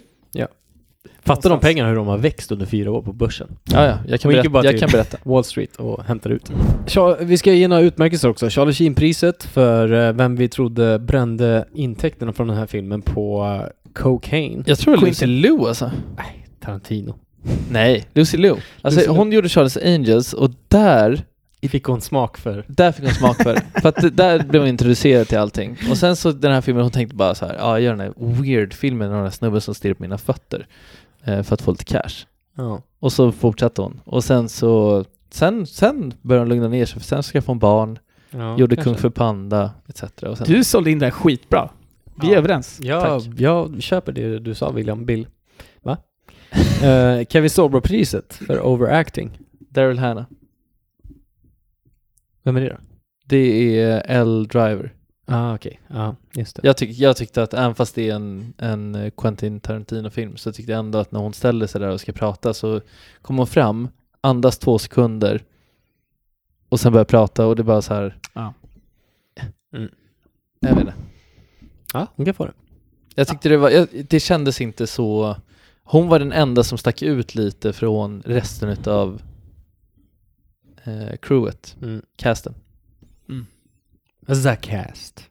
[SPEAKER 1] Fattar de
[SPEAKER 6] Någonstans.
[SPEAKER 1] pengarna hur de har växt under fyra år på börsen?
[SPEAKER 5] Ja, ja, jag kan
[SPEAKER 1] Hon gick ju bara
[SPEAKER 5] berätta. Jag
[SPEAKER 1] till-
[SPEAKER 5] kan berätta.
[SPEAKER 1] Wall Street och hämtar ut. Cha- Vi ska ge några utmärkelser också. Charlie Sheen-priset för eh, vem vi trodde brände intäkterna från den här filmen på eh, cocaine.
[SPEAKER 5] Jag tror det var
[SPEAKER 1] Quentin-
[SPEAKER 5] Lucy Liu alltså.
[SPEAKER 1] Tarantino.
[SPEAKER 5] Nej, Lucy Liu. Alltså
[SPEAKER 1] Lucy Liu.
[SPEAKER 5] hon gjorde Charles Angels och där,
[SPEAKER 1] Fick hon smak för.
[SPEAKER 5] där fick hon smak för. för att det- där blev hon introducerad till allting. Och sen så den här filmen, hon tänkte bara så här, ja jag gör den här weird filmen med den här snubben som stirrar på mina fötter. Eh, för att få lite cash.
[SPEAKER 1] Ja.
[SPEAKER 5] Och så fortsatte hon. Och sen så, sen, sen började hon lugna ner sig för sen skaffade hon barn,
[SPEAKER 1] Ja,
[SPEAKER 5] gjorde
[SPEAKER 1] kanske.
[SPEAKER 5] Kung för Panda etc. Och sen,
[SPEAKER 6] Du sålde in det här skitbra. Vi är
[SPEAKER 1] Ja.
[SPEAKER 6] överens.
[SPEAKER 1] Ja, jag köper det du sa William Bill. Va? Eh, Kevin Sorbo-priset för overacting.
[SPEAKER 5] Daryl Hannah.
[SPEAKER 1] Vem är det då?
[SPEAKER 5] Det är L Driver.
[SPEAKER 1] Ah, okej. Ja, just
[SPEAKER 6] typ.
[SPEAKER 1] det.
[SPEAKER 5] Jag, tyck, jag tyckte att även fast det är en, en eh, Quentin Tarantino-film så tyckte jag ändå att när hon ställer sig där och ska prata så kommer hon fram, andas två sekunder och sen börjar prata och det är bara så här.
[SPEAKER 6] Ja.
[SPEAKER 1] Mm.
[SPEAKER 5] Jag vet inte.
[SPEAKER 1] Ja, hon kan få det.
[SPEAKER 5] Jag tyckte det var, jag, det kändes inte så, hon var den enda som stack ut lite från resten utav eh, crewet,
[SPEAKER 1] Mm.
[SPEAKER 5] casten.
[SPEAKER 1] Zacast.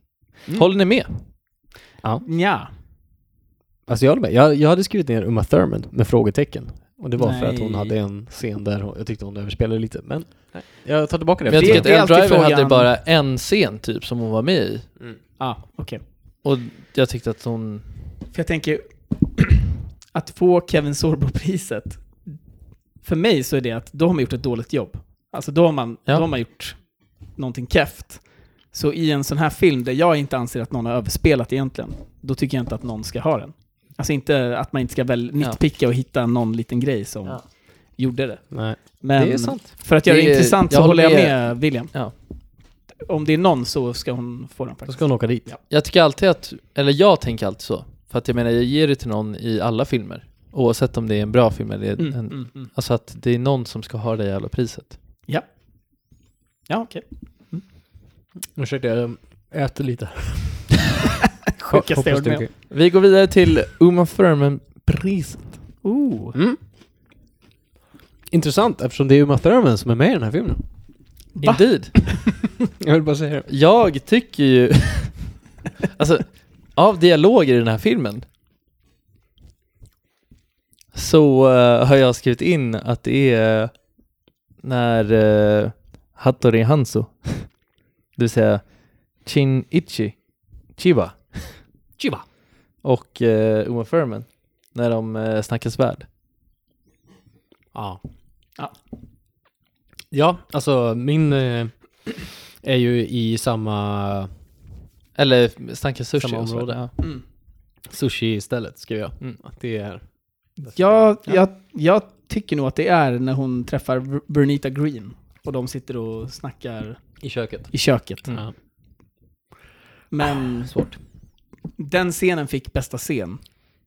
[SPEAKER 6] Mm.
[SPEAKER 5] Håller ni med?
[SPEAKER 6] Nja.
[SPEAKER 1] Alltså jag håller med. Jag, jag hade skrivit ner Uma Thurman med frågetecken. Och det var för att hon
[SPEAKER 6] Nej.
[SPEAKER 1] hade en scen där hon, jag tyckte hon överspelade lite. Men jag tar tillbaka det.
[SPEAKER 5] Men jag
[SPEAKER 6] Det-
[SPEAKER 5] tycker att
[SPEAKER 6] det är
[SPEAKER 5] Ellen
[SPEAKER 6] alltid
[SPEAKER 5] Driver hade
[SPEAKER 6] frågan.
[SPEAKER 5] bara en scen typ som hon var med i
[SPEAKER 6] Ah, okej.
[SPEAKER 5] och jag tyckte att hon
[SPEAKER 6] För jag tänker, att få Kevin Sorbo-priset, för mig så är det att då har man gjort ett dåligt jobb. Alltså då har man,
[SPEAKER 5] Ja.
[SPEAKER 6] då har man gjort någonting keft. Så i en sån här film där jag inte anser att någon har överspelat egentligen, då tycker jag inte att någon ska ha den. Alltså inte att man inte ska väl nitpicka och hitta någon liten grej som
[SPEAKER 5] Ja.
[SPEAKER 6] gjorde det.
[SPEAKER 1] Nej.
[SPEAKER 6] Men
[SPEAKER 1] Det är sant.
[SPEAKER 6] för att göra det,
[SPEAKER 5] Det är-
[SPEAKER 6] intressant så
[SPEAKER 5] jag
[SPEAKER 6] håller jag
[SPEAKER 5] håller
[SPEAKER 6] med, William.
[SPEAKER 5] Ja.
[SPEAKER 6] Om det är någon så ska hon få den
[SPEAKER 1] Då
[SPEAKER 6] faktiskt.
[SPEAKER 1] ska hon åka dit.
[SPEAKER 6] Ja.
[SPEAKER 5] Jag tycker alltid att, eller jag tänker alltid så. För att jag menar, jag ger det till någon i alla filmer. Oavsett om det är en bra film eller
[SPEAKER 6] Mm,
[SPEAKER 5] en...
[SPEAKER 6] mm, mm.
[SPEAKER 5] Alltså att det är någon som ska ha det jävla priset.
[SPEAKER 6] Ja, okej.
[SPEAKER 1] Ursäkta, jag äter lite.
[SPEAKER 6] Sjukaste jag
[SPEAKER 1] Hoppas
[SPEAKER 6] varit
[SPEAKER 1] det är
[SPEAKER 6] med om.
[SPEAKER 1] okej.
[SPEAKER 5] Vi går vidare till Uma Thurman-priset.
[SPEAKER 6] Oh.
[SPEAKER 1] Mm. Intressant eftersom det är Uma Thurman som är med i den här filmen.
[SPEAKER 6] Va?
[SPEAKER 5] Indeed.
[SPEAKER 1] Jag vill bara säga det.
[SPEAKER 5] Jag tycker ju... alltså, av dialoger i den här filmen så eh, har jag skrivit in att det är när uh, Hattori Hanzo, det vill säga Chin Ichi, Chiba
[SPEAKER 1] Chiba.
[SPEAKER 5] och eh, Uma Thurman, när de uh, snackar svärd.
[SPEAKER 1] Ja.
[SPEAKER 6] Ja.
[SPEAKER 1] Ja, alltså min eh, är ju i samma
[SPEAKER 5] Eller snackar sushi.
[SPEAKER 1] Samma
[SPEAKER 5] och svärd,
[SPEAKER 1] område. Mm.
[SPEAKER 5] Ja.
[SPEAKER 1] sushi stället skrev jag.
[SPEAKER 5] Mm.
[SPEAKER 1] Att det är...
[SPEAKER 6] Jag, jag, jag tycker nog att det är när hon träffar Ver- Bernita Green och de sitter och snackar
[SPEAKER 1] I köket.
[SPEAKER 6] i köket.
[SPEAKER 5] Mm.
[SPEAKER 1] Ja.
[SPEAKER 6] Men
[SPEAKER 1] Svårt.
[SPEAKER 6] den scenen fick bästa scen,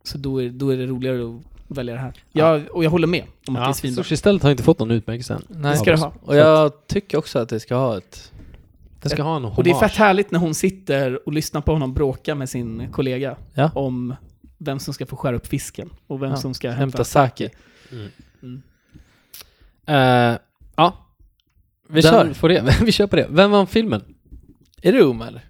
[SPEAKER 6] så då är, då är det roligare att välja det här. Jag, och jag håller med om att det är
[SPEAKER 1] Ja,
[SPEAKER 6] svinbra.
[SPEAKER 1] sushi stället har inte fått någon utmärkelse än.
[SPEAKER 5] Nej.
[SPEAKER 6] Det ska du ha.
[SPEAKER 5] Och jag tycker också att det ska ha ett...
[SPEAKER 1] Den ska ha en hommage.
[SPEAKER 6] Och det är fett härligt när hon sitter och lyssnar på honom bråka med sin kollega
[SPEAKER 5] Ja.
[SPEAKER 6] om vem som ska få skära upp fisken och vem
[SPEAKER 5] Ja,
[SPEAKER 6] som ska hämta...
[SPEAKER 5] Hämta sake.
[SPEAKER 1] Mm.
[SPEAKER 5] Mm.
[SPEAKER 1] Eh, ja. Vi
[SPEAKER 5] Den-
[SPEAKER 1] kör på det. Vi kör på det. Vem vann filmen?
[SPEAKER 5] Är det Uma eller?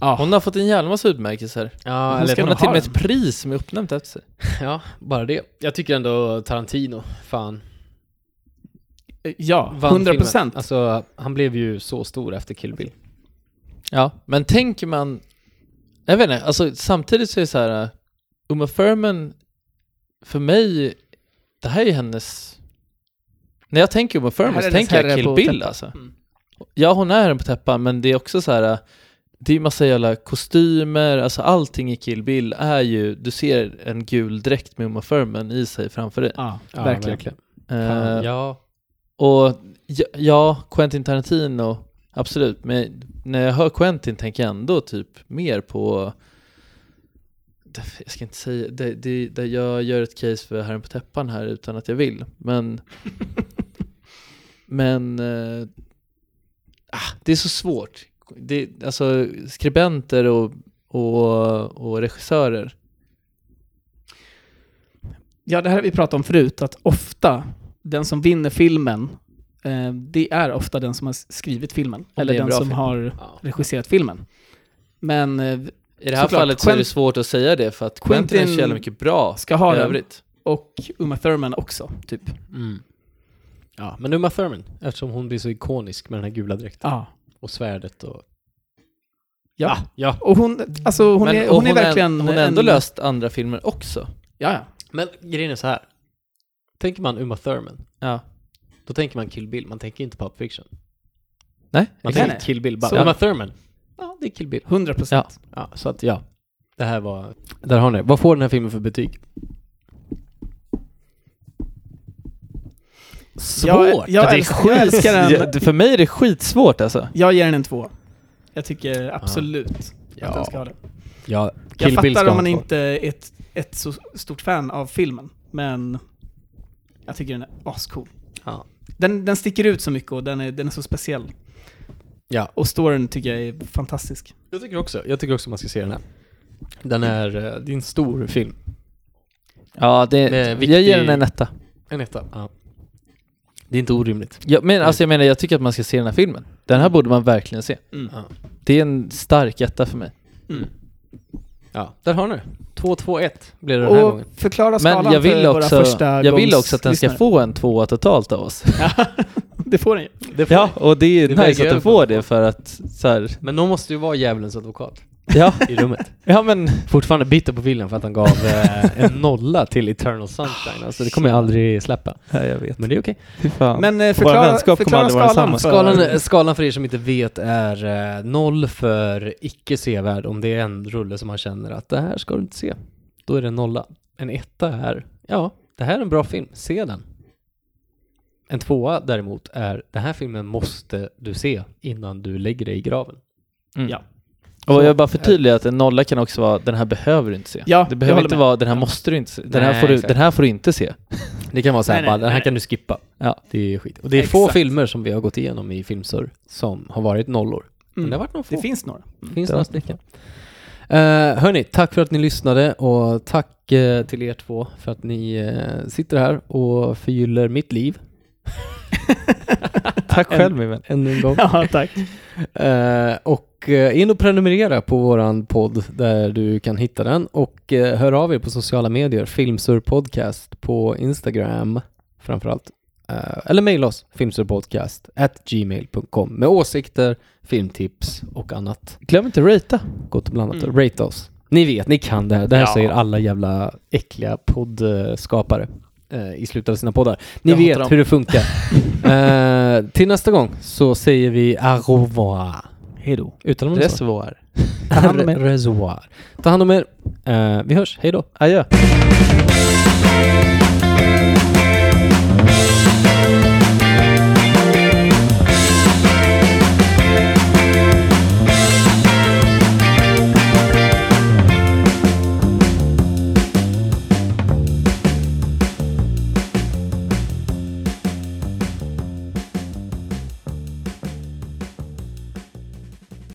[SPEAKER 1] Ja.
[SPEAKER 5] Hon har fått en jävla massa utmärkelser.
[SPEAKER 1] Ja,
[SPEAKER 5] Hon,
[SPEAKER 1] eller-
[SPEAKER 5] ska
[SPEAKER 1] hon
[SPEAKER 5] hon har till och
[SPEAKER 1] har
[SPEAKER 5] med ett pris som är uppnämnt efter sig.
[SPEAKER 1] Ja, bara det. Jag tycker ändå Tarantino, fan.
[SPEAKER 6] Ja,
[SPEAKER 1] vann
[SPEAKER 6] 100
[SPEAKER 1] filmen.
[SPEAKER 6] procent.
[SPEAKER 1] Alltså, han blev ju så stor efter Kill Bill.
[SPEAKER 5] Ja, men tänker man... Jag vet inte, alltså samtidigt så är det så här... äh, Uma Thurman, för mig, det här är ju hennes... När jag tänker Uma
[SPEAKER 6] Det
[SPEAKER 5] Thurman
[SPEAKER 6] här är
[SPEAKER 5] så
[SPEAKER 6] hennes
[SPEAKER 5] tänker jag
[SPEAKER 6] herre
[SPEAKER 5] Kill
[SPEAKER 6] på
[SPEAKER 5] Bill
[SPEAKER 6] täppan.
[SPEAKER 5] alltså.
[SPEAKER 6] Mm.
[SPEAKER 5] Ja, hon är herren på täppan, men det är också så här... äh, Det är ju massa jävla kostymer, alltså allting i Kill Bill är ju... Du ser en gul dräkt med Uma Thurman i sig framför dig.
[SPEAKER 6] Ja, verkligen.
[SPEAKER 5] Eh,
[SPEAKER 1] Fan, ja.
[SPEAKER 5] och ja, ja, Quentin Tarantino, absolut. Men när jag hör Quentin tänker jag ändå typ mer på... det- Jag ska inte säga... Det, det, det, jag gör ett case för Herren på täppan här utan att jag vill. Men... men... eh, ah, det är så svårt. Det, alltså skribenter och, och, och regissörer.
[SPEAKER 6] Ja, det här har vi pratat om förut, att ofta den som vinner filmen, eh, det är ofta den som har skrivit filmen.
[SPEAKER 5] det
[SPEAKER 6] eller
[SPEAKER 5] är en
[SPEAKER 6] den
[SPEAKER 5] bra
[SPEAKER 6] som
[SPEAKER 5] film.
[SPEAKER 6] har
[SPEAKER 1] Ja.
[SPEAKER 6] regisserat filmen. Men eh,
[SPEAKER 5] I det här
[SPEAKER 6] Såklart,
[SPEAKER 5] fallet så är det
[SPEAKER 6] Quent-
[SPEAKER 5] svårt att säga det för att Quentin, är så
[SPEAKER 6] Quentin
[SPEAKER 5] jävla mycket bra
[SPEAKER 6] ska ha
[SPEAKER 5] i
[SPEAKER 6] den.
[SPEAKER 5] övrigt.
[SPEAKER 6] Och Uma Thurman också, typ.
[SPEAKER 1] Mm. Ja, men Uma Thurman, eftersom hon blir så ikonisk med den här gula dräkten
[SPEAKER 6] Ja.
[SPEAKER 1] och svärdet och...
[SPEAKER 6] Ja.
[SPEAKER 1] ja.
[SPEAKER 6] Och hon, alltså hon,
[SPEAKER 5] Ah, Men-
[SPEAKER 6] är,
[SPEAKER 5] och
[SPEAKER 6] hon, är verkligen...
[SPEAKER 5] Hon har ändå
[SPEAKER 6] en-
[SPEAKER 5] löst andra filmer också.
[SPEAKER 6] Ja, ja.
[SPEAKER 1] Men grejen är så här. Tänker man Uma Thurman,
[SPEAKER 5] Ja.
[SPEAKER 1] då tänker man Kill Bill. Man tänker inte Pulp Fiction.
[SPEAKER 5] Nej,
[SPEAKER 1] Man
[SPEAKER 6] Nej,
[SPEAKER 1] tänker
[SPEAKER 6] nej.
[SPEAKER 1] Kill Bill, bara
[SPEAKER 6] Så-
[SPEAKER 1] Uma Thurman. Ja, det är Kill Bill.
[SPEAKER 6] 100 procent.
[SPEAKER 1] Ja, så att ja. Det här var... Där har ni det. Vad får den här filmen för betyg? Svårt! det
[SPEAKER 6] Jag, jag,
[SPEAKER 1] är
[SPEAKER 6] älskar, jag älskar den.
[SPEAKER 5] för mig är det skitsvårt alltså.
[SPEAKER 6] Jag ger den en två. Jag tycker absolut att den
[SPEAKER 1] Ja,
[SPEAKER 6] ska ha den.
[SPEAKER 1] ja,
[SPEAKER 6] Jag
[SPEAKER 1] Kill Bill ska
[SPEAKER 6] fattar om
[SPEAKER 1] ha
[SPEAKER 6] man
[SPEAKER 1] två.
[SPEAKER 6] inte är ett, ett så stort fan av filmen, men jag tycker den är ascool.
[SPEAKER 1] Ja.
[SPEAKER 6] Den, den sticker ut så mycket och den är, den är så speciell.
[SPEAKER 1] Ja.
[SPEAKER 6] Och storyn tycker jag är fantastisk.
[SPEAKER 1] Jag tycker också, jag tycker också man ska se den här. Den är, eh, det är en stor film.
[SPEAKER 5] Ja, det,
[SPEAKER 1] Med
[SPEAKER 5] jag
[SPEAKER 1] viktig-
[SPEAKER 5] ger den en etta.
[SPEAKER 1] En etta. Ja. Det är inte orimligt.
[SPEAKER 5] Jag, men, alltså, jag menar, jag tycker att man ska se den här filmen. Den här borde man verkligen se.
[SPEAKER 6] Mm.
[SPEAKER 1] Ja.
[SPEAKER 5] Det är en stark etta för mig.
[SPEAKER 1] Ja, där har ni det. 2-2-1 blir det den här
[SPEAKER 6] Och
[SPEAKER 1] gången.
[SPEAKER 6] förklara skalan
[SPEAKER 5] Men jag vill,
[SPEAKER 6] för våra
[SPEAKER 5] också,
[SPEAKER 6] första
[SPEAKER 5] jag vill också att den ska
[SPEAKER 6] gångslyssnare.
[SPEAKER 5] få en tvåa totalt av oss.
[SPEAKER 6] Det får den ju.
[SPEAKER 5] Ja, och det är
[SPEAKER 1] Det
[SPEAKER 5] nice
[SPEAKER 1] väger
[SPEAKER 5] att den
[SPEAKER 1] över.
[SPEAKER 5] får det för att så här,
[SPEAKER 1] Men någon måste ju vara djävulens advokat
[SPEAKER 5] ja,
[SPEAKER 1] i rummet.
[SPEAKER 5] ja men
[SPEAKER 1] Fortfarande bitter på William för att han gav eh, en nolla till Eternal Sunshine. Alltså det kommer jag aldrig släppa.
[SPEAKER 5] Ah, ja, jag vet.
[SPEAKER 1] Men det är okej.
[SPEAKER 5] Fy fan.
[SPEAKER 6] Men eh,
[SPEAKER 5] Våra
[SPEAKER 6] förklara,
[SPEAKER 5] vänskap kommer
[SPEAKER 6] förklara
[SPEAKER 5] aldrig vara
[SPEAKER 6] skalan.
[SPEAKER 5] samma.
[SPEAKER 6] För,
[SPEAKER 1] Skalan, eh, skalan för er som inte vet är eh, noll för icke sevärd. Om det är en rulle som man känner att det här ska du inte se. Då är det en nolla. En etta är, ja, det här är en bra film. Se den. En tvåa däremot är, den här filmen måste du se innan du lägger dig i graven.
[SPEAKER 5] Och jag vill bara förtydliga att en nolla kan också vara den här behöver du inte se.
[SPEAKER 6] Ja,
[SPEAKER 5] det
[SPEAKER 6] jag
[SPEAKER 5] behöver
[SPEAKER 6] håller
[SPEAKER 5] inte
[SPEAKER 6] med.
[SPEAKER 5] vara den här måste du inte se. Den,
[SPEAKER 1] Nej,
[SPEAKER 5] här, får du,
[SPEAKER 1] exakt.
[SPEAKER 5] den här får du inte se.
[SPEAKER 1] Det kan vara så här,
[SPEAKER 6] Nej, nej,
[SPEAKER 1] bara, den här
[SPEAKER 6] nej.
[SPEAKER 1] kan du skippa.
[SPEAKER 5] Ja.
[SPEAKER 1] Det är skit. Och det är få
[SPEAKER 6] Exakt.
[SPEAKER 1] filmer som vi har gått igenom i Filmsur som har varit nollor. Men
[SPEAKER 6] Mm.
[SPEAKER 1] det har varit några få.
[SPEAKER 6] det finns några.
[SPEAKER 1] finns några stycken. Uh, hörni, tack för att ni lyssnade och tack eh, till er två för att ni eh, sitter här och förgyller mitt liv
[SPEAKER 5] Tack själv min vän.
[SPEAKER 1] ännu en gång.
[SPEAKER 6] Ja, tack.
[SPEAKER 1] Eh, och eh, in och prenumerera på våran podd där du kan hitta den och eh, hör av er på sociala medier, Filmsur Podcast på Instagram framförallt. Eh, eller mejla oss, filmsurpodcast at gmail.com med åsikter, filmtips och annat
[SPEAKER 5] Glöm inte ratea.
[SPEAKER 1] gott bland annat.
[SPEAKER 6] Mm.
[SPEAKER 1] Rate oss. Ni vet, ni kan det här. Det här säger alla jävla äckliga poddskapare eh, i slutet av sina poddar. Ni
[SPEAKER 5] Jag hatar dem.
[SPEAKER 1] vet hur det funkar. eh, till nästa gång så säger vi au revoir.
[SPEAKER 5] Hejdå.
[SPEAKER 1] Utan om det
[SPEAKER 5] Reservoar.
[SPEAKER 1] Mm. Ta hand om er. Reservoir. Ta hand om er. Eh, vi hörs. Hej då.
[SPEAKER 5] Adjö.